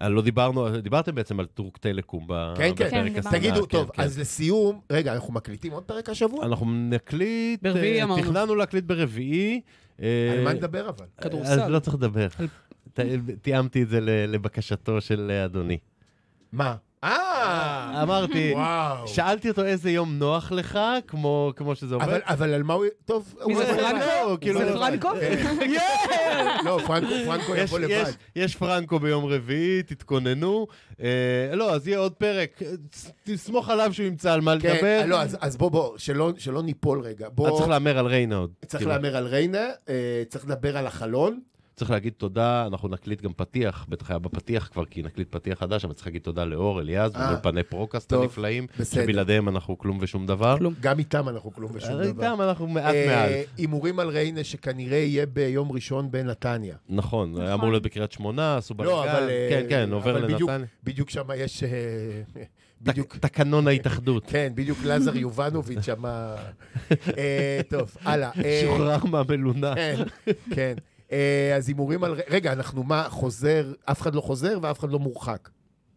Speaker 4: אה, לא דיברנו, דיברתם בעצם על טורק טלקום ב-
Speaker 3: כן,
Speaker 4: בפרק
Speaker 3: כן.
Speaker 5: כן, דיברנו.
Speaker 4: הסדרה,
Speaker 3: תגידו,
Speaker 4: כן,
Speaker 3: טוב,
Speaker 4: כן.
Speaker 3: אז לסיום, רגע, אנחנו מקליטים עוד פרק השבוע?
Speaker 4: אנחנו נקליט,
Speaker 2: ברביעי
Speaker 4: אה,
Speaker 2: אמרנו.
Speaker 4: תכננו להקליט ברביעי. אה,
Speaker 3: על מה נדבר אבל?
Speaker 2: כדורסל.
Speaker 4: אז לא צריך לדבר. ת- תיאמתי את זה ל- לבקשתו של אה, אדוני.
Speaker 3: מה? אה!
Speaker 4: אמרתי,
Speaker 3: וואו.
Speaker 4: שאלתי אותו איזה יום נוח לך, כמו כמו שזה עובד.
Speaker 3: אבל- אבל על מה הוא... טוב, הוא אה,
Speaker 2: מי זה
Speaker 3: יבוא לבד.
Speaker 2: פרנקו?
Speaker 4: לא, כאילו-
Speaker 2: זה פרנקו?
Speaker 3: כן." (laughs) לא, פרנקו, פרנקו
Speaker 4: יש,
Speaker 3: יבוא לבד.
Speaker 4: יש, יש פרנקו ביום רביעי, תתכוננו. אה, לא, אז יהיה עוד פרק. אה, ת- תסמוך עליו שהוא ימצא על מה לדבר.
Speaker 3: כן, לא, אז- אז בוא, בוא, שלא שלא ניפול רגע.
Speaker 4: אז
Speaker 3: בוא...
Speaker 4: צריך להמר על ריינה עוד.
Speaker 3: צריך
Speaker 4: כאילו,
Speaker 3: להמר על ריינה, אה, צריך לדבר על החלון.
Speaker 4: צריך להגיד תודה, אנחנו נקליט גם פתיח, בטח היה בפתיח כבר, כי נקליט פתיח חדש, אבל צריך להגיד תודה לאור, אליעז,
Speaker 3: אה,
Speaker 4: ואולפני פרוקאסט
Speaker 3: טוב,
Speaker 4: הנפלאים,
Speaker 3: בסדר.
Speaker 4: שבלעדיהם אנחנו כלום ושום דבר.
Speaker 2: כלום.
Speaker 3: גם איתם אנחנו כלום ושום
Speaker 4: הרי
Speaker 3: דבר.
Speaker 4: איתם אנחנו מעט
Speaker 3: אה,
Speaker 4: מעל.
Speaker 3: הימורים על ריינה שכנראה יהיה ביום ראשון בנתניה.
Speaker 4: נכון, היה אמור להיות בקריית שמונה, עשו
Speaker 3: לא,
Speaker 4: בלגן,
Speaker 3: אבל... אה,
Speaker 4: כן, כן, עובר
Speaker 3: אבל בדיוק-
Speaker 4: לנתניה.
Speaker 3: בדיוק שם יש... אה, בדיוק,
Speaker 4: תק- תקנון ההתאחדות.
Speaker 3: כן, בדיוק לזר יובנוביץ'
Speaker 4: (laughs)
Speaker 3: שם... אה, טוב, הלאה. אה,
Speaker 4: שוחרר מהמלונה.
Speaker 3: כן, כן. אה, אז הימורים על... ר- רגע, אנחנו מה, חוזר, אף אחד לא חוזר ואף אחד לא מורחק.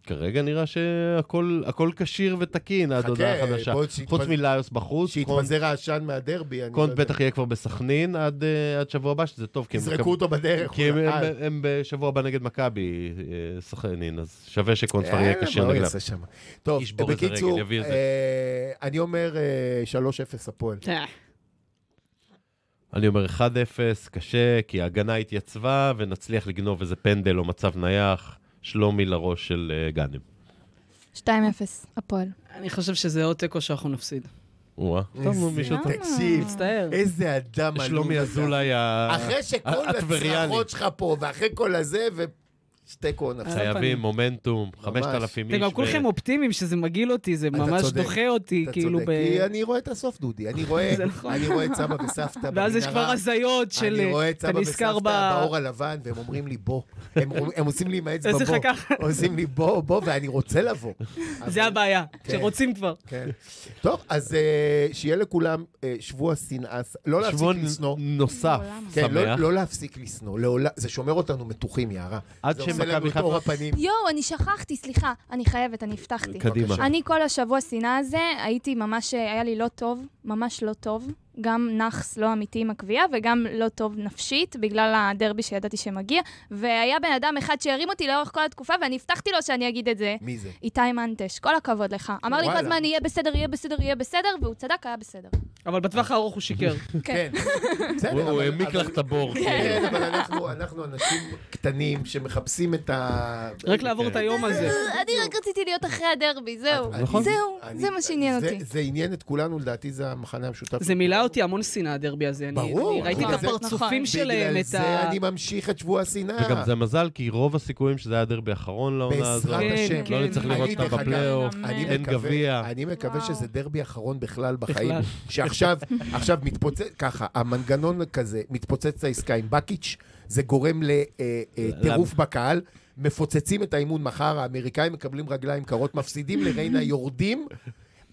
Speaker 4: כרגע נראה שהכל הכל כשיר ותקין, עד
Speaker 3: חכה,
Speaker 4: הודעה חדשה.
Speaker 3: בוא שיתפז-
Speaker 4: חוץ מליוס בחוץ, קונט-
Speaker 3: שהתפזר העשן מהדרבי, אני לא
Speaker 4: קונט
Speaker 3: יודע.
Speaker 4: בטח יהיה כבר בסכנין עד אה, עד שבוע הבא, שזה טוב, כי הם
Speaker 3: יזרקו אותו בדרך.
Speaker 4: כי הם-
Speaker 3: אולי. אה,
Speaker 4: הם- הם בשבוע הבא נגד מכבי, אה, סכנין, אז שווה שקונט כבר
Speaker 3: אה,
Speaker 4: יהיה כשיר
Speaker 3: מה הוא
Speaker 4: נגדם.
Speaker 3: יעשה שם? טוב,
Speaker 4: ישבור איזה
Speaker 3: בקיצור,
Speaker 4: רגל, יביא איזה.
Speaker 3: אה, אני אומר אה, 3-0 הפועל.
Speaker 2: אה,
Speaker 4: אני אומר 1-0, קשה, כי ההגנה התייצבה, ונצליח לגנוב איזה פנדל או מצב נייח, שלומי לראש של אה, גאנם.
Speaker 5: 2-0, הפועל.
Speaker 2: אני חושב שזה עוד תיקו שאנחנו נפסיד.
Speaker 4: או-אה. טוב, נו, מישהו טוב.
Speaker 3: אה, תקשיב,
Speaker 2: מצטער.
Speaker 3: איזה אדם עלוב.
Speaker 4: שלומי
Speaker 3: אתה.
Speaker 4: אזולאי אה, ה-
Speaker 3: אחרי שכל
Speaker 4: הטבריאני.
Speaker 3: הצרחות שלך פה, ואחרי כל הזה, ושתיקו נפסיד.
Speaker 4: חייבים,
Speaker 2: הפנים.
Speaker 4: מומנטום, 5,000 איש.
Speaker 2: אתם גם
Speaker 4: ו-
Speaker 3: לא
Speaker 2: כולכם אופטימיים שזה מגעיל אותי, זה
Speaker 3: אתה
Speaker 2: ממש
Speaker 3: צודק.
Speaker 2: דוחה אותי,
Speaker 3: אתה
Speaker 2: כאילו
Speaker 3: צודק,
Speaker 2: ב...
Speaker 3: כי אני רואה את הסוף,
Speaker 2: (laughs)
Speaker 3: דודי. אני רואה
Speaker 2: זה נכון.
Speaker 3: אני רואה את סבא וסבתא במנהרה.
Speaker 2: ואז יש כבר הזיות של... אה,
Speaker 3: אני רואה את
Speaker 2: אתה
Speaker 3: סבא
Speaker 2: נזכר
Speaker 3: וסבתא
Speaker 2: ב-
Speaker 3: באור הלבן, והם אומרים לי בוא. הם הם עושים לי עם האצבע
Speaker 2: איזה
Speaker 3: בוא.
Speaker 2: חכה.
Speaker 3: עושים לי בוא, בוא, ואני רוצה לבוא. אבל-
Speaker 2: זה הבעיה, שרוצים כבר.
Speaker 3: כן. טוב, אז אה, שיהיה לכולם אה, שבוע שנאה, ס- לא
Speaker 4: שבוע
Speaker 3: להפסיק לשנוא.
Speaker 4: נוסף,
Speaker 5: מעולם.
Speaker 3: כן, לא,
Speaker 4: שמח.
Speaker 3: לא להפסיק לשנוא, לעולם, זה שומר אותנו מתוחים, יערה.
Speaker 4: עד
Speaker 3: זה עושה
Speaker 4: שמכבי
Speaker 3: לנו את
Speaker 4: חיפה-
Speaker 3: אור הפנים.
Speaker 5: יואו, אני שכחתי, סליחה. אני חייבת, אני הבטחתי.
Speaker 4: קדימה.
Speaker 3: בבקשה.
Speaker 5: אני כל השבוע שנאה הזה, הייתי ממש, היה לי לא טוב, ממש לא טוב. גם נאחס לא אמיתי עם הקביעה, וגם לא טוב נפשית, בגלל הדרבי שידעתי שמגיע. והיה בן אדם אחד שהרים אותי לאורך כל התקופה, ואני הבטחתי לו שאני אגיד את זה.
Speaker 3: מי זה?
Speaker 5: איתי מנטש, כל הכבוד לך. אמר לי כל
Speaker 3: וואלה.
Speaker 5: הזמן, יהיה בסדר, יהיה בסדר, יהיה בסדר, והוא צדק, היה בסדר.
Speaker 2: אבל בטווח הארוך הוא
Speaker 3: (laughs)
Speaker 2: שיקר.
Speaker 3: כן. בסדר,
Speaker 4: הוא הוא
Speaker 3: אבל-
Speaker 4: העמיק
Speaker 3: אבל-
Speaker 4: לך את הבור. כאילו.
Speaker 3: כן, (laughs) אבל אנחנו- אנחנו אנשים קטנים שמחפשים את ה...
Speaker 2: רק
Speaker 3: כן.
Speaker 2: לעבור את היום הזה.
Speaker 5: אני רק רציתי להיות אחרי הדרבי, זהו.
Speaker 3: אני- נכון.
Speaker 5: זהו,
Speaker 3: אני-
Speaker 5: זה מה שעניין
Speaker 3: זה-
Speaker 5: אותי.
Speaker 3: זה עניין את כולנו, לדעתי זה המחנה המשותף.
Speaker 2: זה מילא אותי המון שנאה, הדרבי הזה. אני-
Speaker 3: ברור.
Speaker 2: אני ראיתי את
Speaker 3: נכון,
Speaker 2: הפרצופים
Speaker 5: נכון.
Speaker 2: שלהם,
Speaker 3: בגלל
Speaker 2: את
Speaker 3: זה
Speaker 2: ה...
Speaker 3: אני ממשיך את שבוע השנאה.
Speaker 4: וגם זה מזל, כי רוב הסיכויים שזה היה דרבי האחרון לעונה הזאת.
Speaker 3: בעזרת
Speaker 2: כן,
Speaker 3: השם.
Speaker 2: כן.
Speaker 4: לא נצטרך לראות
Speaker 3: אני, דרך
Speaker 4: אותם
Speaker 3: אגב,
Speaker 4: בפלייאוף.
Speaker 3: אני
Speaker 4: אין
Speaker 3: מקווה-
Speaker 4: גביע.
Speaker 3: אני מקווה
Speaker 5: וואו.
Speaker 3: שזה דרבי האחרון בכלל בחיים.
Speaker 2: בכלל.
Speaker 3: שעכשיו עכשיו מתפוצץ, ככה, המנגנון כזה, מתפוצץ העסקה עם בקיץ', זה גורם לטירוף בקהל. מפוצצים את האימון מחר, האמריקאים מקבלים רגליים קרות, מפסידים
Speaker 4: (laughs)
Speaker 3: לריינה, יורדים,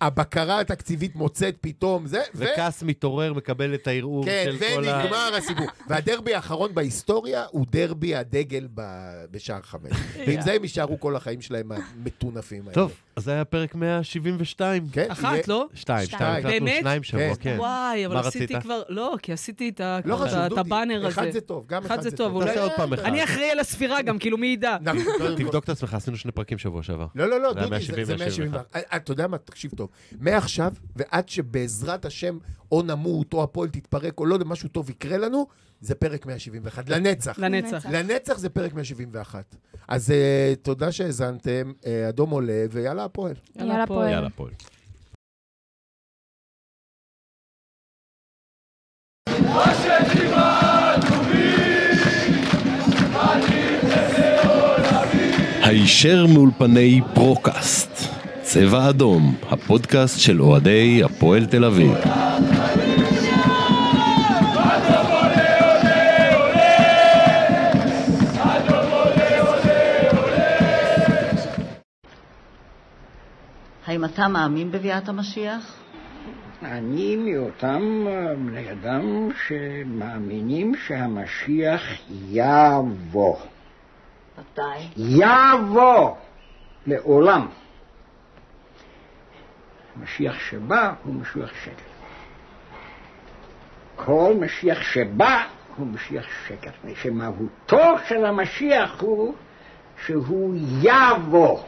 Speaker 3: הבקרה התקציבית מוצאת פתאום, זה, ו...
Speaker 4: וכעס מתעורר, מקבל את הערעור
Speaker 3: כן,
Speaker 4: של כל ה...
Speaker 3: ונגמר
Speaker 4: (laughs)
Speaker 3: הסיפור. והדרבי האחרון בהיסטוריה הוא דרבי הדגל ב- בשער
Speaker 4: (laughs)
Speaker 3: חמש. ועם זה הם יישארו כל החיים שלהם המטונפים האלה.
Speaker 4: טוב, אז זה היה פרק 172.
Speaker 3: כן, יהיה-
Speaker 2: אחת, לא?
Speaker 4: שתיים,
Speaker 5: שתיים.
Speaker 4: שתיים, החלטנו
Speaker 2: באמת?
Speaker 4: שניים שבוע,
Speaker 3: כן.
Speaker 4: כן.
Speaker 2: וואי, אבל
Speaker 4: מה
Speaker 2: עשיתי
Speaker 4: רצית?
Speaker 2: כבר... לא, כי עשיתי את ה-
Speaker 3: לא
Speaker 2: את
Speaker 3: חשוב,
Speaker 2: ה- את
Speaker 3: דודי.
Speaker 2: הבאנר הזה.
Speaker 3: אחד זה טוב, לא, גם
Speaker 2: אחד זה טוב, לא אולי-
Speaker 4: תעשה עוד פעם אחד.
Speaker 2: אני אחראי על הספירה גם, כאילו, מי ידע?
Speaker 3: נכון, קודם כל.
Speaker 4: תבדוק את עצמך, עשינו שני פרקים שבוע שעבר.
Speaker 3: לא, לא, לא,
Speaker 4: זה היה
Speaker 3: דודי, זה-
Speaker 4: 170,
Speaker 3: זה 170.
Speaker 4: 171.
Speaker 3: אה, אתה יודע מה, תקשיב טוב. מעכשיו ועד שבעזרת השם או נמות או הפועל תתפרק או לא יודע, משהו טוב יקרה לנו, זה פרק 171. לנצח.
Speaker 2: לנצח.
Speaker 3: לנצח זה פרק 171. אז אה, תודה שהאזנתם, אה, אדום עולה, ויאללה הפועל.
Speaker 5: יאללה, פועל.
Speaker 4: יאללה, פועל.
Speaker 1: הישר מאולפני פרוקאסט, צבע אדום, הפודקאסט של אוהדי הפועל תל אביב.
Speaker 6: האם אתה מאמין בביאת המשיח?
Speaker 7: אני מאותם אה, בני אדם שמאמינים שהמשיח יבוא.
Speaker 6: מתי?
Speaker 7: יבוא! לעולם. המשיח שבא הוא משיח שקר. כל משיח שבא הוא משיח שקר, מפני שמהותו של המשיח הוא שהוא יבוא.